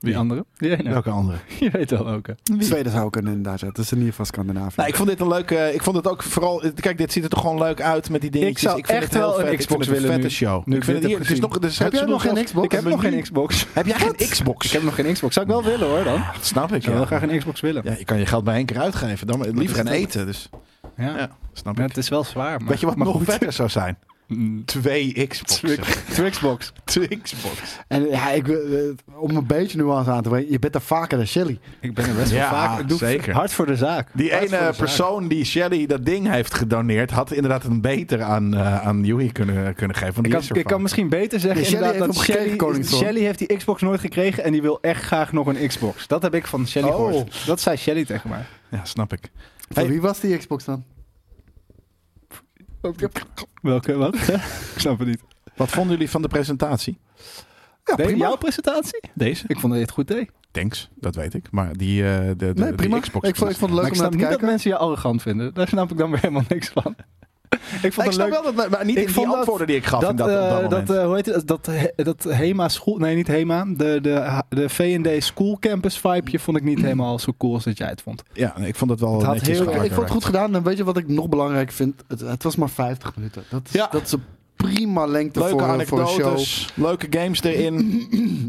S2: Die andere? Die ene.
S1: Welke andere?
S2: Je weet wel ook, hè?
S3: Zweden zou kunnen inderdaad. Het is in ieder geval Scandinavië.
S1: Nou, ik vond dit een leuke. Ik vond het ook vooral. Kijk, dit ziet er toch gewoon leuk uit met die dingetjes.
S2: zou
S1: vind
S2: echt
S1: het heel
S2: wel een
S1: vet. Ik
S2: Xbox
S1: vind het
S2: willen
S1: een vette
S2: nu.
S1: show.
S2: Nu
S1: ik
S2: ik
S1: vind
S2: dit
S1: het hier.
S2: heb
S1: Het is nog,
S2: gezien.
S1: dus
S3: Heb jij nog geen Xbox?
S2: Ik heb nog geen Xbox.
S1: Heb jij geen Xbox?
S2: Ik heb nog geen Xbox. Zou ik wel willen, hoor, dan.
S1: Dat snap ik.
S2: Ik zou wel
S1: Ja.
S2: graag een Xbox willen.
S1: ja, je kan je geld bij één keer uitgeven. Dan maar liever gaan
S2: Dat is
S1: eten. Dus
S2: Ja.
S1: ja, snap
S2: Ja,
S1: ik.
S2: het is wel zwaar, maar...
S1: Weet je wat
S2: maar
S1: nog
S2: goed.
S1: verder zou zijn?
S2: Mm.
S1: Twee Xboxen.
S2: Twee Xbox.
S1: Twee Xbox.
S3: En ja, ik, wil, eh, om een beetje nuance aan te brengen, je bent er vaker dan Shelly.
S2: Ik ben er best wel
S1: Ja,
S2: vaak. Ik doe
S1: zeker.
S2: Hard voor de zaak.
S1: Die
S2: Hard voor
S1: ene
S2: de zaak.
S1: persoon die Shelly dat ding heeft gedoneerd, had inderdaad een beter aan, eh aan Yui kunnen, kunnen geven. Want die
S2: Ik kan,
S1: is
S2: ik
S1: ervan.
S2: kan misschien beter zeggen
S3: Nee, Shelly
S2: inderdaad
S3: heeft
S2: dat
S3: hem
S2: Shelly,
S3: gekregen, Koningszoon.
S2: Shelly heeft die Xbox nooit gekregen en die wil echt graag nog een Xbox. Dat heb ik van Shelly
S3: Oh.
S2: gehoord. Dat zei Shelly tegen mij.
S1: Ja, snap ik.
S3: Voor
S1: Hey.
S3: wie was die Xbox dan?
S2: Welke, wat? ik snap het niet.
S1: Wat vonden jullie van de presentatie?
S3: Ja,
S2: Nee,
S3: prima.
S2: jouw presentatie?
S1: Deze?
S2: Ik vond dat je het goed deed.
S1: Thanks, dat weet ik. Maar die, eh, de, de,
S3: Nee,
S1: die
S3: prima.
S1: Xbox.
S3: ik, vond, ik vond het
S2: maar
S3: leuk
S2: ik
S3: om naar
S2: snap
S3: te
S2: niet dat
S3: kijken.
S2: mensen je arrogant vinden. Daar snap ik dan weer helemaal niks van. ik
S1: Nee,
S2: vond
S1: ik
S2: het
S1: snap
S2: leuk
S1: wel dat, maar- maar niet
S2: Ik
S1: in die
S2: vond dat-
S1: antwoorden die ik gaf
S2: dat,
S1: in dat, op dat
S2: eh,
S1: moment.
S2: dat eh, hoe heet het? Dat, he- dat HEMA school... Nee, niet HEMA. De, de, de V&D school campus vibeje vond ik niet helemaal zo cool als dat jij het vond.
S1: ja, nee, ik vond het wel
S2: had
S1: netjes
S2: heel-
S3: Ik
S1: gearrangeerd.
S3: vond het goed gedaan. En weet je wat ik nog belangrijk vind? Het, het was maar 50 minuten. Dat is,
S1: Ja.
S3: dat is een prima lengte
S1: Leuke
S3: voor, voor een show.
S1: anekdotes, leuke games erin.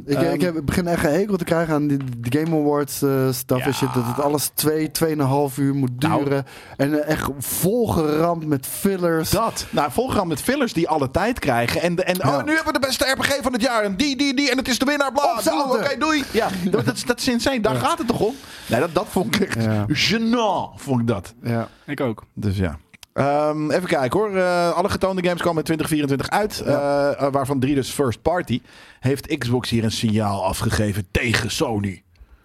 S3: Ik,
S1: Ehm,
S3: ik heb, ik begin echt een hekel te krijgen aan die, die Game Awards eh stuff en
S1: Ja.
S3: shit. Dat het alles twee, tweeënhalf uur moet
S1: Nou.
S3: duren. En eh, echt volgeramd met fillers.
S1: Dat. Nou, volgaan met fillers die alle tijd krijgen. En, de- en
S3: Ja.
S1: oh, nu hebben we de beste RPG van het jaar. En die, die, die. En het is de winnaar. Bla,
S3: Op z'n
S1: doe, Oké,
S3: allen.
S1: doei. Ja, dat, dat, is- dat is insane. Daar gaat het toch om? Nee, dat, dat vond ik echt
S3: Ja.
S1: gênant, vond ik dat.
S3: Ja.
S2: Ik ook.
S1: Dus ja. Ehm, even kijken hoor. Eh, alle getoonde games komen in 2024 uit. eh, eh, waarvan drie dus first party. Heeft Xbox hier een signaal afgegeven tegen Sony?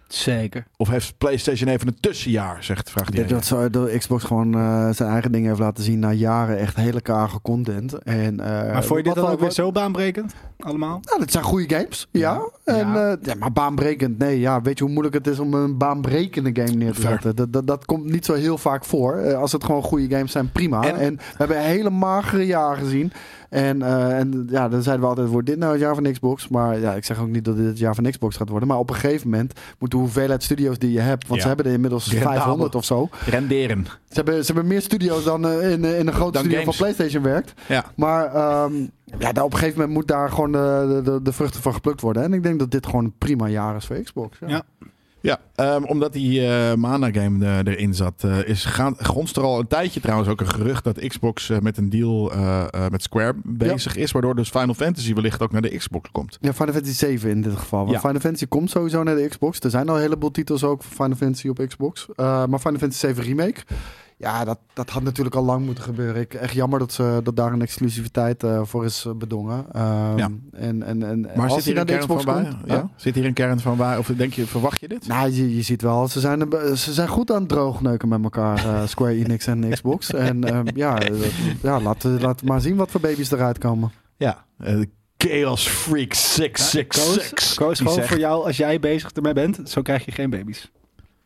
S2: Zeker.
S1: Of heeft PlayStation even een tussenjaar? Zegt vraagt
S3: Ik
S1: die.
S3: denk dat zo- dat Xbox gewoon eh, zijn eigen dingen heeft laten zien na jaren echt hele karige content. En, eh,
S2: Maar vond je dit
S3: wat
S2: dan ook weer
S3: wat-
S2: zo baanbrekend? Allemaal?
S3: Nou, dat zijn goede games. Ja.
S2: Ja.
S3: En, eh, ja, maar baanbrekend, nee. Ja, weet je hoe moeilijk het is om een baanbrekende game neer te
S1: Fair.
S3: zetten? Dat, dat, dat komt niet zo heel vaak voor. Eh, als het gewoon goede games zijn, prima.
S1: En-
S3: En, we hebben hele magere jaren gezien. En, eh, en ja, dan zeiden we altijd, wordt dit nou het jaar van Xbox? Maar ja, ik zeg ook niet dat dit het jaar van Xbox gaat worden. Maar op een gegeven moment moet de hoeveelheid studio's die je hebt... want
S1: Ja.
S3: ze hebben er inmiddels
S1: Rendabel.
S3: 500 of zo.
S1: Renderen.
S3: Ze hebben, ze hebben meer studio's dan eh, in, eh, in een grote
S1: Dan
S3: studio
S1: games.
S3: van PlayStation werkt.
S1: Ja.
S3: Maar ehm, ja, daar op een gegeven moment moet daar gewoon de, de, de vruchten van geplukt worden. En ik denk dat dit gewoon een prima jaar is voor Xbox. Ja.
S2: Ja.
S1: Ja, ehm, omdat die eh, Mana game eh, erin zat, eh, is gaan, gonst er al een tijdje trouwens ook een gerucht dat Xbox eh, met een deal eh, eh, met Square bezig is. Waardoor dus Final Fantasy wellicht ook naar de Xbox komt.
S3: Ja, Final Fantasy 7 in dit geval. Want
S1: Ja.
S3: Final Fantasy komt sowieso naar de Xbox. Er zijn al een heleboel titels ook van Final Fantasy op Xbox. Eh, maar Final Fantasy 7 Remake. Ja, dat, dat had natuurlijk al lang moeten gebeuren. Ik, echt jammer dat, ze, dat daar een exclusiviteit eh, voor is eh, bedongen. Ehm,
S1: Ja.
S3: En, en, en,
S1: Maar
S3: als
S1: zit hier
S3: hij
S1: een
S3: naar de
S1: kern
S3: Xbox
S1: van
S3: komt...
S1: waar?
S3: Huh?
S1: Ja? Zit hier een kern van waar? Of denk je, verwacht je dit?
S3: Nou, je, je ziet wel, ze zijn, een be- ze zijn goed aan het droogneuken met elkaar, eh, Square Enix en Xbox. En ehm, ja, eh, ja laten laat maar zien wat voor baby's eruit komen.
S1: Ja. Eh, Chaos Freak 666.
S2: Koos
S1: Die
S2: gewoon
S1: zegt-
S2: voor jou, als jij bezig ermee bent, zo krijg je geen baby's.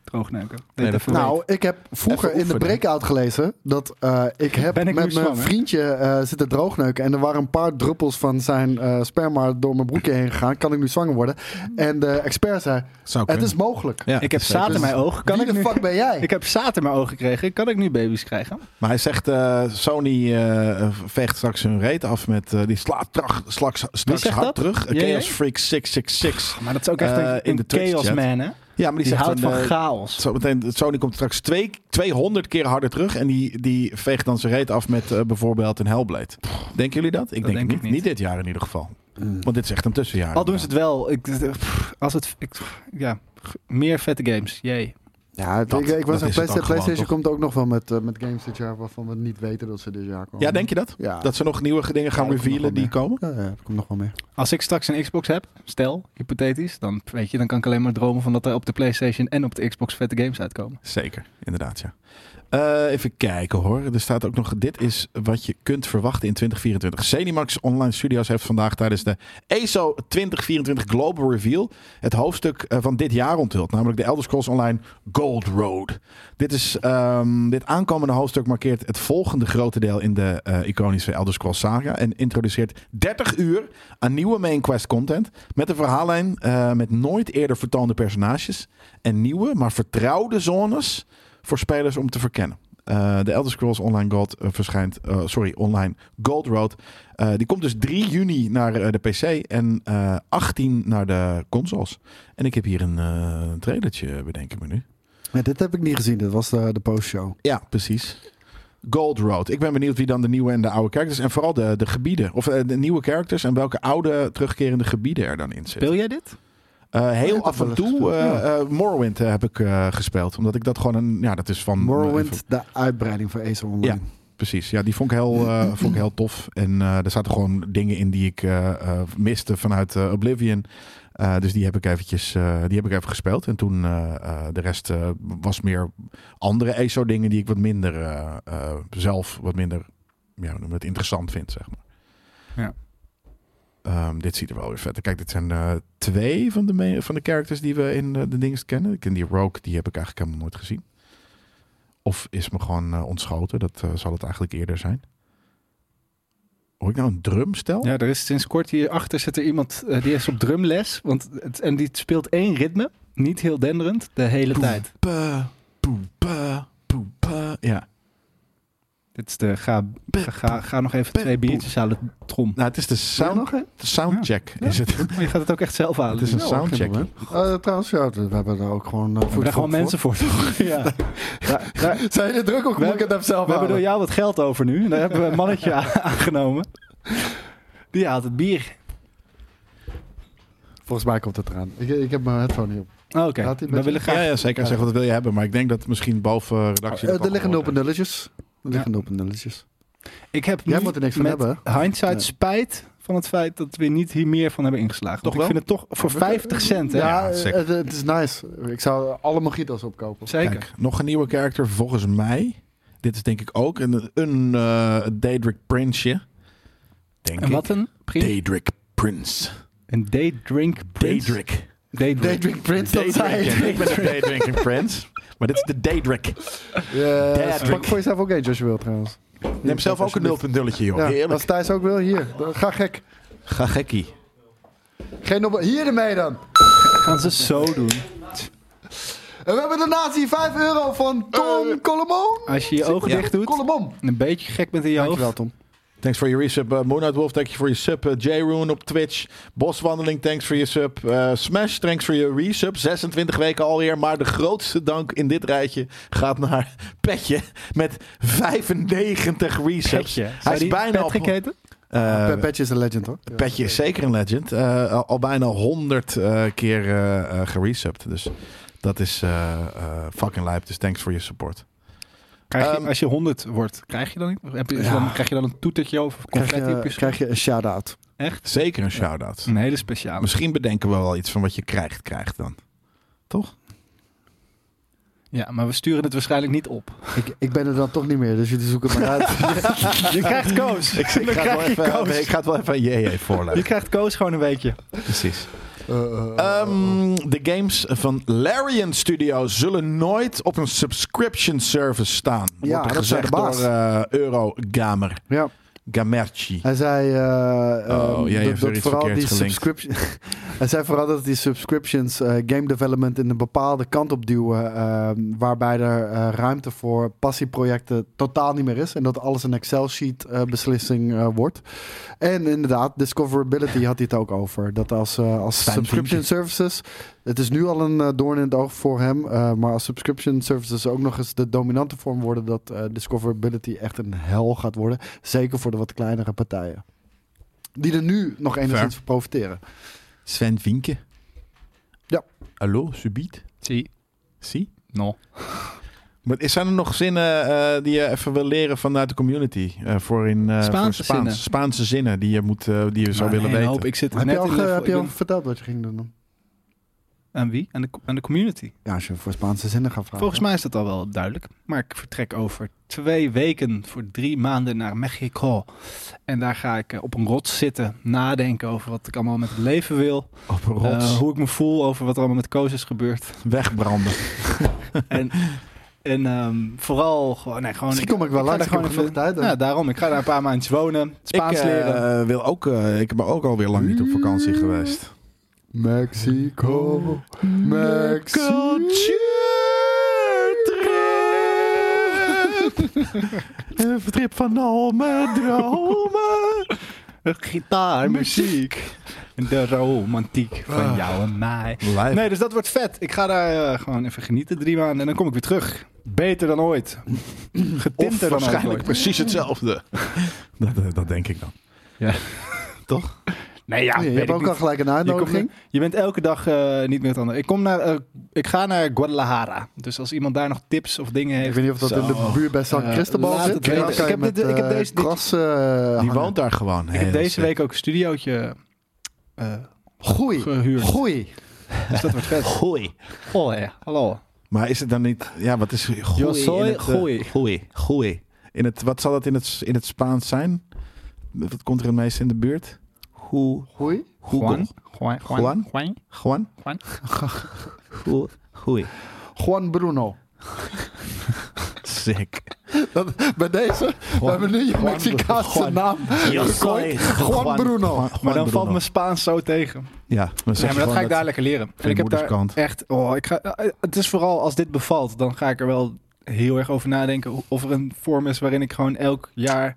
S2: Droogneuken. Weet
S1: Nee, dat
S2: even
S1: klopt.
S3: Nou, ik heb vroeger
S1: Even
S3: in de
S1: oefenen.
S3: breakout gelezen dat eh, ik heb
S2: Ben ik nu
S3: met mijn
S2: zwanger?
S3: vriendje eh, zitten droogneuken. En er waren een paar druppels van zijn eh, sperma door mijn broekje heen gegaan. Kan ik nu zwanger worden? En de expert zei,
S1: Zou
S3: het
S1: kunnen.
S3: is mogelijk.
S1: Ja,
S2: ik heb
S1: zeker.
S2: zaad in mijn oog. Kan
S3: Wie
S2: ik
S3: de
S2: nu...
S3: fuck ben jij?
S2: Ik heb zaad in mijn ogen gekregen. Kan ik nu baby's krijgen?
S1: Maar hij zegt, eh, Sony eh, veegt straks hun reet af met... eh, die slaat trach, slaks, straks
S2: zegt
S1: hard
S2: dat?
S1: terug. Eh,
S2: Jij, jij?
S1: Chaos Freak 666.
S2: Maar dat is ook
S1: Eh,
S2: echt een,
S1: in de
S2: een chaos
S1: Twitch-chat.
S2: man, hè?
S1: Ja, maar die,
S2: Die
S1: zegt
S2: houdt
S1: dan,
S2: van
S1: eh,
S2: chaos.
S1: zo meteen, Sony komt straks twee, 200 keer harder terug. En die, die veegt dan zijn reet af met eh, bijvoorbeeld een Hellblade. Denken jullie dat? Ik denk,
S2: denk
S1: het
S2: ik
S1: niet.
S2: niet.
S1: Niet dit jaar in ieder geval. Want dit is echt een tussenjaar.
S2: Al doen ze het wel. Ik, eh, pff, als het, ik, pff, ja, g- meer vette games. Jee.
S3: Ja,
S1: Dat-
S3: ik, ik
S1: dat
S3: was
S1: is het
S3: zeggen,
S1: dan
S3: PlayStation,
S1: gewoon,
S3: PlayStation
S1: toch?
S3: komt ook nog wel met, eh, met games dit jaar waarvan we niet weten dat ze dit jaar komen.
S1: Ja, denk je dat?
S3: Ja,
S1: Dat ze nog nieuwe dingen gaan
S3: Ja, ik kom nog
S1: revealen
S3: wel
S1: die komen?
S3: ja, ja, er komt nog wel meer.
S2: Als ik straks een Xbox heb, stel, hypothetisch, dan, weet je, dan kan ik alleen maar dromen van dat er op de PlayStation en op de Xbox vette games uitkomen.
S1: Zeker, inderdaad, ja. Eh, even kijken hoor. Er staat ook nog: dit is wat je kunt verwachten in 2024. Zenimax Online Studios heeft vandaag tijdens de E ESO 2024 Global Reveal het hoofdstuk eh, van dit jaar onthuld, namelijk de Elder Scrolls Online Gold Road. Dit, is, ehm, dit aankomende hoofdstuk markeert het volgende grote deel in de eh, iconische Elder Scrolls saga en introduceert 30 uur aan nieuwe main quest content met een verhaallijn eh, met nooit eerder vertoonde personages en nieuwe, maar vertrouwde zones voor spelers om te verkennen. Eh, de Elder Scrolls Online Gold eh, verschijnt, eh, sorry, Online Gold Road. Eh, die komt dus 3 juni naar eh, de PC en eh, 18 naar de consoles. En ik heb hier een eh trailertje, bedenk ik me nu.
S3: Ja, dit heb ik niet gezien, dit was eh, de, de postshow.
S1: Ja, precies. Gold Road. Ik ben benieuwd wie dan de nieuwe en de oude characters en vooral de, de gebieden. Of eh, de nieuwe characters en welke oude terugkerende gebieden er dan in zitten.
S2: Speel jij dit?
S1: Eh,
S3: Ja,
S1: heel
S3: dat
S1: af en
S3: wel
S1: toe
S3: eens
S1: eh,
S3: gespeeld,
S1: eh, Morrowind eh, heb ik eh, gespeeld. Omdat ik dat gewoon een. Ja, dat is van.
S3: Morrowind, de uitbreiding van Ace Online. Oh,
S1: Ja. Precies, ja, die vond ik heel, eh, vond ik heel tof. En eh, er zaten gewoon dingen in die ik eh, eh, miste vanuit eh, Oblivion. Eh, dus die heb ik eventjes, eh, die heb ik even gespeeld. En toen eh, eh, de rest eh, was meer andere ESO dingen die ik wat minder eh, eh, zelf wat minder ja, hoe noem je het interessant vind, zeg maar.
S2: Ja.
S1: Ehm, dit ziet er wel weer vet. uit. Kijk, dit zijn eh, twee van de, me- van de characters die we in eh, de dingen kennen. Ik ken die Rogue, die heb ik eigenlijk helemaal nooit gezien. Of is me gewoon eh, ontschoten. Dat eh, zal het eigenlijk eerder zijn. Hoor ik nou een drumstel?
S2: Ja, er is sinds kort hierachter zit er iemand eh, die is op drumles. Want het, en die speelt één ritme, niet heel denderend, de hele
S1: Poef.
S2: tijd.
S1: Pa, poe, pa, poe, pa. Ja.
S2: Dit is de ga, ga, ga, ga nog even twee biertjes halen trom.
S1: Nou, het is de
S3: Zou
S1: sound,
S3: nog, hè?
S1: de soundcheck. Is het?
S2: Maar je gaat het ook echt zelf halen. Dus
S1: Het is een
S3: Ja,
S1: soundcheck.
S3: geen probleem. Eh, trouwens, ja, we hebben er ook gewoon...
S2: we
S3: eh, voet
S2: hebben gewoon
S3: voor-
S2: mensen voor. toch? Ja. Daar- daar-
S3: Zijn je druk ook?
S2: We
S3: Moet ik het hem zelf
S2: We hebben door
S3: halen?
S2: jou wat geld over nu. Daar hebben we een mannetje a- aangenomen. Die haalt het bier.
S3: Volgens mij komt het eraan. Eh, Ik, ik heb mijn headphone niet op.
S2: Oh, Oké,
S3: Laat die
S2: we
S3: met-
S2: willen
S1: Ja,
S2: graag...
S1: ja, zeker. Zeg wat wil je hebben. Maar ik denk dat misschien boven eh, redactie...
S3: Eh,
S1: dat
S3: er
S1: al
S3: liggen
S1: gehoord
S3: open nulletjes. Er liggen open nulletjes.
S2: Ik heb
S3: Jij
S2: nu
S3: moet er niks van
S2: met
S3: hebben.
S2: hindsight
S3: Nee.
S2: spijt van het feit dat we niet hier meer van hebben ingeslagen.
S1: Toch
S2: Want ik vind het toch voor 50 cent, hè?
S1: Ja,
S3: Ja, eh,
S1: zeker.
S3: het, het is nice. Ik zou alle mojitos opkopen.
S2: Zeker.
S1: Kijk, nog een nieuwe character volgens mij. Dit is denk ik ook een, een eh, Daedric Prinsje. Denk
S2: en
S1: ik.
S2: wat eh, een... Prim-
S1: Daedric Prince.
S2: een daydrink prins.
S1: Daedric.
S2: Daydrink.
S3: Daydream Prince, dat zei
S1: Daedric.
S3: je.
S1: Ik ben een Daedric Prince. Maar dit is de Daedric.
S3: Yes.
S1: Daydream.
S3: Pak eh, voor jezelf ook eentje als je wilt trouwens.
S1: Neem zelf ook een nulpendulletje,
S2: Oh,
S1: joh.
S3: Ja,
S1: Heerlijk.
S3: Als Thijs ook wil, hier. Dan- Ga gek.
S1: Ga gekkie.
S3: Geen op... Hier ermee dan.
S2: Gaan ze zo doen.
S3: En we hebben daarnaast hier 5 euro van Tom
S2: Eh.
S3: uh, Colomon.
S2: Als je je ogen
S1: Ja.
S2: dicht doet
S3: Colomon.
S2: en een beetje gek bent in je
S3: Dankjewel
S2: hoofd.
S3: Tom.
S1: Thanks voor je resub. eh, Moonlight Wolf, thank you voor je sub. eh, J-Roon op Twitch. Boswandeling, thanks voor je sub. Eh, Smash, thanks voor je resub. 26 weken alweer. Maar de grootste dank in dit rijtje gaat naar Petje. Met 95 resubs.
S2: Petje.
S1: Hij
S2: Zou
S1: is
S2: die
S1: bijna op...
S2: Patrick heten?
S1: Eh,
S3: Ah, Pe- Petje is een legend hoor.
S1: Petje is zeker een legend. Eh, al, al bijna 100 eh, keer eh eh, geresubbed. Dus dat is eh, eh, fucking lijp. Dus thanks voor je support.
S2: Krijg je,
S1: Ehm,
S2: als je 100 wordt, krijg je dan, niet? Heb je, is
S3: Ja.
S2: dan krijg je dan een toetertje of
S3: Krijg
S2: confetti op je
S3: je,
S2: scherm?
S3: krijg je een shout-out.
S2: Echt?
S1: Zeker een shout-out.
S2: Een hele speciale.
S1: Misschien bedenken we wel iets van wat je krijgt, krijgt dan.
S2: Ja, maar we sturen het waarschijnlijk niet op.
S3: Ik, ik ben er dan toch niet meer, dus jullie zoeken het maar uit.
S2: Je krijgt Koos.
S1: Ik, ik, ga, het wel even, nee, ik ga het wel even aan JJ voorleggen.
S2: krijgt Koos gewoon een weekje.
S1: Precies.
S3: Eh,
S1: Ehm, de games van Larian Studio zullen nooit op een subscription service staan.
S3: Ja,
S1: wordt er
S3: dat zei
S1: gezegd
S3: de baas.
S1: door eh, Eurogamer.
S3: ja.
S1: Gamerci.
S3: Hij zei eh, eh,
S1: Oh, jij hebt
S3: dat,
S1: er
S3: dat
S1: iets
S3: vooral
S1: verkeerds
S3: die
S1: gelinkt.
S3: subscription. Hij zei vooral dat die subscriptions eh, game development in een bepaalde kant op duwen, eh, waarbij er eh, ruimte voor passieprojecten totaal niet meer is en dat alles een Excel sheet eh, beslissing eh, wordt. En inderdaad, discoverability had hij het ook over. Dat als, eh, als
S1: Fijn
S3: subscription services, het is nu al een eh, doorn in het oog voor hem, eh, maar als subscription services ook nog eens de dominante vorm worden, dat eh, discoverability echt een hel gaat worden. Zeker voor de wat kleinere partijen. Die er nu nog enigszins van profiteren.
S1: Sven Vinke.
S3: Ja.
S1: Hallo, subiet.
S2: Zie.
S1: Zie.
S2: No.
S1: Maar is- zijn er nog zinnen eh, die je even wil leren vanuit de community? Eh, voor in, eh,
S2: Spaanse
S1: voor
S2: zinnen.
S1: Spaanse zinnen die je, moet, eh, die je zou
S2: Maar
S1: willen
S2: een
S1: weten.
S2: hoop. Ik zit
S3: Heb
S2: net
S3: je al,
S2: in
S3: ge-
S2: de-
S3: heb
S2: ik
S3: je al
S2: ben-
S3: verteld wat je ging doen dan?
S2: Aan wie? Aan de, aan de community.
S3: Ja, als je voor Spaanse zinnen gaat vragen.
S2: Volgens mij is dat al wel duidelijk. Maar ik vertrek over twee weken voor drie maanden naar Mexico. En daar ga ik eh, op een rots zitten, nadenken over wat ik allemaal met het leven wil.
S1: Op een rots.
S2: Eh, hoe ik me voel over wat er allemaal met Koos is gebeurd.
S1: Wegbranden.
S2: en en ehm, vooral gewoon... Nee, gewoon
S3: Misschien kom ik wel
S2: ga
S3: langs,
S2: daar
S3: ik heb
S2: even-
S3: genoeg tijd dan.
S2: Ja, daarom. Ik ga daar een paar maandjes wonen. Spaans
S1: ik, eh,
S2: leren.
S1: wil ook, eh, ik ben ook alweer lang niet op vakantie geweest.
S3: Mexico, Mexico.
S1: Een trip van al mijn dromen.
S2: Gitaar, muziek. De romantiek
S3: Ah.
S2: van jou en mij.
S1: Live.
S2: Nee, dus dat wordt vet. Ik ga daar eh, gewoon even genieten drie maanden en dan kom ik weer terug. Beter dan ooit. Getinter
S1: Of
S2: dan ook
S1: waarschijnlijk
S2: ooit.
S1: precies hetzelfde. dat, eh, dat denk ik dan.
S2: Nee, ja,
S3: je
S2: weet
S3: hebt
S2: ik
S3: ook
S2: niet.
S3: al gelijk een
S2: Je, komt
S3: uitnodiging.
S2: nu- je bent elke dag eh, niet meer het andere. Ik, kom naar, eh, ik ga naar Guadalajara. Dus als iemand daar nog tips of dingen
S3: Ik
S2: heeft.
S3: weet niet of dat in de
S1: Zo.
S3: buurt bij San
S2: Eh,
S3: Cristobal
S2: laat het
S3: zit.
S2: weten.
S3: Dan kan
S2: Ik
S3: je
S2: heb dit-
S3: met,
S2: ik heb
S3: eh,
S2: deze- dit-
S3: kras, eh,
S1: Die
S3: hangen.
S1: woont daar gewoon. dus, eh,
S2: Ik
S1: Heel
S2: heb deze
S1: sick.
S2: week ook een studiootje eh,
S3: Goeie,
S2: gehuurd.
S3: goeie.
S2: Dus dat wordt vet.
S1: Goeie.
S2: Oh, ja. Hallo.
S1: Maar is het dan niet... Ja, wat is goeie?
S2: Yo soy
S1: in het, eh,
S2: goeie.
S1: goeie. Goeie. In het, wat zal dat in het, in het Spaans zijn? Wat komt er het meest in de buurt? Hoe?
S3: Goeie?
S1: Google.
S2: Juan.
S1: Juan?
S2: Juan.
S1: Juan?
S2: Juan.
S1: Goe- Goeie.
S3: Juan Bruno.
S1: Sick.
S3: Dat, bij deze, we hebben nu je
S1: Juan
S3: Mexicaanse
S1: Bruno.
S3: naam.
S1: Yo soy
S3: Juan, Bruno.
S2: Maar dan valt
S1: Bruno.
S2: mijn Spaans zo tegen.
S1: Ja, maar,
S2: Ja, maar dat ga ik daar lekker leren. En
S1: je
S2: ik heb daar
S1: moederskant.
S2: echt. Oh, ik ga, eh, het is vooral als dit bevalt, dan ga ik er wel heel erg over nadenken. Of er een vorm is waarin ik gewoon elk jaar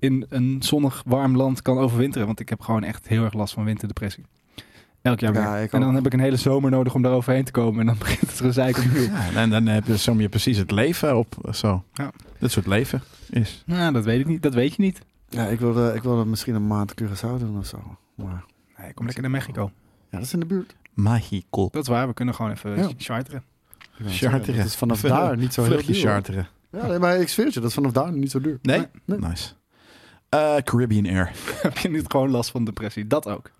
S2: in een zonnig warm land kan overwinteren. Want ik heb gewoon echt heel erg last van winterdepressie. Elk jaar weer.
S3: Ja, ik
S2: en dan
S3: ook.
S2: heb ik een hele zomer nodig om daar overheen te komen. En dan begint het gezeik opnieuw.
S1: Ja, en dan heb je, som je precies het leven op. Zo.
S2: Ja.
S1: Dat soort leven is.
S2: nou, dat weet ik niet. Dat weet je niet.
S3: Ja, ik wilde, ik wilde misschien een maand Curaçao doen of zo. Maar
S2: Nee, ik kom lekker naar Mexico.
S3: ja, dat is in de buurt.
S1: Magico.
S2: Dat is waar. We kunnen gewoon even
S3: Ja.
S2: charteren.
S3: Ja, dat
S1: Charteren.
S3: is vanaf
S1: Vlucht-
S3: daar niet zo heel
S1: Vluchtje
S3: duur. hoor.
S1: charteren.
S3: Ja, nee, maar ik zweer het je, dat is vanaf daar niet zo duur.
S1: Nee?
S3: Nee.
S2: Nou,
S1: Nice. Eh, Caribbean Air.
S2: heb je niet gewoon last van depressie? Dat ook.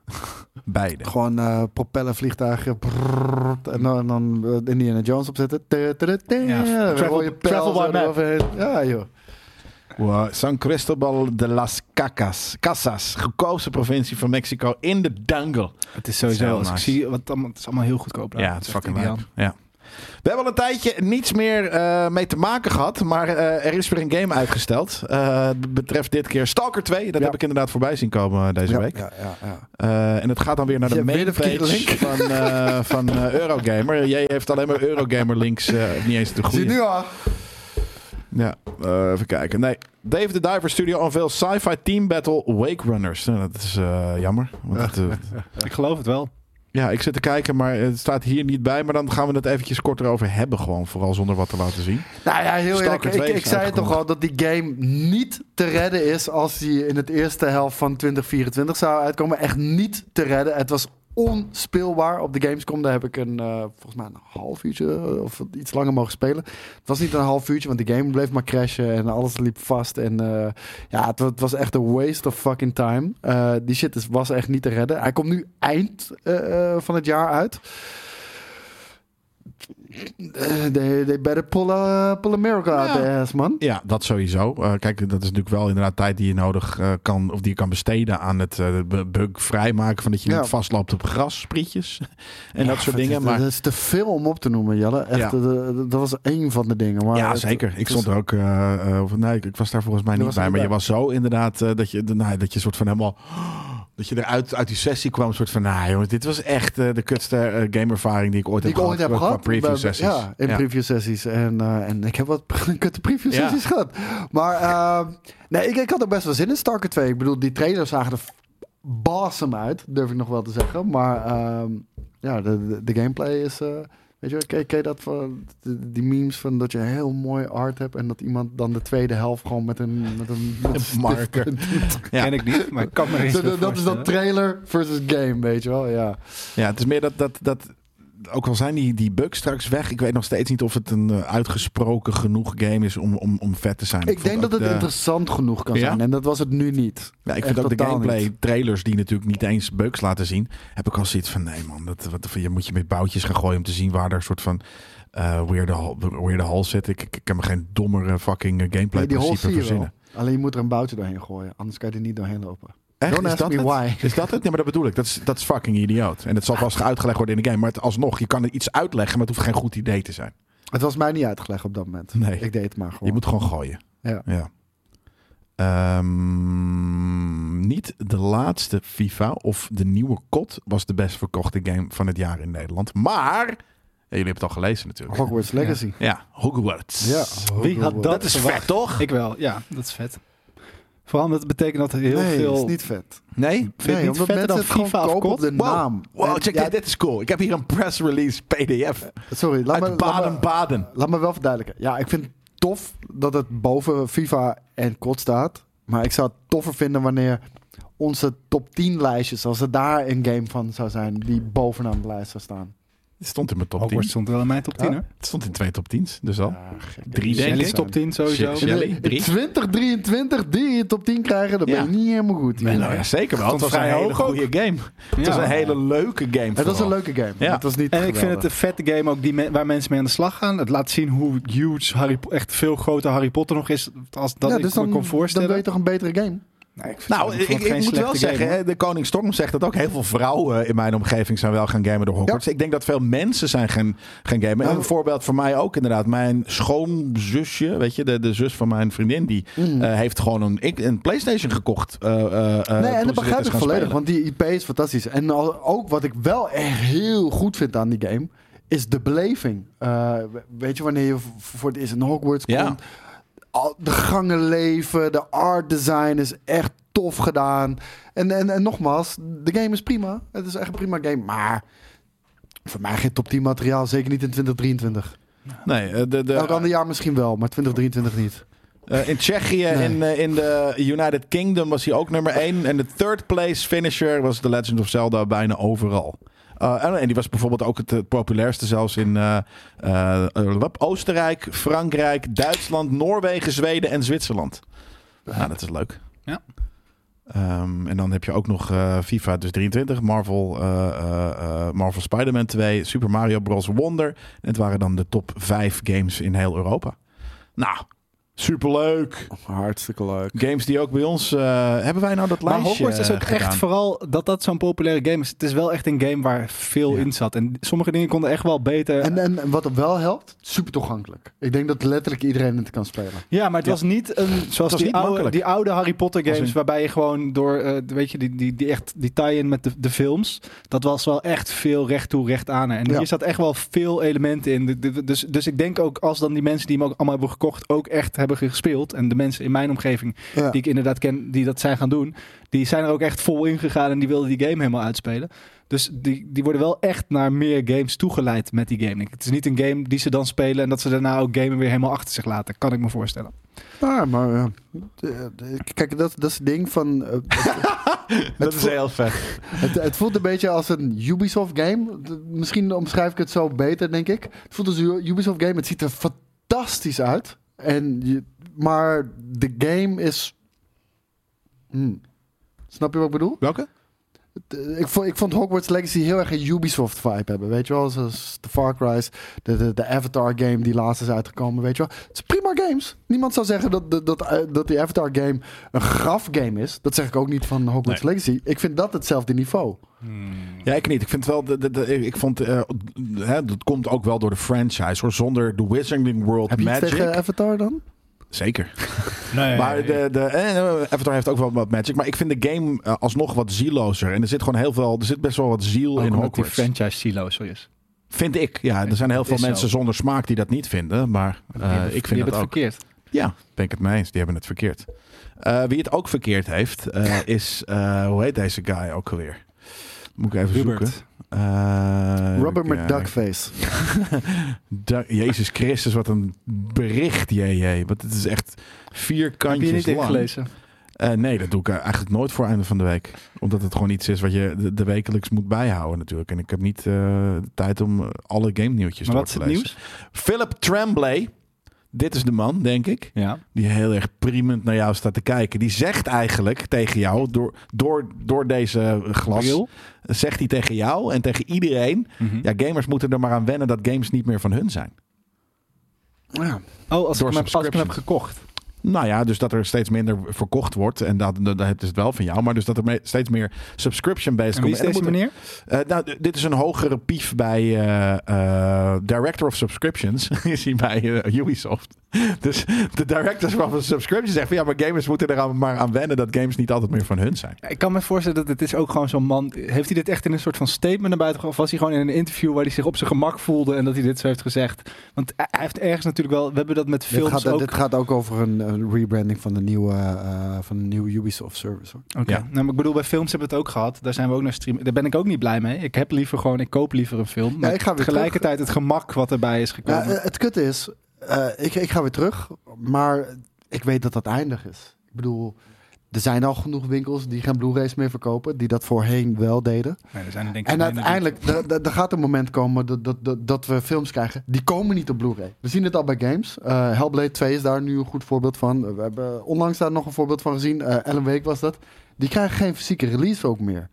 S1: Beide.
S3: Gewoon eh propellervliegtuigen. brrrr, en dan, en dan eh, Indiana Jones opzetten. Te, te, te, te,
S2: Ja,
S3: een
S2: travel-
S3: rode pijl
S2: travel by
S3: zo
S2: map.
S3: eroverheen. Ja, joh.
S1: Wow. San Cristobal de las Cacas. Casas. Gekozen provincie van Mexico in de jungle.
S2: Het is
S1: Heel
S2: sowieso. Als ik
S1: nice.
S2: zie, want het allemaal- het is allemaal heel goedkoop. daar.
S1: Ja, het is
S2: is echt
S1: fucking
S2: ideaal.
S1: lijp. Ja. We hebben al een tijdje niets meer eh, mee te maken gehad. Maar eh, er is weer een game uitgesteld. Eh, Het betreft dit keer Stalker 2. Dat
S3: Ja.
S1: heb ik inderdaad voorbij zien komen eh, deze
S3: ja,
S1: week.
S3: Ja, ja, ja.
S1: Eh, en het gaat dan weer naar de
S3: Je hebt weer de
S1: mainpage
S3: verkeerde
S1: van,
S3: link.
S1: eh, van eh, Eurogamer. Jij heeft alleen maar Eurogamer links. eh, niet eens de
S3: Zie
S1: goede.
S3: je nu al?
S1: Ja, eh, even kijken. Nee, Dave the Diver Studio unveils sci-fi team battle Wake Runners. Nou, dat is eh, jammer. Want het, eh,
S2: Ik geloof het wel.
S1: ja, ik zit te kijken, maar het staat hier niet bij. Maar dan gaan we het eventjes korter over hebben gewoon. Vooral zonder wat te laten zien.
S3: Nou ja, heel
S1: Stalker
S3: eerlijk. Ik,
S1: 2
S3: ik
S1: is
S3: zei het toch
S1: uitgekomen.
S3: al dat die game niet te redden is als die in het eerste helft van 2024 zou uitkomen. Echt niet te redden. Het was onspeelbaar op de Gamescom. Daar heb ik een, eh, volgens mij een half uurtje eh, of iets langer mogen spelen. Het was niet een half uurtje, want de game bleef maar crashen en alles liep vast. En eh, ja, het, wa- het was echt een waste of fucking time. Eh, die shit is, was echt niet te redden. Hij komt nu eind eh, eh, van het jaar uit. Eh, They, they better pull a, pull a miracle out
S1: Ja.
S3: their ass, man.
S1: Ja, dat sowieso. Eh, kijk, dat is natuurlijk wel inderdaad tijd die je nodig eh, kan, of die je kan besteden aan het eh, bu- bug vrijmaken van dat je
S3: Ja.
S1: niet vastloopt op grassprietjes en dat
S3: Ja,
S1: soort
S3: het
S1: dingen.
S3: is-
S1: Maar
S3: Dat is te veel om op te noemen, Jelle. Echt,
S1: Ja.
S3: eh, eh, dat was één van de dingen. Maar
S1: ja,
S3: het-
S1: zeker. Ik
S3: het
S1: stond
S3: is-
S1: er ook. eh, eh, of, nee, ik, ik was daar volgens mij
S3: Je
S1: niet
S3: was
S1: bij.
S3: er
S1: Maar
S3: niet
S1: je was zo inderdaad eh, dat je de- nou, dat je soort van helemaal. Dat je eruit uit die sessie kwam, soort van, nou jongens, dit was echt eh, de kutste eh, gameervaring die ik ooit
S3: Die
S1: heb
S3: ik ooit
S1: gehad. qua-
S3: heb
S1: qua
S3: gehad.
S1: preview
S3: bij-
S1: sessies.
S3: Ja, in
S1: Ja.
S3: preview sessies. En, eh, en ik heb wat kutte preview
S1: Ja.
S3: sessies gehad. Maar ehm, nee, ik, ik had er best wel zin in Stalker 2. Ik bedoel, die trailers zagen er f- awesome uit, durf ik nog wel te zeggen. Maar ehm, ja, de, de, de gameplay is... eh, Weet je, wel, ken, ken je dat van de- die memes van dat je heel mooi art hebt en dat iemand dan de tweede helft gewoon met een met een, met een stift-
S1: marker. Ja.
S2: Ken ik niet, maar ik kan me eens
S3: Dat- dat, dat is
S2: voorstellen.
S3: dat trailer versus game, weet je wel? Ja.
S1: Ja, het is meer dat, dat, dat ook al zijn die, die bugs straks weg, ik weet nog steeds niet of het een eh, uitgesproken genoeg game is om, om, om vet te zijn.
S3: Ik
S1: vond
S3: denk dat
S1: ook
S3: het
S1: de-
S3: interessant genoeg kan
S1: Ja?
S3: zijn en dat was het nu niet.
S1: ja, ik
S3: echt
S1: vind ook de
S3: totaal
S1: gameplay
S3: niet.
S1: trailers die natuurlijk niet eens bugs laten zien, heb ik al zoiets van nee man, dat, wat, je moet je met boutjes gaan gooien om te zien waar er een soort van eh weirde, hal- weirde hal zit. Ik, ik, ik kan me geen dommere fucking eh, gameplay
S3: Nee, die hol
S1: principe
S3: zie je wel.
S1: verzinnen.
S3: Alleen je moet er een boutje doorheen gooien, anders kan je er niet doorheen lopen.
S1: Echt,
S3: Don't
S1: is
S3: ask
S1: dat
S3: me
S1: het?
S3: why.
S1: Is dat het? Nee, maar dat bedoel ik. Dat is, dat is fucking idioot. En het zal vast uitgelegd worden in de game. Maar het, alsnog, je kan er iets uitleggen, maar het hoeft geen goed idee te zijn.
S3: Het was mij niet uitgelegd op dat moment.
S1: Nee.
S3: Ik deed het maar
S1: Je
S3: gewoon.
S1: moet gewoon gooien.
S3: Ja.
S1: Ehm, niet de laatste FIFA of de nieuwe COD was de best verkochte game van het jaar in Nederland. Maar, ja, jullie hebben het al gelezen natuurlijk.
S3: Hogwarts Legacy.
S1: ja, Hogwarts.
S3: Ja.
S2: Wie had dat
S1: Dat is
S2: verwacht?
S1: vet, toch?
S2: Ik wel, ja, dat is vet. Vooral omdat het betekent dat er heel
S3: nee,
S2: veel...
S3: is niet vet.
S1: Nee?
S2: Vind je het
S3: nee,
S2: niet
S3: omdat
S2: vetter
S3: mensen
S2: dan
S3: het gewoon
S2: FIFA of
S3: kopen op
S2: COD?
S3: de
S1: Wow.
S3: naam.
S1: Wow,
S3: En-
S1: check
S3: ja,
S1: dit. Dit is cool. Ik heb hier een press release PDF
S3: Sorry, laat me,
S1: uit
S3: laat, me,
S1: Baden-Baden.
S3: laat me wel verduidelijken. Ja, ik vind het tof dat het boven FIFA en COD staat. Maar ik zou het toffer vinden wanneer onze top 10 lijstjes, als er daar een game van zou zijn die bovenaan de lijst zou staan.
S1: Het stond in mijn top 10.
S2: Hogwarts stond wel in mijn top 10,
S3: Ja.
S2: hè?
S1: Het stond in twee top 10's, dus al.
S3: Ja, gek.
S1: Drie, denk
S2: Jelly
S1: ik.
S2: top 10 sowieso.
S1: Shit,
S3: In
S1: shit.
S3: de-
S1: Jelly,
S3: in
S1: drie.
S3: 2023 die in top 10 krijgen, dan
S1: Ja.
S3: ben je niet helemaal goed. hier.
S1: Nee, nou ja, zeker wel. Het
S2: Stond
S1: was een
S2: vrij
S1: hele
S2: hoog ook.
S1: goede game. Het was
S2: Ja.
S1: een hele leuke game.
S3: Het was
S1: vooral.
S3: een leuke game.
S1: Ja.
S3: Het was niet
S2: En ik vind het
S3: geweldig.
S2: een vette game ook die me- waar mensen mee aan de slag gaan. Het laat zien hoe huge, Harry, Po- echt veel groter Harry Potter nog is. Als dat
S3: Ja,
S2: ik
S3: dus
S2: me
S3: dan,
S2: kon voorstellen.
S3: dan ben je toch een betere game?
S2: Nee, ik vind
S1: Nou,
S2: het
S1: ik,
S2: gewoon
S1: ik
S2: geen
S1: moet wel
S2: slechte
S1: zeggen,
S2: game,
S1: hè, de Koning Storm zegt dat ook. Heel veel vrouwen eh, in mijn omgeving zijn wel gaan gamen door Hogwarts. Ik denk dat veel mensen zijn gaan, gaan gamen.
S3: Nou,
S1: een voorbeeld voor mij ook inderdaad. Mijn schoonzusje, weet je, de, de zus van mijn vriendin, die eh, heeft gewoon een, ik- een Playstation gekocht. eh, eh, eh,
S3: Mm. nee,
S1: toen
S3: en
S1: ze
S3: dat
S1: dit
S3: begrijp
S1: is
S3: ik
S1: gaan
S3: volledig,
S1: spelen.
S3: want die IP is fantastisch. En al- ook wat ik wel echt heel goed vind aan die game, is de beleving. Eh, we- weet je, wanneer je v- voor het eerst in Hogwarts
S1: Ja.
S3: komt, al, de gangen leven, de art design is echt tof gedaan. En, en, en nogmaals, de game is prima. Het is echt een prima game, maar... Voor mij geen top 10 materiaal, zeker niet in 2023.
S1: Nee, eh, de, de,
S3: Elk ander jaar misschien wel, maar 2023 niet.
S1: eh, in Tsjechië,
S3: Nee.
S1: in, eh, in de United Kingdom was hij ook nummer 1. En de third place finisher was The Legend of Zelda bijna overal. Eh, en, en die was bijvoorbeeld ook het, eh, populairste zelfs in eh, eh, eh, Oostenrijk, Frankrijk, Duitsland, Noorwegen, Zweden en Zwitserland. Nou, dat is leuk.
S2: Ja.
S1: Ehm, en dan heb je ook nog eh, FIFA dus 23, Marvel, eh, eh, eh, Marvel Spider-Man 2, Super Mario Bros. Wonder. En het waren dan de top 5 games in heel Europa. Nou, superleuk.
S3: Hartstikke leuk.
S1: Games die ook bij ons... eh, hebben wij nou dat
S2: Maar
S1: lijstje
S2: Hogwarts is ook
S1: gedaan?
S2: echt vooral dat dat zo'n populaire game is. Het is wel echt een game waar veel
S1: Ja.
S2: in zat. En sommige dingen konden echt wel beter.
S3: En, eh, en wat wel helpt, super toegankelijk. Ik denk dat letterlijk iedereen het kan spelen.
S2: ja, maar het
S1: Ja.
S2: was niet een, zoals
S1: was
S2: die,
S1: niet
S2: oude,
S1: makkelijk.
S2: die oude Harry Potter
S1: Als
S2: games,
S1: in-
S2: waarbij je gewoon door, eh, weet je, die, die, die, echt, die tie-in met de, de films, dat was wel echt veel recht toe, recht aan. En
S3: Ja.
S2: hier zat echt wel veel elementen in. De- de- dus, dus ik denk ook, als dan die mensen die hem ook allemaal hebben gekocht, ook echt hebben gespeeld, en de mensen in mijn omgeving
S3: Ja.
S2: die ik inderdaad ken, die dat zijn gaan doen, die zijn er ook echt vol in gegaan en die wilden die game helemaal uitspelen. Dus die, die worden wel echt naar meer games toegeleid met die game. Het is niet een game die ze dan spelen en dat ze daarna ook gamen weer helemaal achter zich laten. Kan ik me voorstellen.
S3: Ja, maar ja. Eh, eh, Kijk, dat, dat is het ding van... eh,
S1: Dat is heel vet.
S3: Het, het voelt een beetje als een Ubisoft game. D- Misschien omschrijf ik het zo beter, denk ik. Het voelt als een Ubisoft game. Het ziet er fantastisch uit. En je, maar de game is... Hmm. Snap je wat ik bedoel?
S1: Welke?
S3: D- Eh, Ik vond, ik vond Hogwarts Legacy heel erg een Ubisoft vibe hebben. Weet je wel, zoals de Far Cry's, de, de, de Avatar game die laatst is uitgekomen. Weet je wel, het is prima games. Niemand zou zeggen dat, dat, dat, eh, dat die Avatar game een graf game is. Dat zeg ik ook niet van Hogwarts Legacy. Ik vind dat hetzelfde niveau.
S1: Ja, ik niet. Ik vind wel. De, de- de- ik vond. eh, hè, dat komt ook wel door de franchise hoor. Zonder de Wizarding World
S3: Heb je iets
S1: Magic.
S3: tegen Avatar dan?
S1: Zeker.
S5: Nee,
S2: eh,
S1: Maar de, de, eh, Avatar heeft ook wel wat magic. Maar ik vind de game eh, alsnog wat zielozer. En er zit gewoon heel veel. Er zit best wel wat ziel in
S2: Ook omdat die
S1: Hogwarts.
S2: franchise silo zo
S1: Eh,
S2: is.
S1: Vind ik. Ja, er zijn heel veel
S2: is zo.
S1: mensen zonder smaak die dat niet vinden. Maar eh,
S2: Die hebben-
S1: ik
S2: die
S1: vind
S2: hebben
S1: dat
S2: het
S1: ook.
S2: verkeerd.
S1: Ja, ben ik het mee eens. Die hebben het verkeerd. Eh, wie het ook verkeerd heeft, eh, is... eh, hoe heet deze guy ook alweer? Moet ik even zoeken. Eh,
S3: Robert
S1: ja,
S3: McDuckface.
S1: Da- Jezus Christus, wat een bericht, jee. Want het is echt
S2: Heb je
S1: vierkantjes
S2: niet
S1: lang.
S2: ingelezen?
S1: Eh, nee, dat doe ik eh, eigenlijk nooit voor einde van de week. Omdat het gewoon iets is wat je de, de wekelijks moet bijhouden natuurlijk. En ik heb niet eh, de tijd om alle game nieuwtjes
S2: Maar
S1: door
S2: wat is
S1: te
S2: het
S1: lezen.
S2: nieuws?
S1: Philip Tremblay. Dit is de man, denk ik.
S2: Ja.
S1: Die heel erg priemend naar jou staat te kijken. Die zegt eigenlijk tegen jou, door, door, door deze glas,
S2: Bril?
S1: zegt hij tegen jou en tegen iedereen.
S2: Mhm.
S1: Ja, gamers moeten er maar aan wennen dat games niet meer van hun zijn.
S3: Ja.
S2: Oh, als ik,
S1: Door
S2: hem heb, als ik hem heb
S1: subscriptions.
S2: gekocht.
S1: Nou ja, dus dat er steeds minder verkocht wordt. En dat, dat, dat is het wel van jou. Maar dus dat er me- steeds meer subscription-based
S2: En wie is
S1: En dan
S2: deze
S1: moet er-
S2: meneer?
S1: Eh, nou, d- dit is een hogere pief bij eh, eh, Director of Subscriptions. is hij bij eh, Ubisoft. Dus de Directors of Subscriptions zeggen van ja, maar gamers moeten er aan- maar aan wennen dat games niet altijd meer van hun zijn.
S2: Ja, Ik kan me voorstellen dat het is ook gewoon zo'n man. Heeft hij dit echt in een soort van statement naar buiten gebracht? Of was hij gewoon in een interview waar hij zich op zijn gemak voelde en dat hij dit zo heeft gezegd? Want hij hij heeft ergens natuurlijk wel. We hebben dat met
S3: Dit,
S2: films
S3: gaat, eh,
S2: ook.
S3: dit gaat ook over een, een rebranding van de nieuwe, eh, van de nieuwe Ubisoft service. Hoor.
S2: Oké.
S1: Ja.
S2: Nou, maar ik bedoel, bij films hebben we het ook gehad. Daar zijn we ook naar streamen. Daar ben ik ook niet blij mee. Ik heb liever gewoon, ik koop liever een film. Maar
S3: ik ga weer
S2: tegelijkertijd het gemak wat erbij is
S3: Ja,
S2: gekomen.
S3: eh, het kutte is, eh, ik, ik ga weer terug, maar ik weet dat dat eindig is. Ik bedoel, er zijn al genoeg winkels die geen Blu-rays meer verkopen, die dat voorheen wel deden.
S2: Nee, er zijn er denk ik
S3: En
S2: minder die-
S3: uiteindelijk, er- er- er gaat een moment komen dat, dat, dat, dat we films krijgen. Die komen niet op Blu-ray. We zien het al bij games. Eh, Hellblade 2 is daar nu een goed voorbeeld van. We hebben onlangs daar nog een voorbeeld van gezien. Eh Ellen Wake was dat. Die krijgen geen fysieke release ook meer.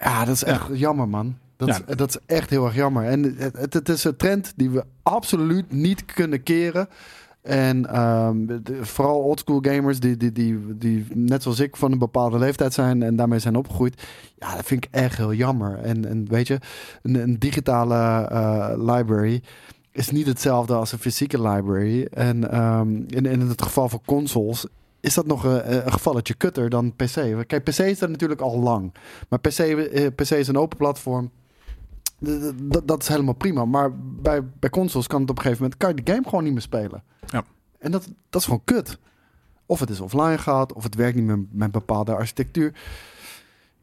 S3: Ja, dat is echt jammer, man. Dat,
S1: Ja.
S3: is, dat is echt heel erg jammer. En het, het, het is een trend die we absoluut niet kunnen keren. En ehm, de- vooral oldschool gamers die, die, die, die net zoals ik van een bepaalde leeftijd zijn en daarmee zijn opgegroeid. Ja, dat vind ik echt heel jammer. En, en weet je, een, een digitale eh, library is niet hetzelfde als een fysieke library. En ehm, in, in het geval van consoles is dat nog eh, een, een gevalletje kutter dan PC. Kijk, PC is er natuurlijk al lang. Maar PC, eh, PC is een open platform. D- d- Dat, dat is helemaal prima. Maar bij, bij consoles kan het op een gegeven moment... kan je de game gewoon niet meer spelen.
S1: Ja.
S3: En dat, dat is gewoon kut. Of het is offline gaat, of het werkt niet meer met bepaalde architectuur.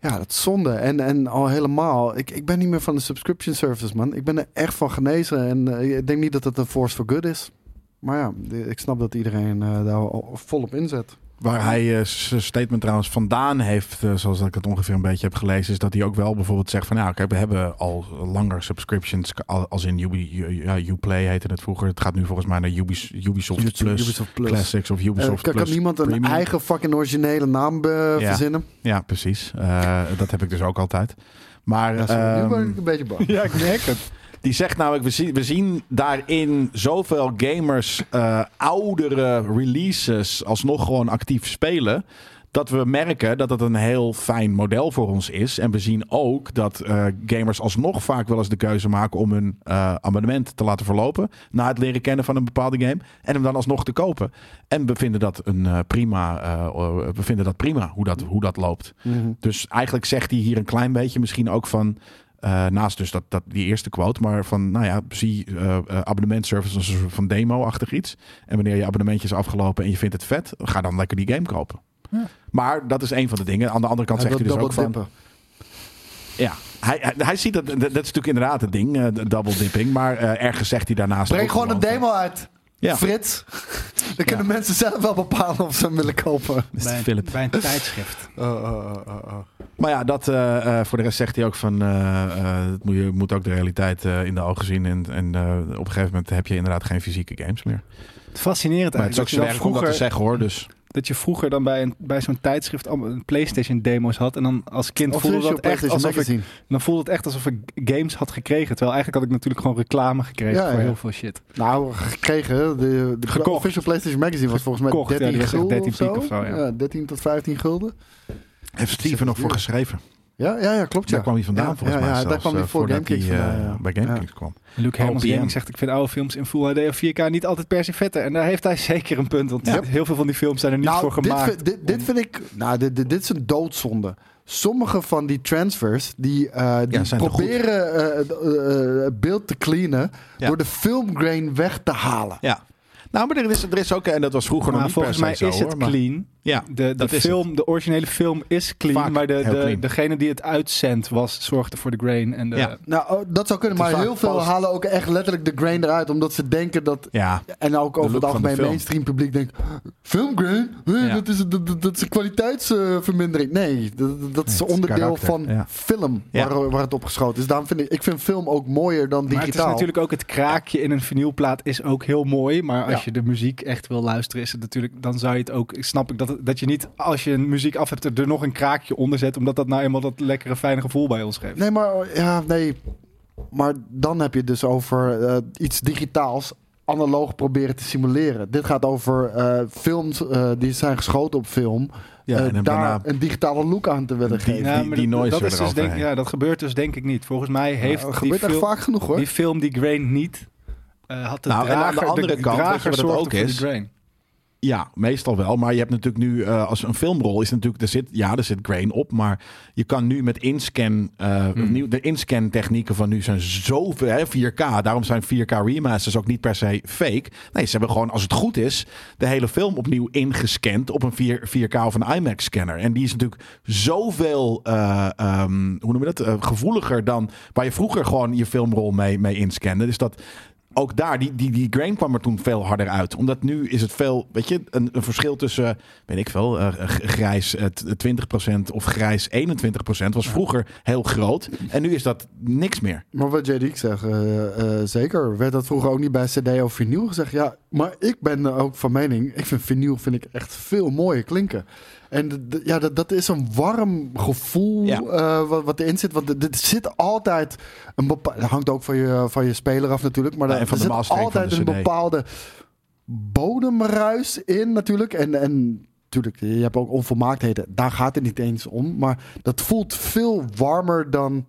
S3: Ja, dat is zonde. En, en al helemaal, ik, ik ben niet meer van de subscription services, man. Ik ben er echt van genezen. En eh, ik denk niet dat het een force for good is. Maar ja, ik snap dat iedereen eh, daar al volop inzet.
S1: Waar hij eh, zijn statement trouwens vandaan heeft, eh, zoals ik het ongeveer een beetje heb gelezen, is dat hij ook wel bijvoorbeeld zegt van nou, kijk, we hebben al langer subscriptions al- als in Ubi, ja, Uplay heette het vroeger. Het gaat nu volgens mij naar Ubis- Ubisoft, Plus,
S3: Ubisoft Plus.
S1: Classics of
S3: Eh,
S1: Ubisoft
S3: kan, kan
S1: Plus.
S3: niemand een
S1: Premium.
S3: eigen fucking originele naam eh, verzinnen?
S1: Ja, precies. Eh, dat heb ik dus ook altijd. Maar
S3: Ja, sorry, nu
S1: ehm,
S3: ben ik een beetje bang.
S2: Ja, ik merk het.
S1: die zegt namelijk, we zien, we zien daarin zoveel gamers eh, oudere releases alsnog gewoon actief spelen. Dat we merken dat het een heel fijn model voor ons is. En we zien ook dat eh, gamers alsnog vaak wel eens de keuze maken om hun eh, abonnement te laten verlopen. Na het leren kennen van een bepaalde game. En hem dan alsnog te kopen. En we vinden dat, een, eh, prima, eh, we vinden dat prima hoe dat, hoe dat loopt.
S3: Mhm.
S1: Dus eigenlijk zegt hij hier een klein beetje misschien ook van. eh, naast dus dat, dat, die eerste quote, maar van nou ja, zie eh, eh, abonnementservice als een soort van demo-achtig iets. En wanneer je abonnementje is afgelopen en je vindt het vet, ga dan lekker die game kopen.
S2: Ja.
S1: Maar dat is een van de dingen. Aan de andere kant
S3: Hij
S1: zegt hij
S3: wil
S1: dus ook
S3: double
S1: van.
S3: dippen.
S1: Ja, hij, hij, hij ziet dat, dat, dat is natuurlijk inderdaad het ding, eh, de double dipping. Maar eh, ergens zegt hij daarnaast.
S3: Breng
S1: ook
S3: gewoon een
S1: van-
S3: demo uit.
S1: Ja.
S3: Frits. Dan kunnen mensen zelf wel bepalen of ze hem willen kopen.
S1: Mr.
S2: Bij,
S1: Philip.
S2: een, bij een tijdschrift.
S3: Oh, oh, oh, oh, oh.
S1: Maar ja, dat, eh, eh, voor de rest zegt hij ook van... eh, eh, het moet, je moet ook de realiteit eh, in de ogen zien. En, en eh, op een gegeven moment heb je inderdaad geen fysieke games meer.
S2: Fascinerend
S1: Maar het is ook
S2: eigenlijk.
S1: zo
S2: dat,
S1: erg
S2: je
S1: om
S2: dan
S1: dat te
S2: vroeger,
S1: zeggen hoor. Dus
S2: dat je vroeger dan bij, een, bij zo'n tijdschrift allemaal een PlayStation demo's had. En dan als kind voelde
S3: Official
S2: dat echt
S3: dus PlayStation
S2: alsof ik,
S3: Magazine.
S2: dan voelde het echt alsof ik games had gekregen. Terwijl eigenlijk had ik natuurlijk gewoon reclame gekregen
S3: Ja,
S2: voor
S3: ja.
S2: heel veel shit.
S3: Nou, gekregen. De, de
S2: Gekocht.
S3: Official PlayStation Magazine was volgens mij
S2: Gekocht, ja,
S3: 13
S2: die was echt
S3: gulden
S2: 13
S3: of zo.
S2: piek of zo, ja.
S3: 13 tot 15 gulden.
S1: heeft Steven nog voor geschreven.
S3: Ja, ja, ja klopt. Ja.
S1: Daar kwam hij vandaan
S3: Ja,
S1: volgens
S3: ja,
S1: mij
S3: ja,
S1: zelfs,
S3: daar kwam hij
S1: eh,
S3: voor
S1: voordat
S3: Gamekings
S1: hij, eh,
S3: vandaan, ja.
S1: bij GameKings kwam.
S2: Luke Hermans
S1: OPM.
S2: Gaming zegt, ik vind oude films in Full HD of 4K niet altijd per se vetter. En daar heeft hij zeker een punt, want
S3: Ja.
S2: heel veel van die films zijn er niet
S3: nou,
S2: voor gemaakt.
S3: Dit, vind- dit, dit vind ik. Nou, dit, dit, dit is een doodzonde. Sommige van die transfers die, eh, die
S1: Ja, zijn toch
S3: proberen eh, d- eh, het beeld te cleanen
S1: Ja.
S3: door de filmgrain weg te halen.
S1: Ja. Nou, maar er is, er is ook, en dat was vroeger
S2: Maar
S1: nog niet per
S2: volgens
S1: se
S2: mij
S1: zo,
S2: is het
S1: hoor, maar-
S2: clean.
S1: Ja,
S2: De, de,
S1: dat is
S2: film, de originele film is clean,
S1: Vaak
S2: maar de,
S1: heel
S2: de,
S1: clean.
S2: degene die het uitzendt was, zorgde voor de grain. En de,
S1: Ja.
S3: Nou, oh, dat zou kunnen,
S1: Het is
S3: maar heel
S1: vaak
S3: veel
S1: post-
S3: halen ook echt letterlijk de grain eruit, omdat ze denken dat.
S1: ja.
S3: En ook over
S1: look
S3: het
S1: van de
S3: algemeen
S1: film.
S3: mainstream publiek denkt: filmgrain? Huh,
S2: Ja.
S3: dat, is, dat, dat- dat is een kwaliteitsvermindering. nee, dat, dat- dat is
S1: Nee, het is
S3: onderdeel
S1: karakter,
S3: van
S1: ja.
S3: film
S1: Ja.
S3: waar, waar het opgeschoten is. Daarom vind ik, ik vind film ook mooier dan
S2: Maar
S3: digitaal.
S2: het is natuurlijk ook het kraakje in een vinylplaat is ook heel mooi. Maar als
S3: Ja.
S2: je de muziek echt wil luisteren, is het natuurlijk, dan zou je het ook. Snap ik dat, het- dat je niet als je een muziek af hebt er er nog een kraakje onder zet, omdat dat nou eenmaal dat lekkere fijne gevoel bij ons geeft.
S3: Nee, maar ja, nee. Maar dan heb je het dus over eh, iets digitaals analoog proberen te simuleren. Dit gaat over eh, films eh, die zijn geschoten op film.
S1: Ja,
S3: eh,
S1: en dan daarna-
S3: daar een digitale look aan te willen
S1: Die-
S3: geven.
S1: Ja,
S2: maar
S1: die
S2: dat-
S1: noise
S2: dat, is dus denk,
S1: eroverheen.
S2: ja, dat gebeurt dus denk ik niet. Volgens mij heeft
S3: Nou,
S2: die,
S3: gebeurt echt
S2: film,
S3: vaak genoeg hoor.
S2: die film die grain niet. eh, had de
S1: Nou, en aan de
S2: drager,
S1: andere
S2: de
S1: kant, weet je wat
S2: drager
S1: het
S2: zorgde
S1: ook
S2: voor die
S1: is?
S2: grain.
S1: Ja, meestal wel. Maar je hebt natuurlijk nu, eh, als een filmrol is natuurlijk, er zit, ja, er zit grain op. Maar je kan nu met inscan, eh, nieuw- de inscan technieken van nu zijn zoveel, hè, 4K. Daarom zijn 4K remasters ook niet per se fake. Nee, ze hebben gewoon, als het goed is, de hele film opnieuw ingescand op een 4, 4K of een IMAX scanner. En die is natuurlijk zoveel, eh, ehm, hoe noem je dat, Eh, gevoeliger dan waar je vroeger gewoon je filmrol mee, mee inscande. Dus dat, ook daar, die, die, die grain kwam er toen veel harder uit. Omdat nu is het veel, weet je, een, een verschil tussen, weet ik veel, eh, g- grijs eh, t- 20% of grijs 21% was vroeger heel groot. En nu is dat niks meer.
S3: Maar wat JD zegt, eh, eh, zeker. Werd dat vroeger ook niet bij CD of vinyl gezegd? Ja, maar ik ben er ook van mening. Ik vind vinyl vind ik echt veel mooier klinken. En d- d- ja, dat, dat is een warm gevoel
S1: Ja.
S3: eh, wat, wat erin zit. Want er- er zit altijd een bepaalde. Dat hangt ook van je, van je speler af natuurlijk. Maar
S1: Ja,
S3: daar
S1: en van
S3: er
S1: de
S3: zit
S1: mastering van
S3: altijd
S1: de
S3: een
S1: CD.
S3: bepaalde bodemruis in natuurlijk. En. en Natuurlijk, je hebt ook onvolmaaktheden. Daar gaat het niet eens om. Maar dat voelt veel warmer dan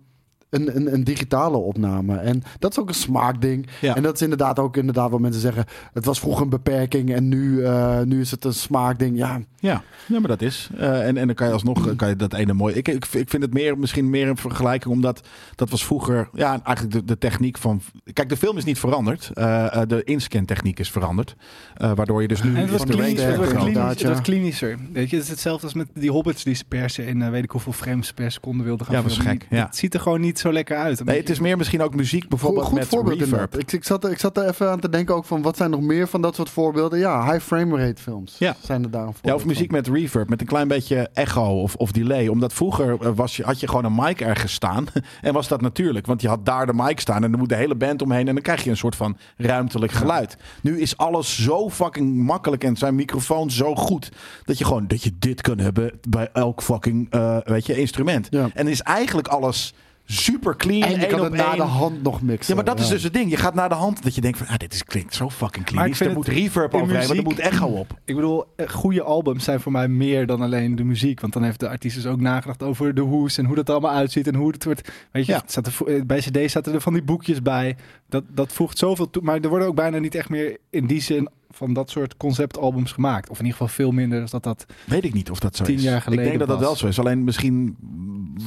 S3: een, een, een digitale opname. En dat is ook een smaakding.
S1: Ja.
S3: En dat is inderdaad ook inderdaad wat mensen zeggen. Het was vroeger een beperking en nu, eh, nu is het een smaakding. Ja,
S1: Ja, ja maar dat is. Eh, en, en dan kan je alsnog eh, kan je dat ene mooi. Ik, ik, ik vind het meer, misschien meer een vergelijking, omdat dat was vroeger. Ja, eigenlijk de, de techniek van. Kijk, de film is niet veranderd. Eh, eh, de inscan-techniek is veranderd. Eh, waardoor je dus nu.
S2: En het was,
S1: is
S3: de
S2: klinisch,
S3: range
S2: het, was
S3: verder
S2: klinisch,
S3: inderdaad,
S2: het was
S3: ja.
S2: klinischer. Weet je, het is hetzelfde als met die hobbits die ze persen in eh, weet ik hoeveel frames per seconde wilden gaan
S1: Ja, dat is
S2: filmen.
S1: gek, ja.
S2: Het ziet er gewoon niet zo lekker uit.
S1: Nee,
S2: Een beetje-
S1: het is meer misschien ook muziek bijvoorbeeld
S3: goed
S1: met
S3: voorbeeld
S1: reverb.
S3: inderdaad. Ik, ik, zat, er- ik zat er even aan te denken ook van wat zijn nog meer van dat soort voorbeelden. Ja, high frame rate films
S1: Ja.
S3: zijn er daarom
S1: Ja, of muziek met reverb, met een klein beetje echo of, of delay. Omdat vroeger eh, was je, had je gewoon een mic ergens staan. En was dat natuurlijk, want je had daar de mic staan. En dan moet de hele band omheen. En dan krijg je een soort van ruimtelijk geluid. Nu is alles zo fucking makkelijk. En zijn microfoons zo goed. Dat je gewoon dat je dit kan hebben bij elk fucking eh, weet je, instrument.
S3: Ja.
S1: En is eigenlijk alles super clean.
S3: En je
S1: één
S3: kan
S1: op
S3: het na
S1: één.
S3: de hand nog
S1: Ja,
S3: mixen.
S1: maar dat is dus het ding. Je gaat naar de hand dat je denkt van, ah, dit is, klinkt zo fucking
S2: Maar
S1: clean.
S2: ik
S1: Er
S2: vind
S1: moet
S2: het-
S1: reverb
S2: in
S1: overheen, maar er
S2: muziek-
S1: moet echo op.
S2: Ik bedoel, eh, goede albums zijn voor mij meer dan alleen de muziek. Want dan heeft de artiest dus ook nagedacht over de hoes en hoe dat er allemaal uitziet en hoe het wordt. Weet je,
S1: Ja.
S2: het staat er, vo- eh, bij CD zaten er van die boekjes bij. Dat, dat voegt zoveel toe. Maar er worden ook bijna niet echt meer in die zin van dat soort conceptalbums gemaakt. Of in ieder geval veel minder dan dat dat
S1: Weet ik niet of dat zo
S2: Tien
S1: is.
S2: jaar geleden
S1: Ik denk dat dat
S2: pas.
S1: wel zo is. Alleen misschien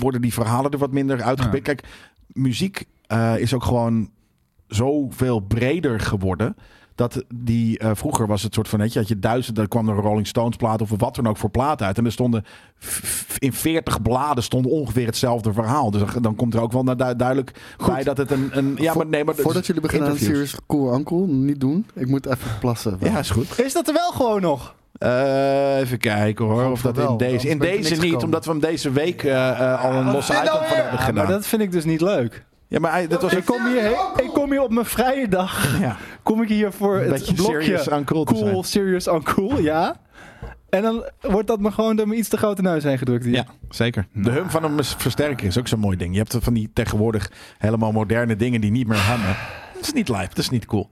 S1: worden die verhalen er wat minder uitgepikt. Kijk, muziek eh, is ook gewoon zoveel breder geworden. Dat die, eh, vroeger was het soort van, weet je, had je duizend, dan kwam er een Rolling Stones plaat of wat dan ook voor plaat uit. En er stonden f- f- in veertig bladen stond ongeveer hetzelfde verhaal. Dus dan- dan komt er ook wel naar du- duidelijk bij dat het een... een ja,
S3: Vo-
S1: maar nee, maar... dat
S3: Voordat
S1: is
S3: jullie beginnen aan
S1: interviews.
S3: Serious Cool Uncle, niet doen. Ik moet even plassen.
S1: Ja, is goed.
S2: Is dat er wel gewoon nog?
S1: Eh, even kijken hoor, of
S3: Godver
S1: dat in
S3: wel,
S1: deze...
S3: anders
S1: In
S3: ben ik er
S1: deze
S3: niks
S1: niet,
S3: gekomen.
S1: omdat we hem deze week eh, eh, al een losse item van hebben
S2: maar
S1: gedaan.
S2: dat vind ik dus niet leuk.
S1: Ja, maar hij- dat was
S2: Ik kom, hier, ik kom hier op mijn vrije dag.
S1: Ja.
S2: Kom ik hier voor
S1: Een
S2: het
S1: beetje
S2: blokje
S1: serious aan cool te
S2: cool,
S1: zijn.
S2: serious on cool, ja. En dan wordt dat me gewoon door me iets te grote neus heen gedrukt hier.
S1: Ja, zeker. De hum van een versterker is ook zo'n mooi ding. Je hebt van die tegenwoordig helemaal moderne dingen die niet meer hangen. Dat is niet live, dat is niet cool.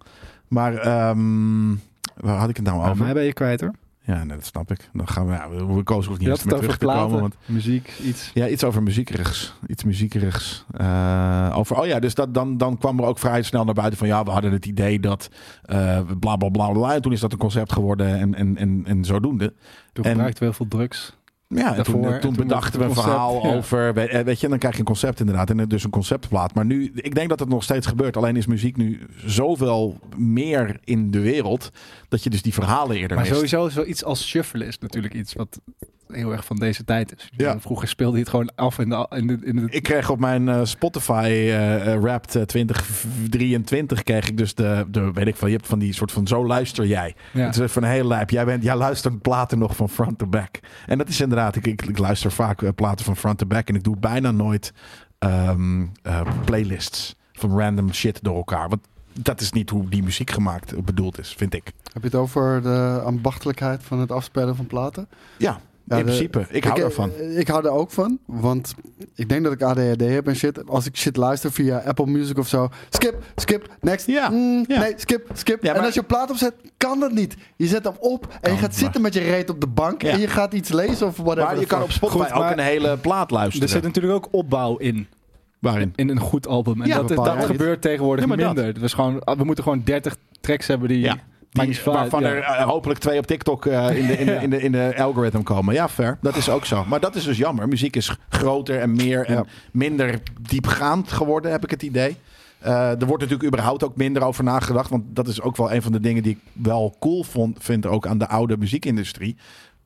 S1: Maar ehm, waar had ik het nou
S2: Maar
S1: over?
S2: mij ben je kwijt hoor.
S1: Ja, nee, dat snap ik. Dan gaan we, ja, we- we kozen hoeft niet
S2: Je had
S1: eens
S2: het
S1: meer
S2: over
S1: terug te
S2: platen,
S1: komen. Want,
S2: muziek, iets.
S1: ja, iets over muziekerigs. Iets muziekerigs. Eh, over, oh ja, dus dat, dan, dan kwam er ook vrij snel naar buiten van... ja, we hadden het idee dat eh bla bla bla bla. En toen is dat een concept geworden en, en, en, en zodoende.
S2: Toen
S1: En-
S2: gebruikte we heel veel drugs.
S1: Ja, en toen, eh,
S2: Daarvoor,
S1: toen,
S2: en toen
S1: bedachten we een
S2: het concept,
S1: verhaal
S2: ja.
S1: over. we- eh, Weet je, en dan krijg je een concept inderdaad. En dus een conceptplaat. Maar nu, ik denk dat het nog steeds gebeurt. Alleen is muziek nu zoveel meer in de wereld. dat je dus die verhalen eerder
S2: Maar
S1: mist.
S2: sowieso is wel iets als shuffle is natuurlijk iets wat heel erg van deze tijd is.
S1: Ja.
S2: Vroeger speelde je het gewoon af in de... In de, in de
S1: Ik kreeg op mijn eh, Spotify eh eh, Wrapped eh, 2023 kreeg ik dus de, de, weet ik van, je hebt van die soort van zo luister jij.
S2: ja.
S1: Het is van heel lijp. Jij, bent, jij luistert platen nog van front to back. En dat is inderdaad, ik, ik, ik luister vaak eh, platen van front to back. En ik doe bijna nooit ehm, eh, playlists van random shit door elkaar. Want dat is niet hoe die muziek gemaakt eh, bedoeld is, vind ik.
S3: Heb je het over de ambachtelijkheid van het afspelen van platen?
S1: Ja,
S3: Ja,
S1: in
S3: de-
S1: principe. Ik hou daarvan.
S3: eh, Ik hou er ook van, want ik denk dat ik ADHD heb en shit. Als ik shit luister via Apple Music of zo, skip, skip, next.
S1: Ja,
S3: Mm,
S1: ja.
S3: Nee, skip, skip.
S1: Ja, maar-
S3: En als je een plaat opzet, kan dat niet. Je zet hem op en je
S1: Kan,
S3: gaat
S1: maar-
S3: zitten met je reet op de bank
S1: Ja.
S3: en je gaat iets lezen of whatever.
S1: Maar je
S3: the
S1: kan
S3: fuck.
S1: op Spotify
S2: Goed, maar-
S1: ook een hele plaat luisteren.
S2: Er zit natuurlijk ook opbouw in.
S1: Waarin?
S2: in een goed album. En
S3: Ja,
S2: dat,
S3: bepaal
S2: dat
S3: jij niet.
S2: gebeurt tegenwoordig
S1: Ja, maar dat.
S2: minder. Het was gewoon, ah, we moeten gewoon 30 tracks hebben die...
S1: Ja. Die-
S2: Maakt niet uit,
S1: waarvan
S2: ja.
S1: er eh, hopelijk twee op TikTok eh, in, de, in, de, in, de, in de algorithm komen. Ja, fair. Dat is ook zo. Maar dat is dus jammer. Muziek is g- groter en meer en
S3: Ja.
S1: minder diepgaand geworden, heb ik het idee. Eh, er wordt natuurlijk überhaupt ook minder over nagedacht. Want dat is ook wel een van de dingen die ik wel cool vond, vind ook aan de oude muziekindustrie.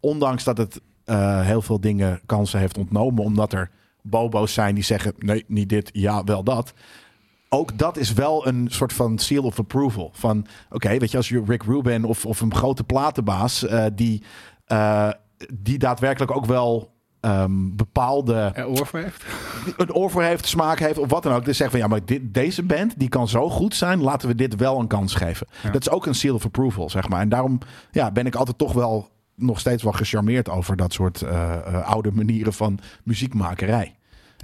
S1: Ondanks dat het eh, heel veel dingen kansen heeft ontnomen. Omdat er bobo's zijn die zeggen, nee, niet dit, ja, wel dat ook dat is wel een soort van seal of approval. Van oké, weet je, als je Rick Rubin of, of een grote platenbaas eh, die, eh, die daadwerkelijk ook wel ehm, bepaalde
S2: Ja, oor voor heeft.
S1: een oor voor heeft, smaak heeft of wat dan ook. Dus zeggen van ja, maar dit, deze band die kan zo goed zijn, laten we dit wel een kans geven.
S2: Ja.
S1: Dat is ook een seal of approval, zeg maar. En daarom ja, ben ik altijd toch wel nog steeds wel gecharmeerd over dat soort eh, eh, oude manieren van muziekmakerij.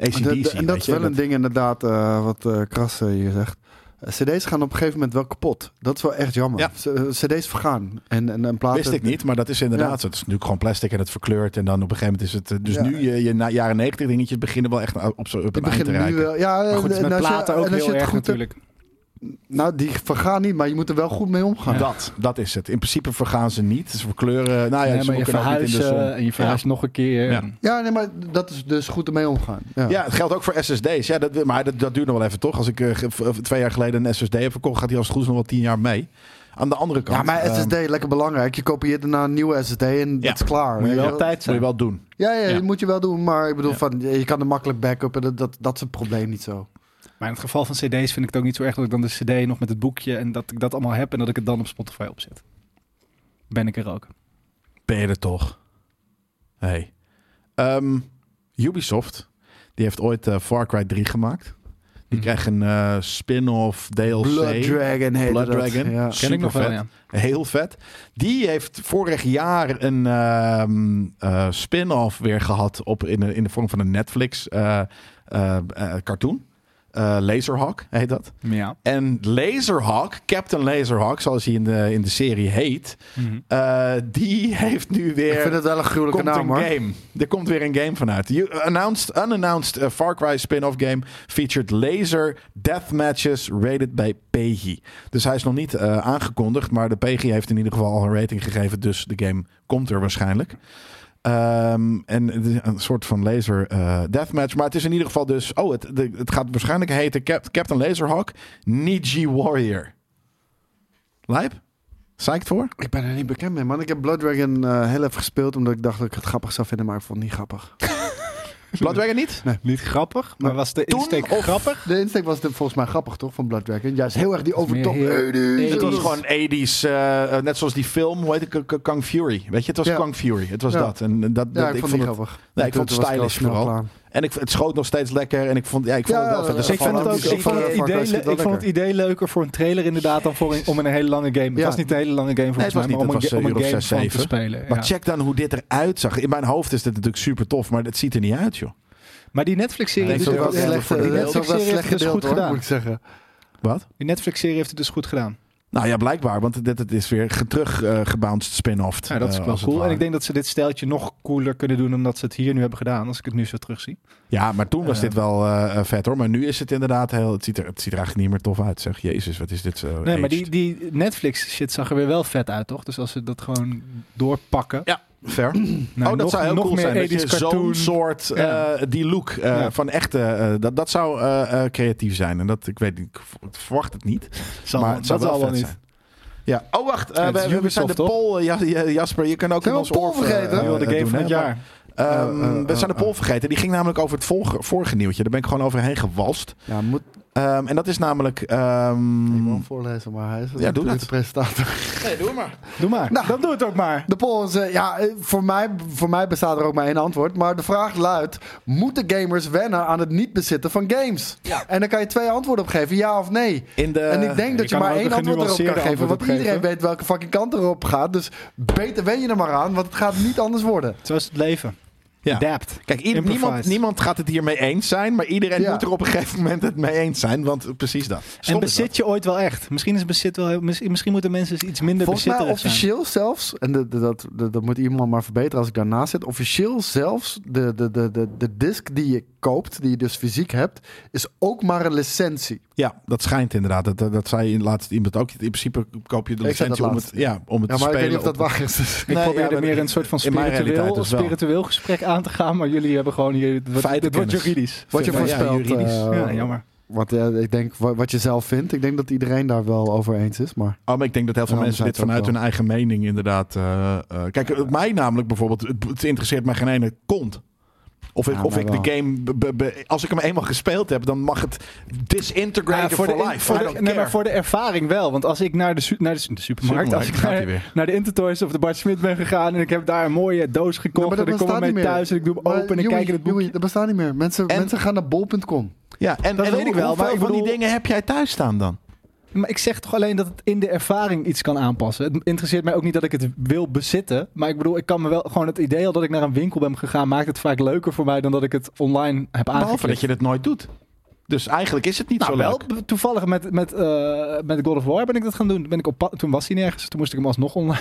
S1: ACDC,
S3: En dat- Ah, en dat
S1: weet
S3: is
S1: je,
S3: wel een ding inderdaad eh, wat eh Kras eh, hier zegt. Eh, CD's gaan op een gegeven moment wel kapot. Dat is wel echt jammer.
S1: Ja.
S3: C- eh, CD's vergaan. En, en, en platen.
S1: Wist ik niet, maar dat is inderdaad
S3: Ja.
S1: zo. Het is natuurlijk gewoon plastic en het verkleurt. En dan op een gegeven moment is het... eh, Dus
S3: Ja.
S1: nu, je, je na, jaren negentig dingetjes beginnen wel echt op, zo, op
S3: Ik
S1: een eind te
S3: begin nu
S1: rijken.
S3: wel. Ja,
S2: Maar goed, het is
S3: en
S2: met
S3: als je-
S2: platen
S3: en
S2: ook
S3: als je
S2: heel
S3: het
S2: erg
S3: goed hebt-
S2: natuurlijk.
S3: Nou, die vergaan niet, maar je moet er wel goed mee omgaan.
S1: Dat, dat is het. In principe vergaan ze niet. Ze verkleuren... Nou ja,
S2: Nee,
S1: ze
S2: maar je
S1: kunnen ook niet in de zon.
S2: verhuizen en je verhuist nog een keer.
S1: Ja.
S3: Ja, nee, maar dat is dus goed ermee omgaan. Ja.
S1: Ja, het geldt ook voor SSD's. Ja, dat, maar dat, dat duurt nog wel even, toch? Als ik eh, ge- v- twee jaar geleden een SSD heb verkocht... gaat die als het goed is nog wel tien jaar mee. Aan de andere kant...
S3: Ja, maar
S1: ehm,
S3: SSD, lekker belangrijk. Je kopieert daarna een nieuwe SSD en
S1: Ja.
S3: dat is klaar.
S2: Moet je
S3: weet
S2: wel
S3: je
S2: op
S3: wel.
S2: tijd
S1: moet
S2: zijn.
S1: je wel doen.
S3: Ja, ja,
S1: Ja.
S3: dat moet je wel doen. Maar ik bedoel,
S1: Ja.
S3: van, je kan er makkelijk backuppen. Dat, dat, dat is het probleem niet zo.
S2: Maar in het geval van cd's vind ik het ook niet zo erg dat ik dan de cd nog met het boekje en dat ik dat allemaal heb en dat ik het dan op Spotify opzet. Ben ik er ook.
S1: Ben je er toch? Hey. Ehm, Ubisoft, die heeft ooit eh, Far Cry 3 gemaakt. Die
S2: Mhm.
S1: kreeg een eh, spin-off DLC.
S3: Hmm. Blood Dragon heet
S1: Blood
S3: dat.
S1: Dragon.
S3: Ja.
S2: Ken ik nog wel,
S1: Supervet.
S2: ja.
S1: Heel vet. Die heeft vorig jaar een ehm, eh, spin-off weer gehad op, in, de- in de vorm van een Netflix eh, eh, eh, cartoon. Eh, Laserhawk heet dat.
S2: Ja.
S1: En Laserhawk, Captain Laserhawk, zoals hij in de, in de serie heet, eh, die heeft nu weer.
S3: Ik vind het wel een gruwelijke
S1: komt
S3: naam, hoor.
S1: een game. Er komt weer een game vanuit. You announced, unannounced eh, Far Cry spin-off game featured laser deathmatches rated by PEGI. Dus hij is nog niet eh, aangekondigd, maar de PEGI heeft in ieder geval al een rating gegeven, dus de game komt er waarschijnlijk. Ehm, en het is een soort van laser eh, deathmatch. Maar het is in ieder geval dus... Oh, het, de- het gaat waarschijnlijk heten Cap- Captain Laserhawk Niji Warrior. Lijp? Psyched voor?
S3: Ik ben er niet bekend mee, man. Ik heb Blood Dragon eh, heel even gespeeld, omdat ik dacht dat ik het grappig zou vinden, maar ik vond het niet grappig.
S1: Blood Dragon niet?
S2: Niet grappig, maar was de
S1: Toen
S2: insteek
S1: of-
S2: grappig?
S3: De insteek was de- volgens mij grappig, toch, van Blood Dragon? Juist heel erg die
S2: is meer
S3: overtop.
S2: heel-
S3: Hey, dude.
S2: Nee,
S1: Het was
S2: Precies.
S1: gewoon 80s, eh, eh, net zoals die film, hoe heet het, K- K- Kung Fury. Weet je, het was
S3: Ja.
S1: Kung Fury. Het was
S3: Ja.
S1: dat. En eh, dat, dat
S3: Ja, ik, vond het niet grappig.
S1: Nee, ik
S3: Toen-
S1: vond het
S3: toen was al
S1: stylish
S3: snel
S1: vooral.
S3: klaar.
S1: En ik, het schoot nog steeds lekker. En ik vond, ja, ik vond
S3: Ja,
S1: het wel vet.
S3: ja,
S1: Dus
S3: ja,
S1: ik
S2: ik vond
S1: vond
S2: het ook. Ik vond het,
S3: Far Cry
S2: idee,
S3: zit wel
S2: le- ik vond het
S3: lekker.
S2: idee leuker voor een trailer inderdaad dan voor een, om een hele lange game. Het
S3: Ja.
S2: was niet een hele lange game volgens
S1: was
S2: mij,
S1: niet.
S2: maar om een,
S1: Het
S2: ga-
S1: was,
S2: om
S1: eh,
S2: een game
S1: uur of zes,
S2: van te
S1: zeven.
S2: spelen.
S1: Maar
S2: ja.
S1: check dan hoe dit eruit zag. In mijn hoofd is dit natuurlijk super tof, maar het ziet er niet uit, joh.
S2: Maar die Netflix-serie
S1: Ik
S2: heeft
S1: denk
S2: het
S1: dat
S2: ook-
S1: het wel
S2: ja,
S1: slecht-
S2: die
S1: dat is ook
S3: wel
S2: Netflix-serie heeft
S3: slecht
S2: het dus
S3: gedeeld,
S2: goed
S3: hoor, moet
S2: gedaan.
S3: ik zeggen.
S1: Wat?
S2: Die Netflix-serie heeft het dus goed gedaan.
S1: Nou ja, blijkbaar, want dit, dit is weer ge- terug eh, gebounced spin-off.
S2: Ja, Nou, dat is
S1: eh,
S2: wel
S1: als het
S2: cool. En
S1: ware.
S2: ik denk dat ze dit steltje nog cooler kunnen doen omdat ze het hier nu hebben gedaan. Als ik het nu zo terugzie.
S1: Ja, maar toen was
S2: Eh.
S1: dit wel eh, eh, vet hoor. Maar nu is het inderdaad heel. Het ziet er, het ziet er eigenlijk niet meer tof uit. Zeg, Jezus, wat is dit zo?
S2: Nee,
S1: aged.
S2: maar die, die Netflix shit zag er weer wel vet uit, toch? Dus als ze dat gewoon doorpakken.
S1: Ver.
S2: Nou,
S1: oh, dat
S2: nog,
S1: zou heel
S2: nog
S1: cool
S2: meer
S1: zijn. Dat
S2: 80s
S1: je zo'n
S2: cartoon.
S1: soort, eh,
S2: Ja.
S1: die look eh,
S2: Ja.
S1: van echte, eh, dat, dat zou eh, eh, creatief zijn. En dat, ik weet niet, ik v- ik verwacht het niet.
S2: Zal,
S1: maar
S2: maar
S1: het
S2: dat
S1: zou wel
S2: zal wel
S1: vet
S2: niet.
S1: zijn. Ja. Oh, wacht. eh,
S2: Ja, het
S1: we,
S2: is
S1: we zijn
S2: Ubisoft,
S1: de
S2: toch?
S1: poll, eh, Ja- Ja- Jasper. Je kan ook
S3: Zijn
S1: in
S3: we
S1: ons
S3: een poll
S1: oor, eh,
S3: vergeten?
S1: eh,
S2: Nu al de
S1: eh,
S2: game
S1: doen,
S2: van
S1: hè.
S2: het jaar.
S1: Ehm,
S3: Eh, eh,
S1: we zijn de
S3: eh,
S1: poll vergeten. Die ging namelijk over het vorige, vorige nieuwtje. Daar ben ik gewoon overheen gewalst.
S3: Ja, moet Mm.
S1: Ehm, en dat is namelijk... ehm,
S3: ik wil hem voorlezen, maar hij is
S1: Ja, doe dat.
S3: de presentator.
S2: Doe maar.
S3: Nou.
S2: Dan doe het ook maar.
S3: De poll is, eh, ja, eh, voor mij, voor mij bestaat er ook maar één antwoord. Maar de vraag luidt, moeten gamers wennen aan het niet bezitten van games? En dan kan je twee antwoorden op geven, ja of nee.
S1: in de,
S3: en ik denk dat
S2: je kan
S3: je maar
S2: ook
S3: één
S2: een
S3: antwoord erop kan
S2: genuanceerde
S3: geven.
S2: antwoord
S3: Want
S2: opgeven.
S3: iedereen weet welke fucking kant erop gaat. Dus beter wen je er maar aan, want het gaat niet anders worden.
S2: Zo is het leven.
S1: Ja.
S2: Adapt.
S1: Kijk, ieder-
S2: Improvised.
S1: niemand, niemand gaat het hiermee eens zijn, maar iedereen
S3: Ja.
S1: moet er op een gegeven moment het mee eens zijn, want precies dat. Stom
S2: En
S1: is dat.
S2: bezit je ooit wel echt? Misschien, is bezit wel, heel- misschien, misschien moeten mensen eens iets minder
S3: Volgens mij
S2: bezitterig zijn.
S3: officieel zelfs, en de- de- dat, de- dat moet iemand maar verbeteren als ik daarnaast zit. Officieel zelfs, de, de, de, de, de disc die je koopt, die je dus fysiek hebt, is ook maar een licentie.
S1: Ja, dat schijnt inderdaad. Dat, dat, dat zei in laatst iemand ook. In principe koop je de
S3: Ik zei dat
S1: licentie om het,
S3: laatst.
S1: ja, om het
S3: Ja,
S1: te
S3: maar ik
S1: spelen.
S3: weet niet of dat
S1: op-
S3: waar is. dus-
S2: Ik
S1: Nee, ja,
S2: probeer
S1: maar
S2: er meer een soort van
S1: in mijn realiteit
S2: spiritueel,
S1: dus wel.
S2: spiritueel gesprek aan te gaan, maar jullie hebben gewoon hier, het wordt- het wordt
S1: Feitenkennis.
S2: juridisch.
S3: Wat je
S1: Ja, ja,
S3: voorspelt.
S1: juridisch.
S3: eh,
S2: ja, jammer.
S3: Want ja, ik denk, wa- wat je zelf vindt, ik denk dat iedereen daar wel over eens is. Maar
S1: Oh, maar ik denk dat heel veel
S3: Ja,
S1: mensen dit
S3: anderzijds ook
S1: vanuit
S3: wel.
S1: hun eigen mening inderdaad... eh, eh, kijk, het mij namelijk bijvoorbeeld, het, het interesseert mij geen ene kont. Of ik,
S3: Ja,
S1: of
S3: mij
S1: ik de
S3: wel.
S1: game, be- be- be- als ik hem eenmaal gespeeld heb, dan mag het disintegrated
S2: Ja,
S1: for,
S2: de,
S1: life.
S2: voor
S1: I
S2: de-
S1: don't
S2: nee,
S1: care.
S2: maar voor de ervaring wel. Want als ik naar de, su- naar de, su- de supermarkt,
S1: Supermarkt,
S2: als ik
S1: gaat
S2: naar,
S1: hij weer.
S2: naar de Intertoys of de Bart Smit ben gegaan en ik heb daar een mooie doos gekocht
S3: maar dat
S2: en ik kom
S3: bestaat
S2: ermee
S3: niet meer.
S2: thuis en ik doe hem
S3: Maar,
S2: open en ik
S3: Joey,
S2: kijk in het
S3: Joey,
S2: boekje.
S3: dat bestaat niet meer. Mensen,
S1: En-
S3: mensen gaan naar bol.com.
S1: ja, en,
S2: dat
S1: en
S2: weet ik wel,
S1: hoeveel
S2: maar ik
S1: van die
S2: bedoel-
S1: dingen heb jij thuis staan dan?
S2: Maar ik zeg toch alleen dat het in de ervaring iets kan aanpassen. Het interesseert mij ook niet dat ik het wil bezitten. Maar ik bedoel, ik kan me wel gewoon het idee al dat ik naar een winkel ben gegaan, maakt het vaak leuker voor mij dan dat ik het online heb
S1: Behalve dat
S2: aangeklikt.
S1: je dat nooit doet. Dus eigenlijk is het niet
S2: Nou,
S1: zo
S2: wel
S1: leuk.
S2: toevallig met, met, eh, met God of War ben ik dat gaan doen. Ben ik op pad- toen was hij nergens, toen moest ik hem alsnog online.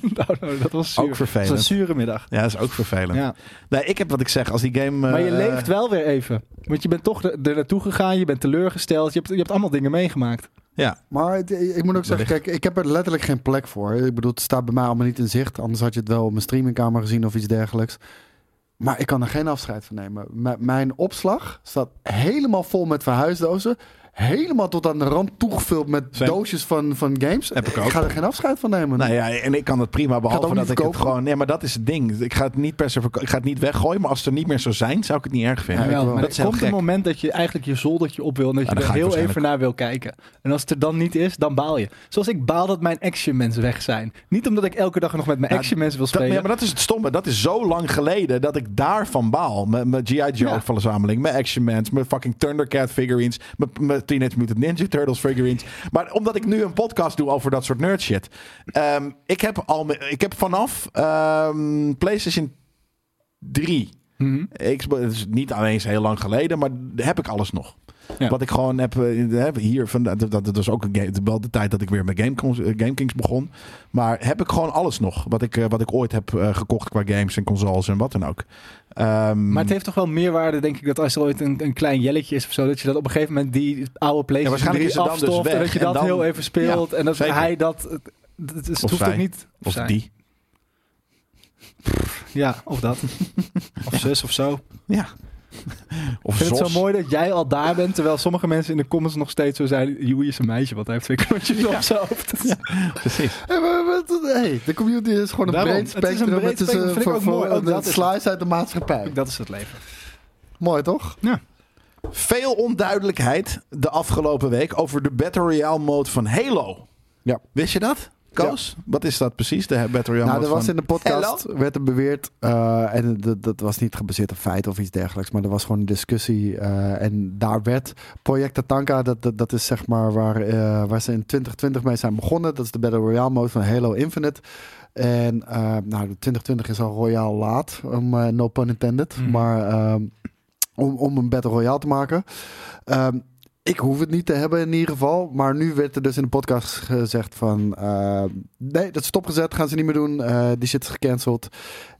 S2: downloaden. dat was zuur.
S1: Ook vervelend.
S2: Dat was een zure middag.
S1: Ja, dat is ook vervelend.
S2: Ja.
S1: Nee, ik heb wat ik zeg. Als die game... eh,
S2: Maar je
S1: eh,
S2: leeft wel weer even. Want je bent toch er er naartoe gegaan, je bent teleurgesteld, je hebt, je hebt allemaal dingen meegemaakt.
S1: Ja,
S3: Maar het- ik moet ook zeggen,
S1: Wellicht.
S3: kijk, ik heb er letterlijk geen plek voor. Ik bedoel, het staat bij mij allemaal niet in zicht. Anders had je het wel op mijn streamingkamer gezien of iets dergelijks. Maar ik kan er geen afscheid van nemen. M- mijn opslag staat helemaal vol met verhuisdozen. Helemaal tot aan de rand toegevuld met
S1: Zijn-
S3: doosjes van, van games.
S1: Heb ik ook.
S3: ga er geen afscheid van nemen.
S1: Nou ja, en ik kan het prima,
S3: Ik
S1: behalve
S3: ga het ook
S1: dat
S3: niet
S1: ik het
S3: verkopen.
S1: gewoon... Nee, maar dat is het ding. Ik ga het niet per se verko- ik ga het niet weggooien, maar als ze er niet meer zo zijn, zou ik het niet erg vinden.
S3: Ja, ik wel.
S2: maar
S1: Dat
S2: dat
S1: is heel
S2: komt een
S1: gek.
S2: moment dat je eigenlijk je zoldertje op wil en dat
S1: Ja,
S2: je
S1: dan
S2: er
S1: ga ik dus
S2: heel even
S1: waarschijnlijk-
S2: naar wil kijken. En als het er dan niet is, dan baal je. Zoals ik baal dat mijn action mensen weg zijn. Niet omdat ik elke dag nog met mijn
S1: Ja,
S2: action mensen wil
S1: Dat,
S2: spelen.
S1: ja, maar dat is het stomme. Dat is zo lang geleden dat ik daarvan baal. Mijn- Mijn G.I. Joe
S2: Ja.
S1: verzameling, mijn Action Mans, mijn fucking Thundercat figurines, mijn- mijn Teenage Mutant Ninja Turtles figurines. Maar omdat ik nu een podcast doe over dat soort nerd shit. ehm, ik, heb al, mijn- ik heb vanaf ehm, PlayStation 3
S2: Mhm.
S1: Xbox, het is niet alleen heel lang geleden, maar heb ik alles nog.
S2: Ja.
S1: Wat ik gewoon heb, eh, heb hier, van, dat, dat was ook een game, wel de tijd dat ik weer met Game, Cons- eh, Game Kings begon. Maar heb ik gewoon alles nog, wat ik, eh, wat ik ooit heb eh, gekocht qua games en consoles en wat dan ook. Ehm,
S2: Maar het heeft toch wel meerwaarde, denk ik, dat als er ooit een, een klein jelletje is of zo, dat je dat op een gegeven moment die oude PlayStation
S1: waarschijnlijk
S2: 3
S1: is het dan dus
S2: afstoft en
S1: weg
S2: dat je
S1: en
S2: dat
S1: dan-
S2: heel even speelt en dat
S1: zeker.
S2: hij dat. Het, het- het
S1: Of
S2: hoeft
S1: zij.
S2: ook niet.
S1: of
S2: zij.
S1: die.
S2: Ja, of dat. of zus of zo.
S1: Ja. Of
S2: Ik vind het
S1: Zos.
S2: zo mooi dat jij al daar bent, terwijl sommige mensen in de comments nog steeds zo zijn... Joey is een meisje, want hij heeft twee knotjes op zijn hoofd.
S1: Precies.
S3: Hey, maar- maar- maar- hey, de community is gewoon een
S2: Daarom,
S3: breed
S2: het is een
S3: spectrum.
S2: breed
S3: Het is
S2: spectrum,
S3: een
S2: vind ik ook mooi. Ook dat is
S3: slice uit de maatschappij.
S2: Dat is het leven.
S3: Mooi toch?
S1: Veel onduidelijkheid de afgelopen week over de Battle Royale mode van Halo.
S3: Ja.
S1: Wist je dat? Koos, wat is dat precies, de Battle Royale
S3: Nou,
S1: mode
S3: er was
S1: van...
S3: in de podcast werd er beweerd, eh, en dat, dat was niet gebaseerd op feiten of iets dergelijks, maar er was gewoon een discussie. eh, en daar werd Project Tatanka, dat, dat, dat is zeg maar waar, eh, waar ze in 2020 mee zijn begonnen. Dat is de Battle Royale mode van Halo Infinite. En eh, nou, 2020 is al royaal laat, om, eh, no pun intended,
S2: Mhm.
S3: maar ehm, om, om een Battle Royale te maken. Ehm, ik hoef het niet te hebben in ieder geval. Maar nu werd er dus in de podcast gezegd van... eh, nee, dat is stopgezet. Gaan ze niet meer doen. eh, die shit is gecanceld.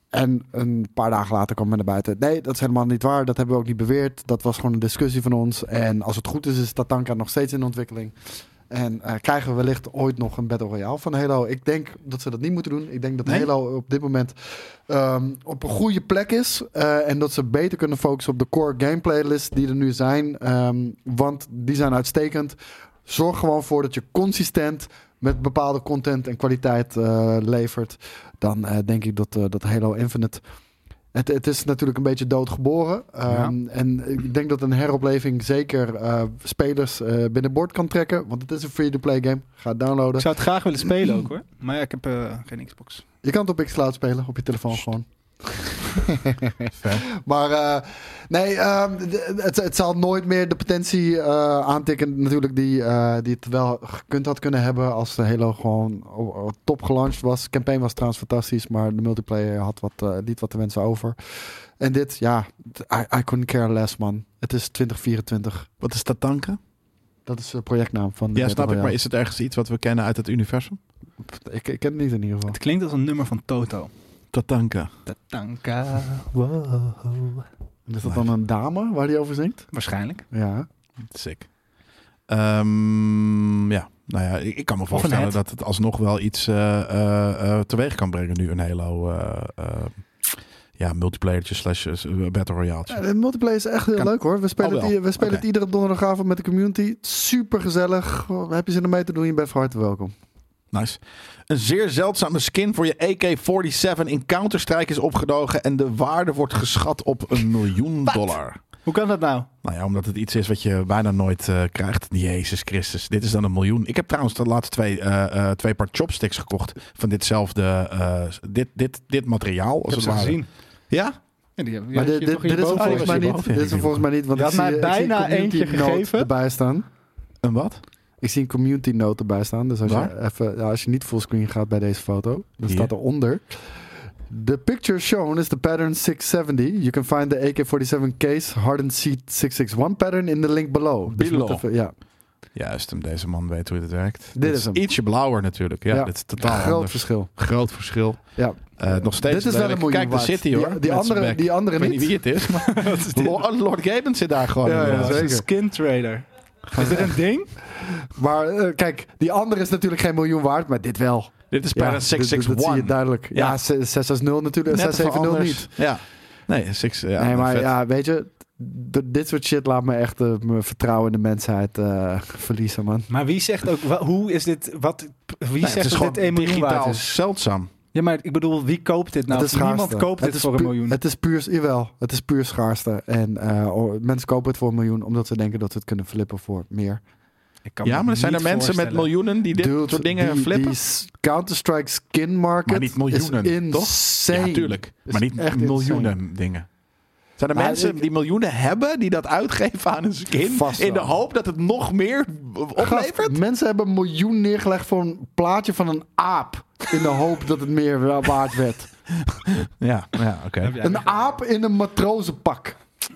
S3: En een paar dagen later kwam men naar buiten. Nee, dat is helemaal niet waar. Dat hebben we ook niet beweerd. Dat was gewoon een discussie van ons. En als het goed is, is Tatanka nog steeds in ontwikkeling. En eh, krijgen we wellicht ooit nog een Battle Royale van Halo? Ik denk dat ze dat niet moeten doen. Ik denk dat
S2: Nee?
S3: Halo op dit moment ehm, op een goede plek is. eh, en dat ze beter kunnen focussen op de core gameplay lists die er nu zijn. ehm, want die zijn uitstekend. Zorg gewoon voor dat je consistent met bepaalde content en kwaliteit eh, levert. Dan eh, denk ik dat, eh, dat Halo Infinite. Het, het is natuurlijk een beetje doodgeboren. Ehm, En ik denk dat een heropleving zeker eh, spelers eh binnenboord kan trekken. Want het is een free-to-play game. Ga het
S2: Ik
S3: downloaden.
S2: zou het graag willen spelen ook hoor. Maar ja, ik heb eh, geen Xbox.
S3: Je kan het op xCloud spelen, op je telefoon gewoon.
S1: Ver.
S3: maar eh, nee, ehm, d- het, het zal nooit meer de potentie eh, aantikken natuurlijk die, eh, die het wel gekund had kunnen hebben als de Halo gewoon o- o- top gelanceerd was. De campaign was trouwens fantastisch, maar de multiplayer had wat, eh, liet wat te wensen over. En dit, ja, t- I, I couldn't care less man. Het is 2024.
S1: Wat is dat tanken?
S3: Dat is de projectnaam van de
S1: Ja,
S3: Battle
S1: snap ik. Maar
S3: Royale.
S1: is het ergens iets wat we kennen uit het universum?
S3: ik, ik ken het niet in ieder geval.
S2: Het klinkt als een nummer van Toto.
S1: Tatanka.
S2: Tatanka.
S3: En Is dat dan een dame waar die over zingt?
S2: Waarschijnlijk.
S3: Ja.
S1: Sick. Ehm, ja, nou ja, ik, ik kan me
S2: een
S1: voorstellen
S2: het.
S1: dat het alsnog wel iets eh, eh, eh, teweeg kan brengen nu een Halo eh, eh, ja, multiplayertje slash eh, battle
S3: Ja,
S1: royale.
S3: de multiplayer is echt heel
S1: Kan-
S3: leuk hoor. We spelen,
S1: Al
S3: het,
S1: wel.
S3: i- we spelen het
S1: Oké.
S3: iedere donderdagavond met de community. Super gezellig. Heb je zin om mee te doen? Je bent van harte welkom.
S1: Nice. Een zeer zeldzame skin voor je AK-47 in Counter-Strike is opgedogen en de waarde wordt geschat op een miljoen dollar.
S2: Hoe kan dat nou?
S1: Nou ja, omdat het iets is wat je bijna nooit eh, krijgt. Jezus Christus, dit is dan een miljoen. Ik heb trouwens de laatste twee, eh, eh, twee paar chopsticks gekocht van ditzelfde, eh, dit, dit, dit materiaal.
S2: Ik
S1: Als
S2: heb
S1: het
S2: ze
S1: ware.
S2: gezien.
S1: Ja?
S2: Ja, die, die
S3: maar
S2: had je
S3: dit, dit,
S2: toch
S3: dit is
S2: hierboven?
S3: er volgens
S1: die
S3: mij
S1: was
S3: niet.
S1: hierboven.
S3: Dit is er volgens mij niet. Want
S2: Je
S3: ik
S2: had
S3: zie,
S2: mij
S3: ik zie
S2: bijna
S3: een community
S2: eentje
S3: note
S2: gegeven.
S3: erbij staan.
S1: Een wat?
S3: Ik zie een community note erbij staan. Dus als, je,
S1: Waar?
S3: even, ja, als je niet fullscreen gaat bij deze foto, dan
S1: Hier.
S3: staat eronder. The picture shown is the pattern 670. You can find the AK-47 case hardened seat 661 pattern in the link below. Dus je moet
S1: Below.
S3: even- ja,
S1: Juist, hem, deze man weet hoe dit werkt.
S3: Dit is hem.
S1: Ietsje blauwer natuurlijk. Ja,
S3: Ja.
S1: dit is totaal
S3: groot
S1: anders.
S3: verschil.
S1: Groot verschil.
S3: Ja.
S1: Eh, nog steeds
S3: Dit is wel
S1: lelijk.
S3: een miljoen
S1: Kijk, daar
S3: waard.
S1: zit hij
S3: Die-
S1: hoor.
S3: die
S1: met
S3: andere-
S1: zijn bek.
S3: die andere
S1: Ik weet
S3: niet.
S1: wie het is, maar Lord, Lord Gaben zit daar gewoon. eh,
S3: Ja, ja,
S1: inderdaad.
S2: Dat is een
S3: zeker.
S2: skin trader. Is dit een ding?
S3: Maar eh, kijk, die andere is natuurlijk geen miljoen waard, maar dit wel.
S1: Dit is
S3: Ja,
S1: bijna
S3: dit- dit- Dat zie je
S1: 661.
S3: duidelijk. Ja,
S1: Ja.
S3: 660 natuurlijk.
S1: Net even
S3: 670
S1: anders.
S3: niet.
S1: Ja. Nee, 6... Ja, nou,
S3: nee, maar
S1: vet.
S3: ja, weet je, d- dit soort shit laat me echt eh, mijn vertrouwen in de mensheid eh, verliezen, man.
S2: Maar wie zegt ook, wa- hoe is dit, wat, wie
S1: Nee, Nou het
S2: zegt
S1: is
S2: dat
S1: gewoon
S2: dit 1 miljoen waard
S1: digitaal
S2: is?
S1: zeldzaam.
S2: Ja, maar ik bedoel, wie koopt dit nou?
S3: het is schaarste.
S2: Niemand koopt
S3: het
S2: dit
S3: is
S2: voor een
S3: puur-
S2: miljoen.
S3: Het is puur, jawel, het is puur schaarste. En eh, oh, mensen kopen het voor een miljoen omdat ze denken dat ze het kunnen flippen voor meer.
S2: Ik kan me
S1: Ja, maar er zijn er
S2: niet
S1: mensen met
S2: voorstellen.
S1: miljoenen die dit
S3: Dude,
S1: soort dingen
S3: die,
S1: flippen.
S3: Die s- Counter-Strike skin market
S1: maar niet miljoenen,
S3: is
S1: toch?
S3: insane.
S1: Ja, tuurlijk.
S3: Is
S1: Maar niet
S3: echt
S1: miljoenen dingen. Zijn er
S3: Maar
S1: mensen
S3: ik-
S1: die miljoenen hebben die dat uitgeven aan hun skin?
S3: Vast wel.
S1: in de hoop dat het nog meer
S3: Gast,
S1: oplevert?
S3: mensen hebben een miljoen neergelegd voor een plaatje van een aap. In de hoop dat het meer wa- waard werd.
S1: Ja, ja oké.
S2: Heb jij
S3: een
S2: weer
S3: aap in een matrozenpak.
S1: Ja.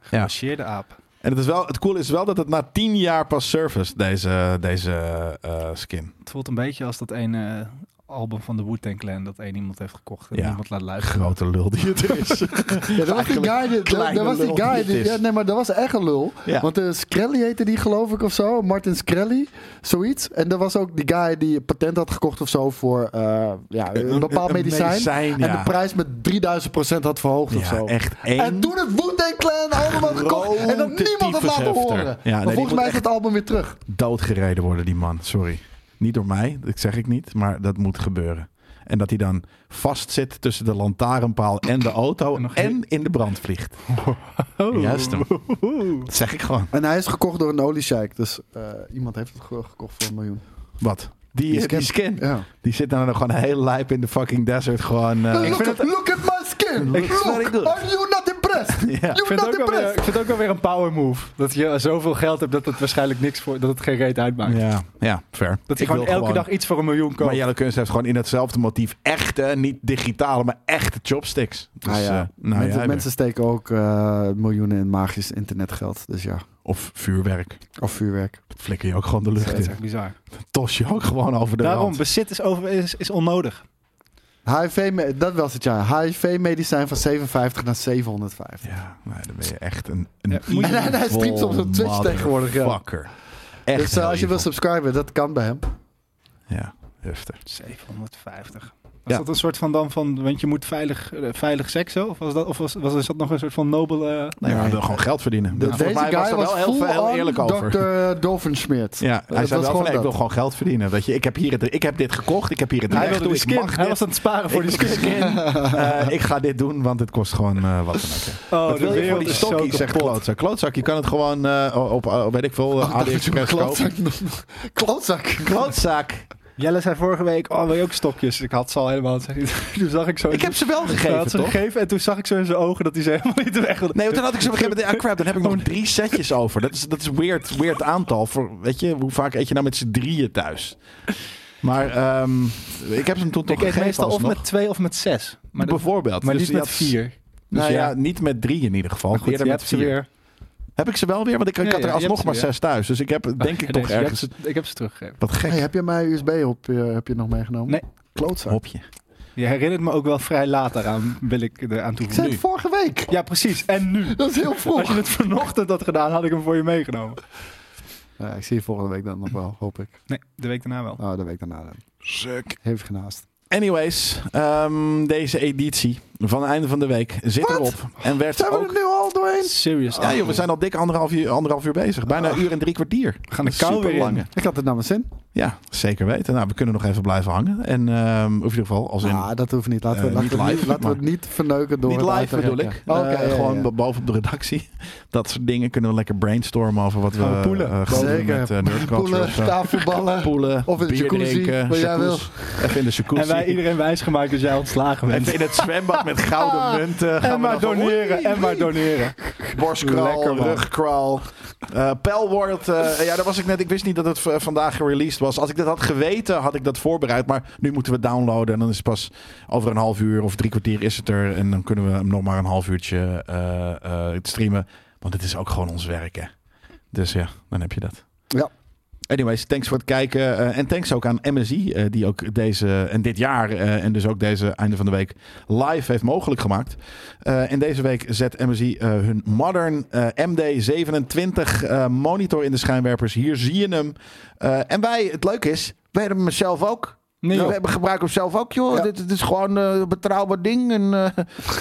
S2: Gemarcheerde aap.
S1: En het, is wel, het cool is wel dat het na tien jaar pas service, deze, deze eh, skin.
S2: Het voelt een beetje als dat ene eh, album van de Wu-Tang Clan dat één iemand heeft gekocht en
S1: Ja.
S2: niemand laat luisteren.
S1: Grote lul die het is.
S3: Ja, dat was die
S1: Eigenlijk
S3: guy. die- Dat,
S1: kleine
S3: dat was die
S1: lul
S3: guy.
S1: die
S3: Die,
S1: het is.
S3: ja, nee, maar dat was echt een lul.
S1: Ja.
S3: Want eh Skrelly heette die, geloof ik, of zo. Martin Skrelly, zoiets. En dat was ook die guy die een patent had gekocht of zo voor eh, ja, een, bepaald
S1: een
S3: medicijn.
S1: medicijn,
S3: En
S1: ja.
S3: de prijs met 3000% had verhoogd of
S1: Ja,
S3: zo.
S1: echt één.
S3: En toen het Wu-Tang Clan album had gekocht en dat
S1: Grote
S3: niemand het laten
S1: tyfushefter.
S3: horen.
S1: Ja, nee,
S3: maar
S1: die
S3: volgens
S1: moet
S3: mij is het album weer terug.
S1: doodgereden worden, die man. Sorry. Niet door mij, dat zeg ik niet, maar dat moet gebeuren. En dat hij dan vastzit tussen de lantaarnpaal en de auto
S2: En
S1: en,
S2: nog
S1: in de brand vliegt.
S2: Oh.
S1: Juist hem. Dat zeg ik gewoon.
S3: En hij is gekocht door een oliesheik. Dus eh, iemand heeft het ge- gekocht voor een miljoen.
S1: Wat? Die, eh,
S3: Die
S1: die,
S3: skin.
S1: skin.
S3: Ja.
S1: Die zit dan nog gewoon heel lijp in de fucking desert. Gewoon, eh,
S3: look, at, look at my skin.
S1: Looks very
S3: Look,
S1: good.
S3: are you not impressed?
S1: Ja.
S2: Ik
S3: You're
S2: vind,
S3: not
S2: het ook alweer,
S3: impressed.
S2: ik vind het ook alweer een power move. Dat je zoveel geld hebt dat het waarschijnlijk niks voor. dat het geen reet uitmaakt.
S1: ja, ja, fair.
S2: Dat hij
S1: Ik
S2: gewoon
S1: wil
S2: elke dag iets voor een miljoen koopt.
S1: Maar Jelle Kunst heeft gewoon in hetzelfde motief echte, niet digitale, maar echte chopsticks. Dus,
S3: Ah ja.
S1: eh, nou
S3: mensen,
S1: ja,
S3: mensen steken ook eh, miljoenen in magisch internetgeld. Dus ja,
S1: Of vuurwerk.
S3: of vuurwerk.
S1: Flikker je ook gewoon de
S2: Ja,
S1: lucht
S2: dat is
S1: in.
S2: echt bizar.
S1: Tos je ook gewoon over de
S2: Daarom,
S1: rand.
S2: bezit is, over, is, is onnodig.
S3: HIV, me- dat was het ja. HIV-medicijn van 57 naar 750.
S1: Ja, nee, dan ben je echt een, een
S2: Ja, moet je-
S3: En hij streamt soms op Twitch tegenwoordig, ja.
S1: Fucker. Echt
S3: dus eh,
S1: heel
S3: als je
S1: evil.
S3: wil subscriben, dat kan bij hem.
S1: Ja, heftig.
S2: 750. Was
S1: Ja.
S2: dat een soort van dan van. Want je moet veilig, eh, veilig seks zo? Of was dat, of was, was, is dat nog een soort van nobele.
S1: Nee,
S3: Nee.
S1: hij wil gewoon geld verdienen.
S3: De,
S1: Dat
S3: deze
S1: mij
S3: guy
S1: er
S3: was
S1: heel,
S3: full
S1: heel
S3: on
S1: eerlijk over.
S3: Dr. Dovenschmidt.
S1: Ja,
S3: Dat
S1: hij zei
S3: was
S1: wel van,
S3: gewoon
S1: nee, ik wil
S3: dat.
S1: gewoon geld verdienen. Weet je, ik heb, hier het, ik heb dit gekocht, ik heb hier het
S2: Hij
S1: recht toe,
S2: wilde die
S1: ik
S2: skin.
S1: mag
S2: Hij
S1: dit.
S2: was aan het sparen voor
S1: ik,
S2: die skin.
S1: Eh, ik ga dit doen, want het kost gewoon eh, wat dan ook. hè.
S2: Oh,
S1: Wat wil je voor die
S2: is zo
S1: stokkie,
S2: kapot.
S1: zegt klootzak. Klootzak, je kan het gewoon eh, op, eh, weet ik
S3: Oh,
S1: veel, eh, AliExpress kopen.
S3: Klootzak. Klootzak.
S1: Klootzak.
S2: Jelle zei vorige week, oh, wil je ook stokjes? Ik had ze al helemaal. Toen zag ik zo...
S1: Ik heb ze wel
S2: Hij
S1: gegeven,
S2: had ze
S1: toch?
S2: gegeven en toen zag ik zo in zijn ogen dat hij ze helemaal niet weg wilde.
S1: Nee, want dan had ik zo op een gegeven moment, ah crap, dan heb ik nog drie setjes over. Dat is, dat is weird, weird aantal. Voor, weet je, hoe vaak eet je nou met z'n drieën thuis? Maar ehm, ik heb ze hem toen toch
S2: Ik eet
S1: gegeven
S2: meestal of
S1: alsnog.
S2: met twee of met zes. Maar, dat-
S1: Bijvoorbeeld.
S2: maar
S1: Dus
S2: niet
S1: je
S2: met
S1: had-
S2: vier. Dus
S1: nou ja.
S2: ja.
S1: niet met drie in ieder geval.
S2: Maar goed,
S1: Eerder
S2: je
S1: met
S2: hebt ze
S1: vier.
S2: weer.
S1: Heb ik ze wel weer? Want ik, ik
S2: Ja,
S1: had
S2: ja,
S1: er
S2: je hebt
S1: alsnog
S2: ze
S1: maar
S2: weer.
S1: zes thuis. Dus ik heb denk ik
S2: Ja,
S1: toch
S2: nee, je
S1: ergens
S2: hebt ze- Ah, ik heb ze teruggegeven.
S1: wat gek
S3: Hey, heb je mijn USB op je, heb je nog meegenomen?
S2: Nee. oh.
S3: Klootzak.
S1: hopje.
S2: Je herinnert me ook wel vrij laat daaraan, wil ik eraan
S3: Ik zei
S2: toevoegen.
S3: het vorige week.
S2: Ja, precies. En nu.
S3: Dat is heel
S2: Als je
S3: vroeg.
S2: het vanochtend had gedaan, had ik hem voor je meegenomen.
S3: Ja, ik zie je volgende week dan nog wel, hoop ik.
S2: Nee, de week daarna wel.
S3: Oh, de week daarna dan.
S1: Sick.
S3: Heeft genaast.
S1: Anyways, ehm, deze editie van het einde van de week zit
S3: Wat?
S1: erop. En werd
S3: Zijn we
S1: ook...
S3: er nu al doorheen?
S2: Serious.
S1: Ja joh, we zijn al dik anderhalf uur, anderhalf uur bezig. Bijna een uur en drie kwartier.
S2: We gaan de kou weer in.
S1: Superlange.
S3: Ik had het naar mijn zin.
S1: Ja, zeker weten. Nou, we kunnen nog even blijven hangen. En ehm, of in ieder geval, als in...
S3: Ah, dat hoeft niet. Laten we,
S1: Eh,
S3: laten
S1: niet
S3: we,
S1: live,
S3: laten we
S1: maar-
S3: het niet verneuken door
S1: Niet
S3: het
S1: live
S3: uit te
S1: bedoel ik.
S3: rekken. Oké,
S1: Eh,
S3: ja, ja,
S1: gewoon
S3: ja.
S1: bo- boven op de redactie. Dat soort dingen kunnen we lekker brainstormen over wat we
S2: Gaan we poelen.
S1: eh, gaan doen
S3: Zeker.
S1: met eh, nerdculture of
S3: Poelen,
S1: zo.
S3: tafelballen.
S1: Poelen,
S3: Of in de
S1: bier
S3: jacuzzi,
S1: drinken,
S3: wat jij
S1: jacuzzi. Even in de jacuzzi.
S2: En wij iedereen wijsgemaakt dat jij ontslagen bent.
S1: Even in het zwembad met
S3: Ah.
S1: gouden munten. Gaan
S2: En
S1: we dan
S2: maar
S1: van,
S2: doneren,
S1: oei,
S2: en maar doneren. Lekker,
S1: Borstkraal,
S2: man.
S1: rugkraal. eh Pelword. eh, ja, daar was ik net. Ik wist niet dat het v- vandaag gereleased was. Als ik dat had geweten, had ik dat voorbereid. Maar nu moeten we het downloaden. En dan is het pas over een half uur of drie kwartier is het er. En dan kunnen we hem nog maar een half uurtje eh, eh, streamen. Want het is ook gewoon ons werk, hè. Dus ja, dan heb je dat.
S3: Ja.
S1: Anyways, thanks voor het kijken. eh, en thanks ook aan MSI, eh, die ook deze en dit jaar eh, en dus ook deze einde van de week live heeft mogelijk gemaakt. Eh, en deze week zet MSI eh, hun Modern eh, MD27 eh, monitor in de schijnwerpers. Hier zie je hem. Eh, en wij, het leuke is, wij hebben hem zelf ook.
S2: Nee, joh.
S1: we hebben gebruik hem zelf ook, joh.
S3: Ja.
S1: Dit, dit is gewoon eh, een betrouwbaar ding. En, eh,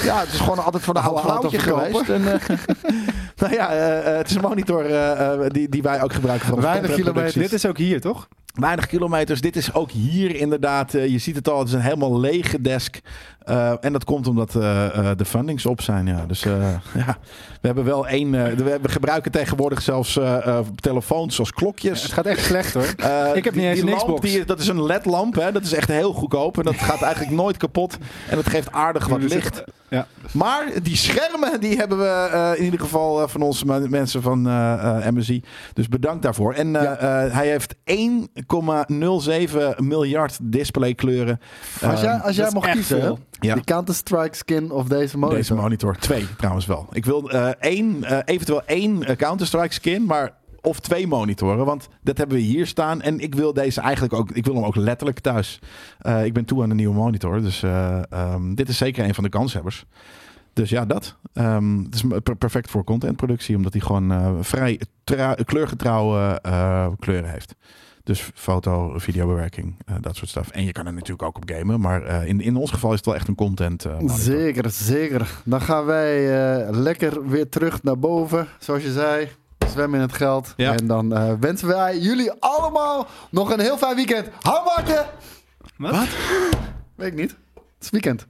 S1: ja, het is gewoon altijd van de oude
S3: Oude auto
S1: vrouwtje
S3: verkopen.
S1: geweest. En, eh, nou ja, eh, eh, het is een monitor eh, eh, die, die wij ook gebruiken. Voor onze
S3: Weinig
S1: contentproducties.
S3: kilometers.
S2: Dit is ook hier, toch?
S1: Weinig kilometers. Dit is ook hier inderdaad. eh, je ziet het al, het is een helemaal lege desk. Eh, en dat komt omdat eh, eh, de fundings op zijn. Ja. Dus eh, ja, we hebben wel één. eh, we, we gebruiken tegenwoordig zelfs eh, eh, telefoons als klokjes.
S2: Het gaat echt slecht, hoor.
S1: Eh,
S2: Ik heb
S1: die-
S2: niet eens
S1: die
S2: een
S1: lamp,
S2: Xbox.
S1: die- dat is een LED-lamp. hè. Dat is echt heel goedkoop. En dat gaat eigenlijk nooit kapot. En dat geeft aardig wat
S2: Dus het-
S1: licht.
S2: ja.
S1: Maar die schermen, die hebben we eh, in ieder geval eh, van onze men- mensen van eh eh, MSI. Dus bedankt daarvoor. En eh, eh, hij heeft 1,07 miljard displaykleuren.
S3: Als jij,
S1: Ehm,
S3: als jij
S2: dat is
S3: mocht
S2: echt
S3: kiezen,
S2: veel.
S1: Ja.
S3: die Counter-Strike skin of deze monitor.
S1: Deze monitor. Twee trouwens wel. Ik wil eh, één, eh, eventueel één eh, Counter-Strike skin, maar of twee monitoren. Want dat hebben we hier staan. En ik wil deze eigenlijk ook. Ik wil hem ook letterlijk thuis. Eh, ik ben toe aan een nieuwe monitor. Dus eh, ehm, dit is zeker een van de kanshebbers. Dus ja, dat. Ehm, het is per- perfect voor contentproductie, omdat hij gewoon eh, vrij tra- kleurgetrouwe eh, kleuren heeft. Dus foto, videobewerking, eh, dat soort stuff. En je kan er natuurlijk ook op gamen, maar eh, in, in ons geval is het wel echt een content. eh, monitor.
S3: Zeker, zeker. Dan gaan wij eh, lekker weer terug naar boven. Zoals je zei, zwemmen in het geld.
S1: Ja.
S3: En dan eh, wensen wij jullie allemaal nog een heel fijn weekend. Hou Maarten!
S2: Wat?
S3: Weet ik niet. Het is weekend.